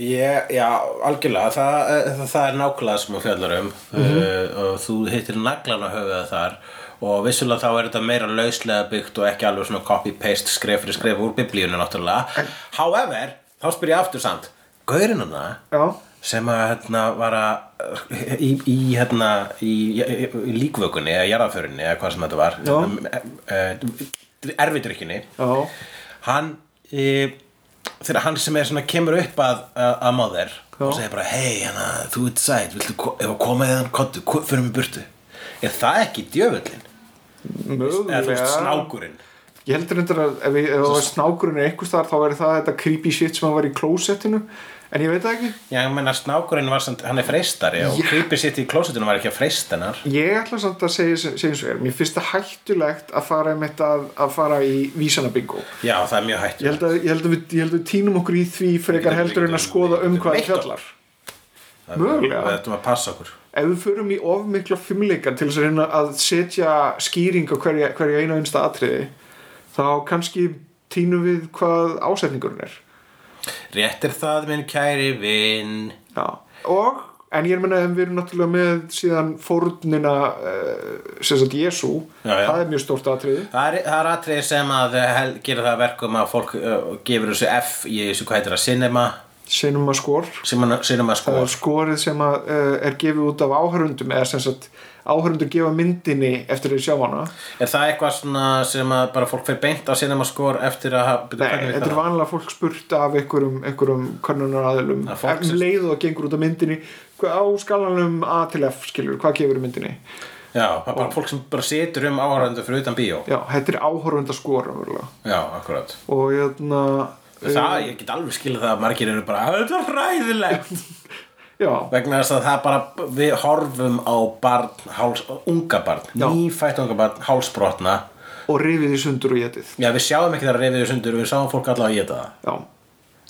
S2: Ég, já, algjörlega, það, eh, það, það er nákvæmlega sem þú fjallar um uh, og þú hittir naglan á höfuða þar og vissulega þá er þetta meira lauslega byggt og ekki alveg svona copy-paste skref fyrir skref úr biblíunni náttúrulega However, þá spyr ég aftur samt Gaurinn hana
S3: Já,
S2: sem að hérna var að í, í hérna í, í, í líkvökunni eða jarðaförinni eða hvað sem þetta var
S3: Já.
S2: uh, erfidrykkinni
S3: já,
S2: hann e, þegar hann sem er svona kemur upp að, að, að máður og segir bara hei hana þú ert sætt viltu ko- ef hérna, að koma eða hann kottu fyrir mig burtu er það ekki djöfullin eða þú
S3: mögulega.
S2: veist snákurinn
S3: Ég heldur reyndar að ef, ég- ef það var snákurinn eða einhvers þar þá væri það þetta creepy shit sem hann var í klósettinu, en ég veit það ekki.
S2: já ég meina snákurinn var samt hann er freistari og
S3: Já.
S2: creepy sitt í klósitinu var ekki að freista hennar
S3: Ég ætla samt að segja, segja eins og er, mér finnst það hættulegt að fara einmitt að, að fara í vísanabingo.
S2: já það er mjög hægt
S3: Ég held, að, ég, held að við, ég held að við tínum okkur í því frekar
S2: Við getum-
S3: heldur en að
S2: við
S3: skoða
S2: getum-
S3: um
S2: við
S3: hvað það
S2: getum veitt
S3: fjallar.
S2: við
S3: Mögulega.
S2: ættum að passa okkur
S3: Ef við förum í of mikla fimmleika til þess að reyna að setja skýring á hverja, hverja eina einsta atriði, þá kannski tínum við hvað ásetningurinn er.
S2: rétt er það minn kæri vinn
S3: Já. Og, en ég meina að við erum náttúrulega með síðan fórnina, uh, sem sagt Jésu,
S2: Já, já.
S3: það er mjög stórt atriði.
S2: Það er, það er atrið sem að eh, hel, gera það að verkum að fólk uh, gefur þessu F í þessu hvað heitir að cinema
S3: Sinum að skor.
S2: cinema, cinema
S3: það
S2: score
S3: er skorið sem að, uh, er gefið út af áhörundum eða sem sagt áhörundur gefa myndinni eftir að sjá hana
S2: Er það eitthvað svona sem að bara fólk fer beint á cinema score eftir að hafa... byrju,
S3: Nei,
S2: hvernig
S3: þetta
S2: það?
S3: er vanlega fólk spurt af einhverjum, einhverjum könnunar aðilum
S2: Að fólk
S3: um
S2: sem-
S3: leið og það gengur út af myndinni hvað- á skalanum A til F skilur, hvað gefur myndinni
S2: Já, það er bara fólk sem bara situr um áhörðandu fyrir utan bíó.
S3: já, þetta er áhörunda skor raunverulega.
S2: Já, akkurat.
S3: og hérna
S2: Það, ég get alveg skilið það að margir eru bara, þetta var
S3: [LAUGHS]
S2: ræðilegt.
S3: já,
S2: Vegna þess að það bara, við horfum á barn, háls, unga barn,
S3: Já.
S2: nýfætt unga barn, hálsbrotna.
S3: og rifið í sundur og getið
S2: Já, við sjáum ekki það að reyfið sundur, við sjáum fólk allavega að geta það.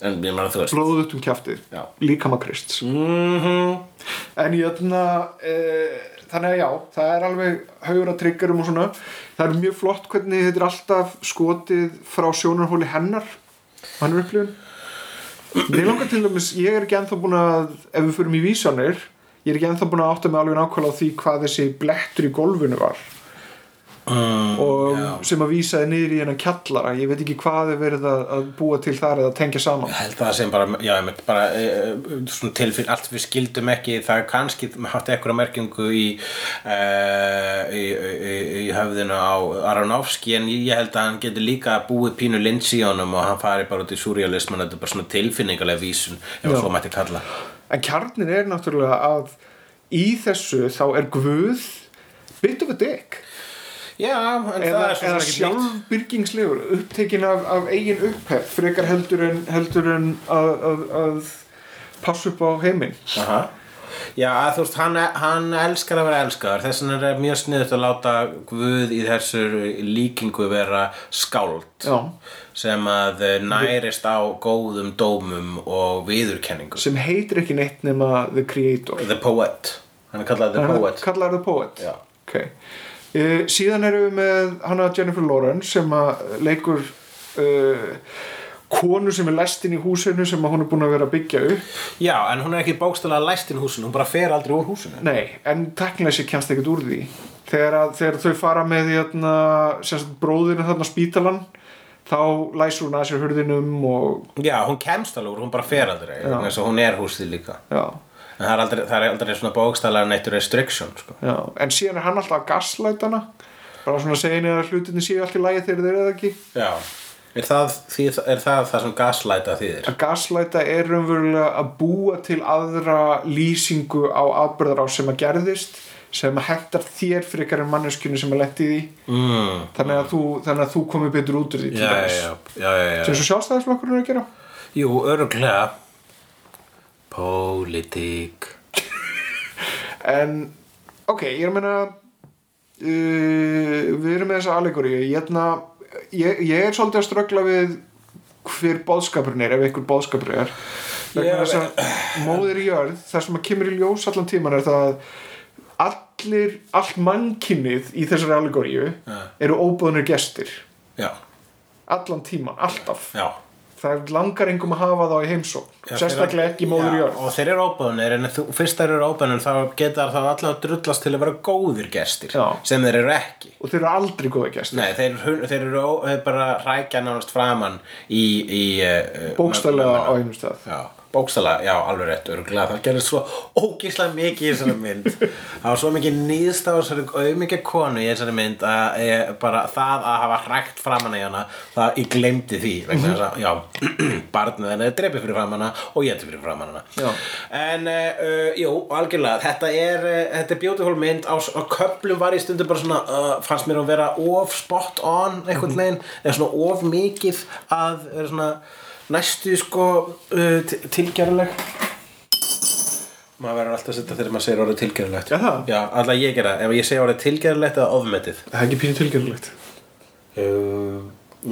S3: já,
S2: En ég meina þú veist.
S3: blóðuð upp um kjaftið
S2: Já.
S3: líkama krist
S2: Mhm.
S3: En jötna, e, þannig að já, það er alveg haugur að triggerum og svona. Það er mjög flott hvernig þetta er alltaf skotið frá sjónarhóli hennar, hann er upplifun. Mér langar til dæmis, ég er ekki ennþá búin að, ef við förum í vísanir, ég er ekki ennþá búin að átta mig alveg nákvæmlega á því hvað þessi blettur í golfinu var. Mm, og sem að vísaði niður í hennan kjallara ég veit ekki hvað er verið að, að búa til þar eða tengja saman
S2: held að það sem bara, já, ég mynd bara e, e, svona tilfinn, allt við skildum ekki það er kannski haft ekkur merkingu í, e, í, í, í höfðinu á Aronofsky en ég held að hann getur líka búið pínu lins í honum og hann fari bara út í surrealisman, þetta er bara svona tilfinningalega vísun ef
S3: Já.
S2: svo mætti kalla
S3: En kjarnin er náttúrulega að í þessu þá er Guð bit of a dick
S2: Já, en það
S3: eða,
S2: er
S3: eða
S2: svona ekki nýtt
S3: sjálfbyrgingslegur upptekin af, af eigin upphef frekar heldur en, heldur en að, að, að passa upp á heiminn
S2: Aha. Já, að þú veist, hann, e, hann elskar að vera elskaður þess vegna er mjög sniðut að láta Guð í þessu líkingu vera skáld
S3: Já.
S2: sem að eh, nærist á góðum dómum og viðurkenningu
S3: sem heitir ekki neitt nema The Creator
S2: The Poet, hann er kallað The Poet
S3: Kallar The Poet
S2: Já.
S3: okay. uh, Síðan erum við með hana Jennifer Lawrence sem að leikur uh, konu sem er lestin í húsinu sem að hún er búin að vera að byggja upp
S2: Já, en hún er ekki bókstælega læst inn í húsinu, hún bara fer aldrei úr húsinu
S3: Nei, en teknilega sér kemst ekkert úr því þegar, að, þegar þau fara með hérna, sem sagt, bróðinu þarna á spítalan þá læsur hún að sér hurðinum og
S2: Já, hún kemst alveg úr, hún bara fer aldrei eins og hún er húsið líka
S3: já,
S2: en það er aldrei, það er aldrei svona bókstælega neitt restriction, sko
S3: já. en síðan er hann alltaf að gaslæta hana bara svona að segja henni að hlutinni séu allt í lagi þegar þeir eru það ekki
S2: Já, Er það, því, er það það sem gaslæta þýðir?
S3: Að gaslæta er raunverulega að búa til aðra lýsingu á atbyrðar á sem að gerðist sem að hættar þér frekar en manneskjunni sem að letti því mm. þannig, að þú, þannig að þú komir betur út úr því til
S2: Já, já,
S3: dæmis.
S2: já, já, já,
S3: sem
S2: já.
S3: svo sjálfstæðisflokkurinn er að gera
S2: Jú, öruglega Pólitík
S3: en ok, ég er að meina uh, við erum með þessa allegóri ég, hérna, ég, ég er svolítið að ströggla við hver bóðskapurinn er ef einhver bóðskapur er vegna
S2: Ég-
S3: þess að móðir jörð það sem að kemur í ljós allan tíman er það að allir, allt mannkynnið í þessari allegóriu eru óbúðnir gestir
S2: Já,
S3: allan tíman, alltaf
S2: já
S3: það langar engum að hafa þá í heimsók
S2: Já,
S3: sérstaklega
S2: þeir-
S3: ekki móður
S2: Já,
S3: jörð
S2: Og þeir eru óbúðunir en þú, fyrst þeir eru óbúðunir þá geta það alltaf að drullast til að vera góðir gestir
S3: Já.
S2: sem þeir eru ekki
S3: og þeir eru aldrei góða gestir
S2: Nei, þeir, hun- þeir eru ó- þeir bara rækja nánast framann í, í uh,
S3: bókstælega á einum stað
S2: Já, bókstælega, já, alveg rétt örgulega, það gerði svo ógíslega mikið í þessari
S3: [LAUGHS]
S2: mynd það var svo mikið nýðst á þessari auðmikið konu í þessari mynd að ég, bara það að hafa hrækt framan í hana það ég glemdi því
S3: Mhm.
S2: vegna þess að, já, [CLEARS THROAT] barnið henni er drepið fyrir framan hana og ég fyrir framan hana
S3: Já.
S2: en, uh, uh, jú, algjörlega þetta er, uh, þetta er beautiful mynd á, s- á köplum var ég stundu bara svona uh, fannst mér að vera of spot on einhvern veginn, eða svona of mikið að vera svona næstu sko uh, til- tilgerðuleg maður verður alltaf að setja þegar maður segir orðið tilgerðulegt
S3: Já, það?
S2: já alltaf ég gera, ef ég segi orðið tilgerðulegt eða ofmetið
S3: það er ekki pínu tilgjörulegt
S2: uh,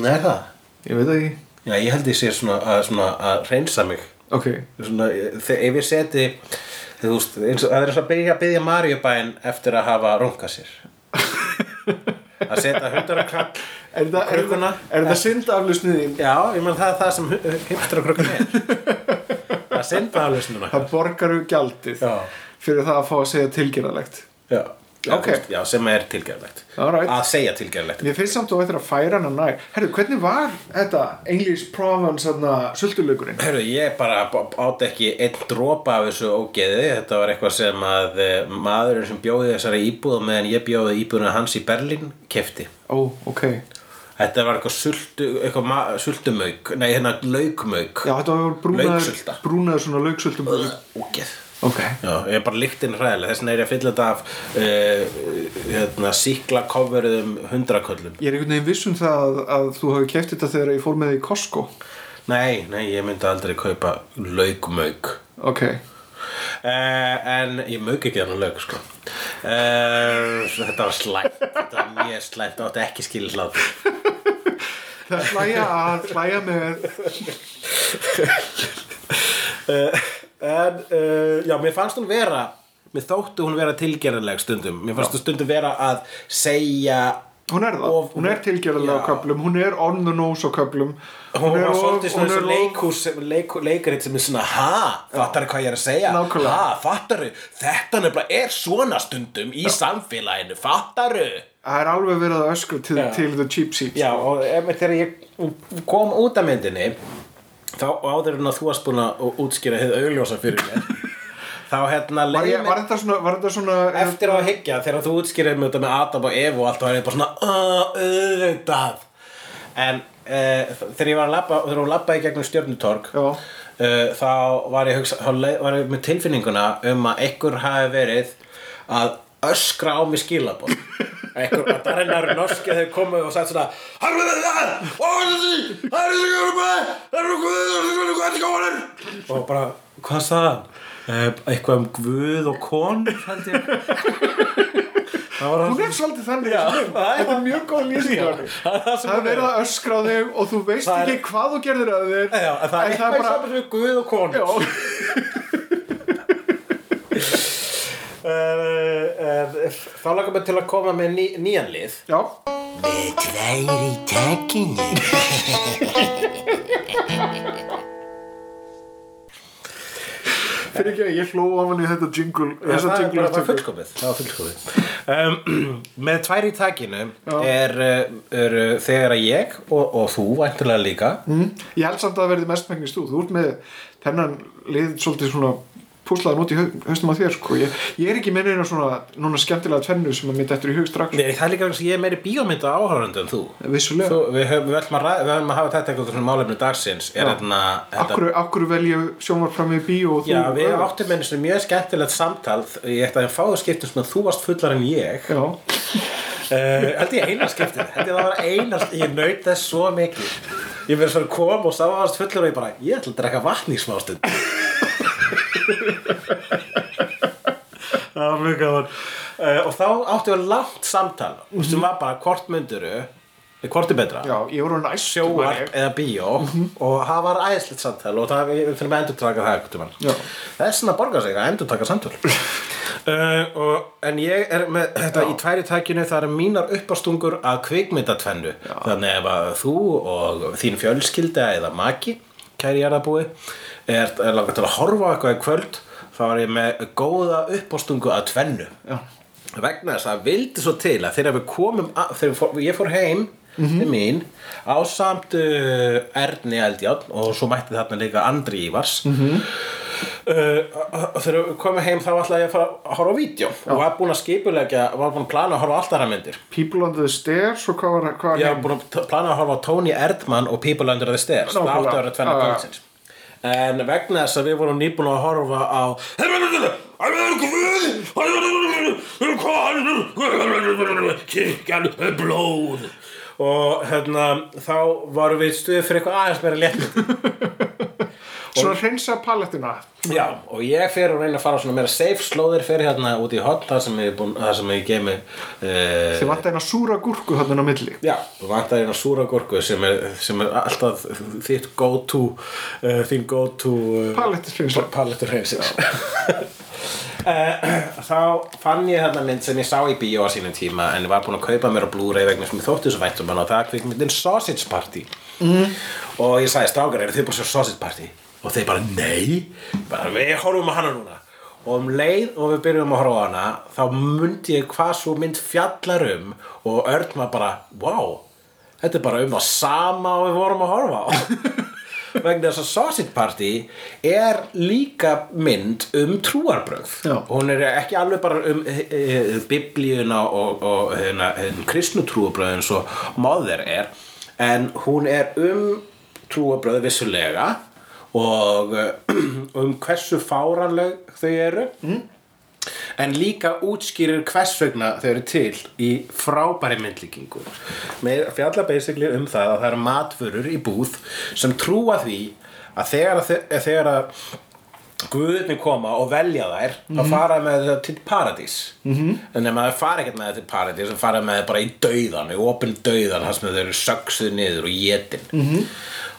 S2: Nei það
S3: ég veit það ekki
S2: Já, ég held ég sé svona að, svona að reynsa mig
S3: Ok,
S2: svona, þegar, ef ég seti þú veist, eins og, það er eins og að byrja að byggja Marjubæn eftir að hafa runga sér að setja hundara krakk
S3: er það, er,
S2: Krukkuna?
S3: er það syndaflusnið þín?
S2: Já, ég menn það er það sem hundara krukkan er það er sindbæðalösnuna
S3: Það borgar við gjaldið
S2: Já.
S3: fyrir það að fá að segja tilgjörulegt
S2: Já, já,
S3: Ok.
S2: þú veist, já sem er tilgjörlegt
S3: Alright.
S2: að segja tilgjörlegt
S3: Mér finnst samt og eftir að færa hana nær Herru, hvernig var þetta English Provence þarna sultuleikurinn?
S2: Hörru, ég bara átt ekki einn dropa af þessu ógeði, þetta var eitthvað sem að eh, maðurinn sem bjóði þessari íbúð á meðan ég bjóði íbúðuna hans í Berlín kefti.
S3: Ó, ok Já,
S2: Þetta var eitthvað, sultu, eitthvað ma- sultumauk, nei hérna laukmauk,
S3: þetta var brúnaður,
S2: Lauksulta.
S3: brúnaður svona lauksultum
S2: ógeð.
S3: Ok
S2: Já, ég er bara líktinn hræðilega, þess vegna er ég að fylla þetta af uh, hérna, síkla coveruðum hundraköllum.
S3: Ég er einhvern veginn viss um það að þú hafi keft þetta þegar ég fór með þig í Costco
S2: Nei, nei, ég myndi aldrei kaupa laukmauk.
S3: Ok
S2: Uh, en ég mög ekki þannig lög sko. uh, Þetta var slæmt Þetta var mjög slæmt Það átti ekki skilin hlátt
S3: Það er hlæja að, hlæja með
S2: Eh, En uh, já, mér fannst hún vera Mér þóttu hún vera tilgerðanleg stundum Mér fannst hún stundum vera að segja
S3: Hún er það,
S2: Of-
S3: hún er tilgjörlega á
S2: Já.
S3: köflum, hún er on the nose á köflum
S2: Hún
S3: er
S2: var
S3: of-
S2: svolítið svona
S3: hún
S2: eins
S3: er
S2: og
S3: of-
S2: leikhús leik, leikarit sem er svona ha, fattar hvað ég er að segja
S3: Nákvæmlega.
S2: ha, fattar þetta nefnilega er svona stundum í samfélaginu, fattar
S3: Það er alveg verið að öskra til, til the cheap seats
S2: Já, og einmitt þegar ég kom út af myndinni þá og áður en að þú varst búin að útskýra hefði augljósa fyrir [LAUGHS] mér þá hérna
S3: Var,
S2: leið
S3: ég, var
S2: mér
S3: þetta svona, var þetta svona
S2: eftir á að hyggja þegar þú útskýraði mjög þetta með Adam og Evu og allt var ég bara svona "Ah, auðvitað en uh, þegar ég var að labba þegar hún labbaði í gegnum stjörnutorg
S3: Já.
S2: uh, þá var ég, hugsa, þá leið, var ég með tilfinninguna um að einhver hafi verið að öskra á mig skilabóð einhver að darinnar norski þegar komið og sagt svona og bara, hvað sagði hann? Eh, eitthvað um guð og konur held ég það var
S3: Hún er svolítið þannig í þessum mynd. Þetta er mjög góð lýsing á henni.
S2: það er það sem
S3: Það er
S2: hún er.
S3: verið að öskra á þig og þú veist
S2: Það er-
S3: ekki hvað þú gerðir að þig
S2: Já, en það er eitthvað bara... saman við Guð og konu
S3: Já,
S2: Eh, Þá langar mér til að koma með ný, nýjan lið
S3: já,
S6: Með tvær í
S2: [LAUGHS]
S6: takinu.
S3: fyrir ekki að ég hló á hann í þetta jingle Þessa
S2: það er
S3: jingle
S2: bara það er
S3: upptöku.
S2: fullkomið, það var fullkomið. Um, [CLEARS THROAT] Með tvær í takinu
S3: Já.
S2: er, uh, er uh, þegar að ég og, og þú væntulega líka
S3: Mm. Ég held samt að það verði mest megnist þú Þú ert með þennan lið svolítið svona púslaðan út í hau- hausnum á þér sko. ég, ég er ekki með neina svona núna skemmtilega tvennu sem að mitt eftir í hug strax
S2: Nei, það er líka vegna þess að ég er meiri bíómynda áhörðandi en þú
S3: vissulega
S2: Þú, við höfum við ætlum að, ræða- við höfum að hafa þetta eitthvað svona málefni dagsins er þarna þetta-
S3: Akkur, akkur velja sjónvarfram í bíó og þú
S2: Já, við áttum einu svona mjög skemmtilegt samtal ég ætti að fá það skiptum sem að þú varst fullar en ég
S3: Já,
S2: uh, held ég eina skiptið held ég það var einast, ég naut þess svo mikið ég verið svona kom og sá að það varst fullur og ég bara, ég ætla að drekka vatn í smástund það var mjög gaman uh, og þá áttum við langt samtal sem var bara hvort mynduru hvort er betra
S3: já, ég voru næst Mhm.
S2: sjóvarp eða bíó og það var æðislegt samtal og það, við þurfum að endurtaka það einhvern
S3: Já.
S2: tímann það er svona að borga sig að endurtaka
S3: [LAUGHS]
S2: samtal uh, og, en ég er með þetta í tværi tækinu það eru mínar uppastungur að kvikmyndatvennu þannig ef að þú og þín fjölskylda eða maki kæri jarðabúi er, er langar til að horfa á eitthvað í kvöld þá er ég með góða uppástungu að tvennu Já vegna þess að vildi svo til að þegar við komum að, þegar við fór, ég fór heim til mín á samt uh, Erni Eldjárn og svo mætti þarna líka Andri Ívars -hmm. uh, og þegar við komum heim þá ætlaði ég að fara að horfa á vídeo og var búin að skipulegja, var búin að plana að horfa á allt aðra myndir
S3: People on the stairs og hvað var, hvað var
S2: ég
S3: hinn?
S2: var búin að t- plana að horfa á Tony Erdmann og People Under the Stairs það
S3: Nákvæmlega.
S2: átti að vera tvenna
S3: Já, já.
S2: kvöldsins en vegna þess að við vorum nýbúin að horfa á
S5: Kirkjan er blóð
S2: og hérna, þá varum við stuðið fyrir eitthvað aðeins meira létt
S3: [LAUGHS] Svona hreinsa palettina
S2: Já, og ég fer að reyna að fara á svona meira safe slóðir fyrir hérna út í hot þar sem ég, er búinn- þar sem ég eh, gemi uh,
S3: Þið vantar eina súra gúrku þarna á milli
S2: Já, og vantar eina súra gorku sem er, sem er alltaf þitt go to uh, þín go to uh,
S3: Palettishreinsa
S2: palettur hreinsins [LAUGHS] uh, [CLEARS THROAT] Þá fann ég hérna mynd sem ég sá í bíó á sínum tíma en ég var búinn að kaupa mér á Blu-ray vegna sem ég þótti þessu væntum hann og það er kvikmyndin Sausage Party mm. og ég sagði strákar eru þið búin að sjá Sausage Party og þeir bara nei bara, við horfum á hana núna og um leið og við byrjum að horfa á hana þá mundi ég hvað svo mynd fjallar um og Örn var bara wow, þetta er bara um það sama og við vorum að horfa á vegna þess að Sausage Party er líka mynd um trúarbröð
S3: Já.
S2: hún er ekki alveg bara um e, e, biblíuna og, og hérna, hérna, kristnu trúarbröð eins og Mother er en hún er um trúarbröð vissulega og eh, [CLEARS THROAT] um hversu fáranleg þau eru mm. en líka útskýrir hvers vegna þau eru til í frábæri myndlíkingu með fjalla basically um það að það eru matvörur í búð sem trúa því að þegar að, þau- þegar að guðinni koma og velja þær þá fara þær með þetta til paradís -hmm. en ef maður fara ekkert með þetta til paradís þá fara þær með þetta bara í dauðan í opin dauðan, þar sem þau eru söksuð niður og jetin -hmm.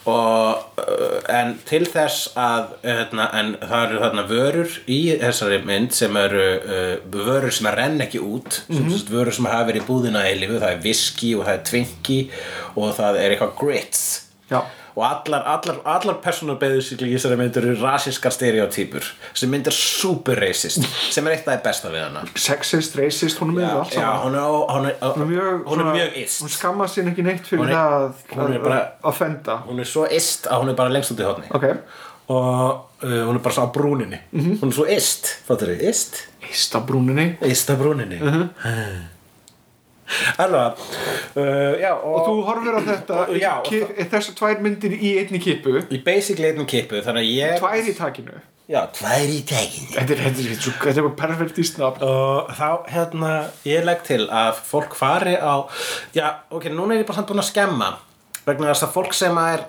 S2: og, uh, en til þess að hérna, en það eru þarna vörur í þessari mynd sem eru uh, vörur sem að renna ekki út sem mm -hmm. vörur sem hafa verið í búðina í lífu það er viski og það er tvinki og það er eitthvað grits
S3: Já.
S2: og allar, allar, allar personur basically í þessari myndir eru rasískar stereotypur sem myndir super racist sem er eitt af það besta við hana
S3: Sexist, racist, hún er með það allt
S2: já,
S3: saman
S2: hún er, ó- hún er,
S3: Hún er mjög,
S2: hún er
S3: svona-
S2: mjög
S3: Hún
S2: ist
S3: skammar sín ekki neitt fyrir
S2: Hún er-
S3: það að,
S2: hún er
S3: að-
S2: bara-
S3: að fenda
S2: hún er svo ist að hún er bara lengst út í hodni
S3: Ok, Mhm.
S2: og uh, hún er bara svo á brúninni hún er svo ist, fattur þau, ist
S3: eista brúninni
S2: ist á brúninni uh
S3: Mhm.
S2: alveg uh, já, og,
S3: Og þú horfir á þetta í
S2: Já, og
S3: ki- Þessar tvær myndir í einni kipu
S2: í basically einnum kippu þannig að ég
S3: Tvær í takinu
S2: já, tvær
S6: Hvað er í tækinu?
S3: Þetta er, þetta er, þetta er, svo- þetta er bara perfektist nafn
S2: og þá hérna ég legg til að fólk fari á já ok, núna er ég bara samt búin að skemma vegna þess að fólk sem að er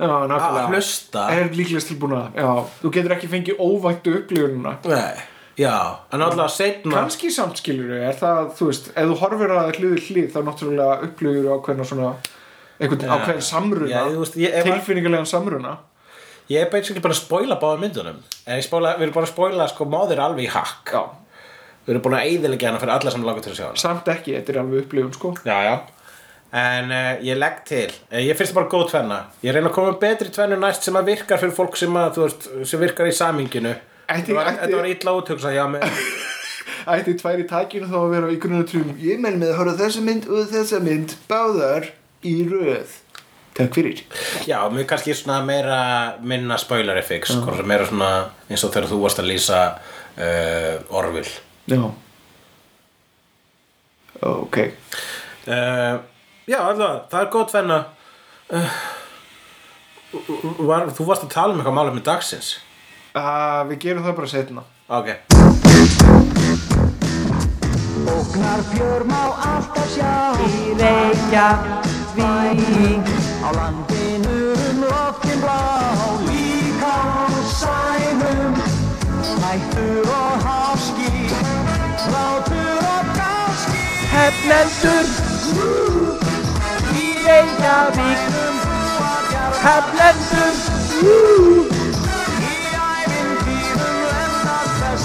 S3: Já, nákvæmlega
S2: Að hlusta.
S3: Er líklegast tilbúna Já, þú getur ekki fengið óvæntu upplifununa
S2: Nei. já, en
S3: Mm.
S2: alltaf setna
S3: Kanski samt skilur er það, þú veist, ef þú horfir að hluti hlið þá náttúrulega upplifur ákveðna svona einhvern ákveðin samruna
S2: Já, þú veist, ég- ef að-
S3: tilfinningarlegan samruna
S2: ég er basically bara að spoila báða myndunum en ég spoila, við erum bara að spoila sko móðir alveg í hakk
S3: Já,
S2: við erum búin að eyðilegja hana fyrir alla sem langar til að sjá hana
S3: samt ekki, þetta er alveg upplifun sko
S2: já, já en uh, ég legg til, uh, ég finnst bara góð tvenna ég reyna að koma með betri tvennu næst sem að virkar fyrir fólk sem að, þú veist, sem virkar í saminginu
S3: Ætti-
S2: Þetta var,
S3: ætti-
S2: þetta var illa útugsa hjá mig
S3: Ætti tvær í takinu þá að vera í grunnum trum Ég menn með að horfa á þessa mynd og þessa mynd báðar í röð Takk fyrir.
S2: Já, mér kannski svona meira minna spoiler fix, hvort sem meira svona eins og þegar þú varst að lýsa uh, Orville
S3: Já. Ok.
S2: uh, Já, allavega, það er gott venna uh, var, Þú varst að tala um eitthvað málefni dagsins
S3: Uh, við gerum það bara setna.
S2: Ok
S7: Óknarbjörn má alltaf sjá Í Reykjavík Á landinu um loftin blá Líka á sænum Hættur og háski Hlátur og gáski Hefnendur Í Reykjavík Hefnendur Í ævintýrum lendar þess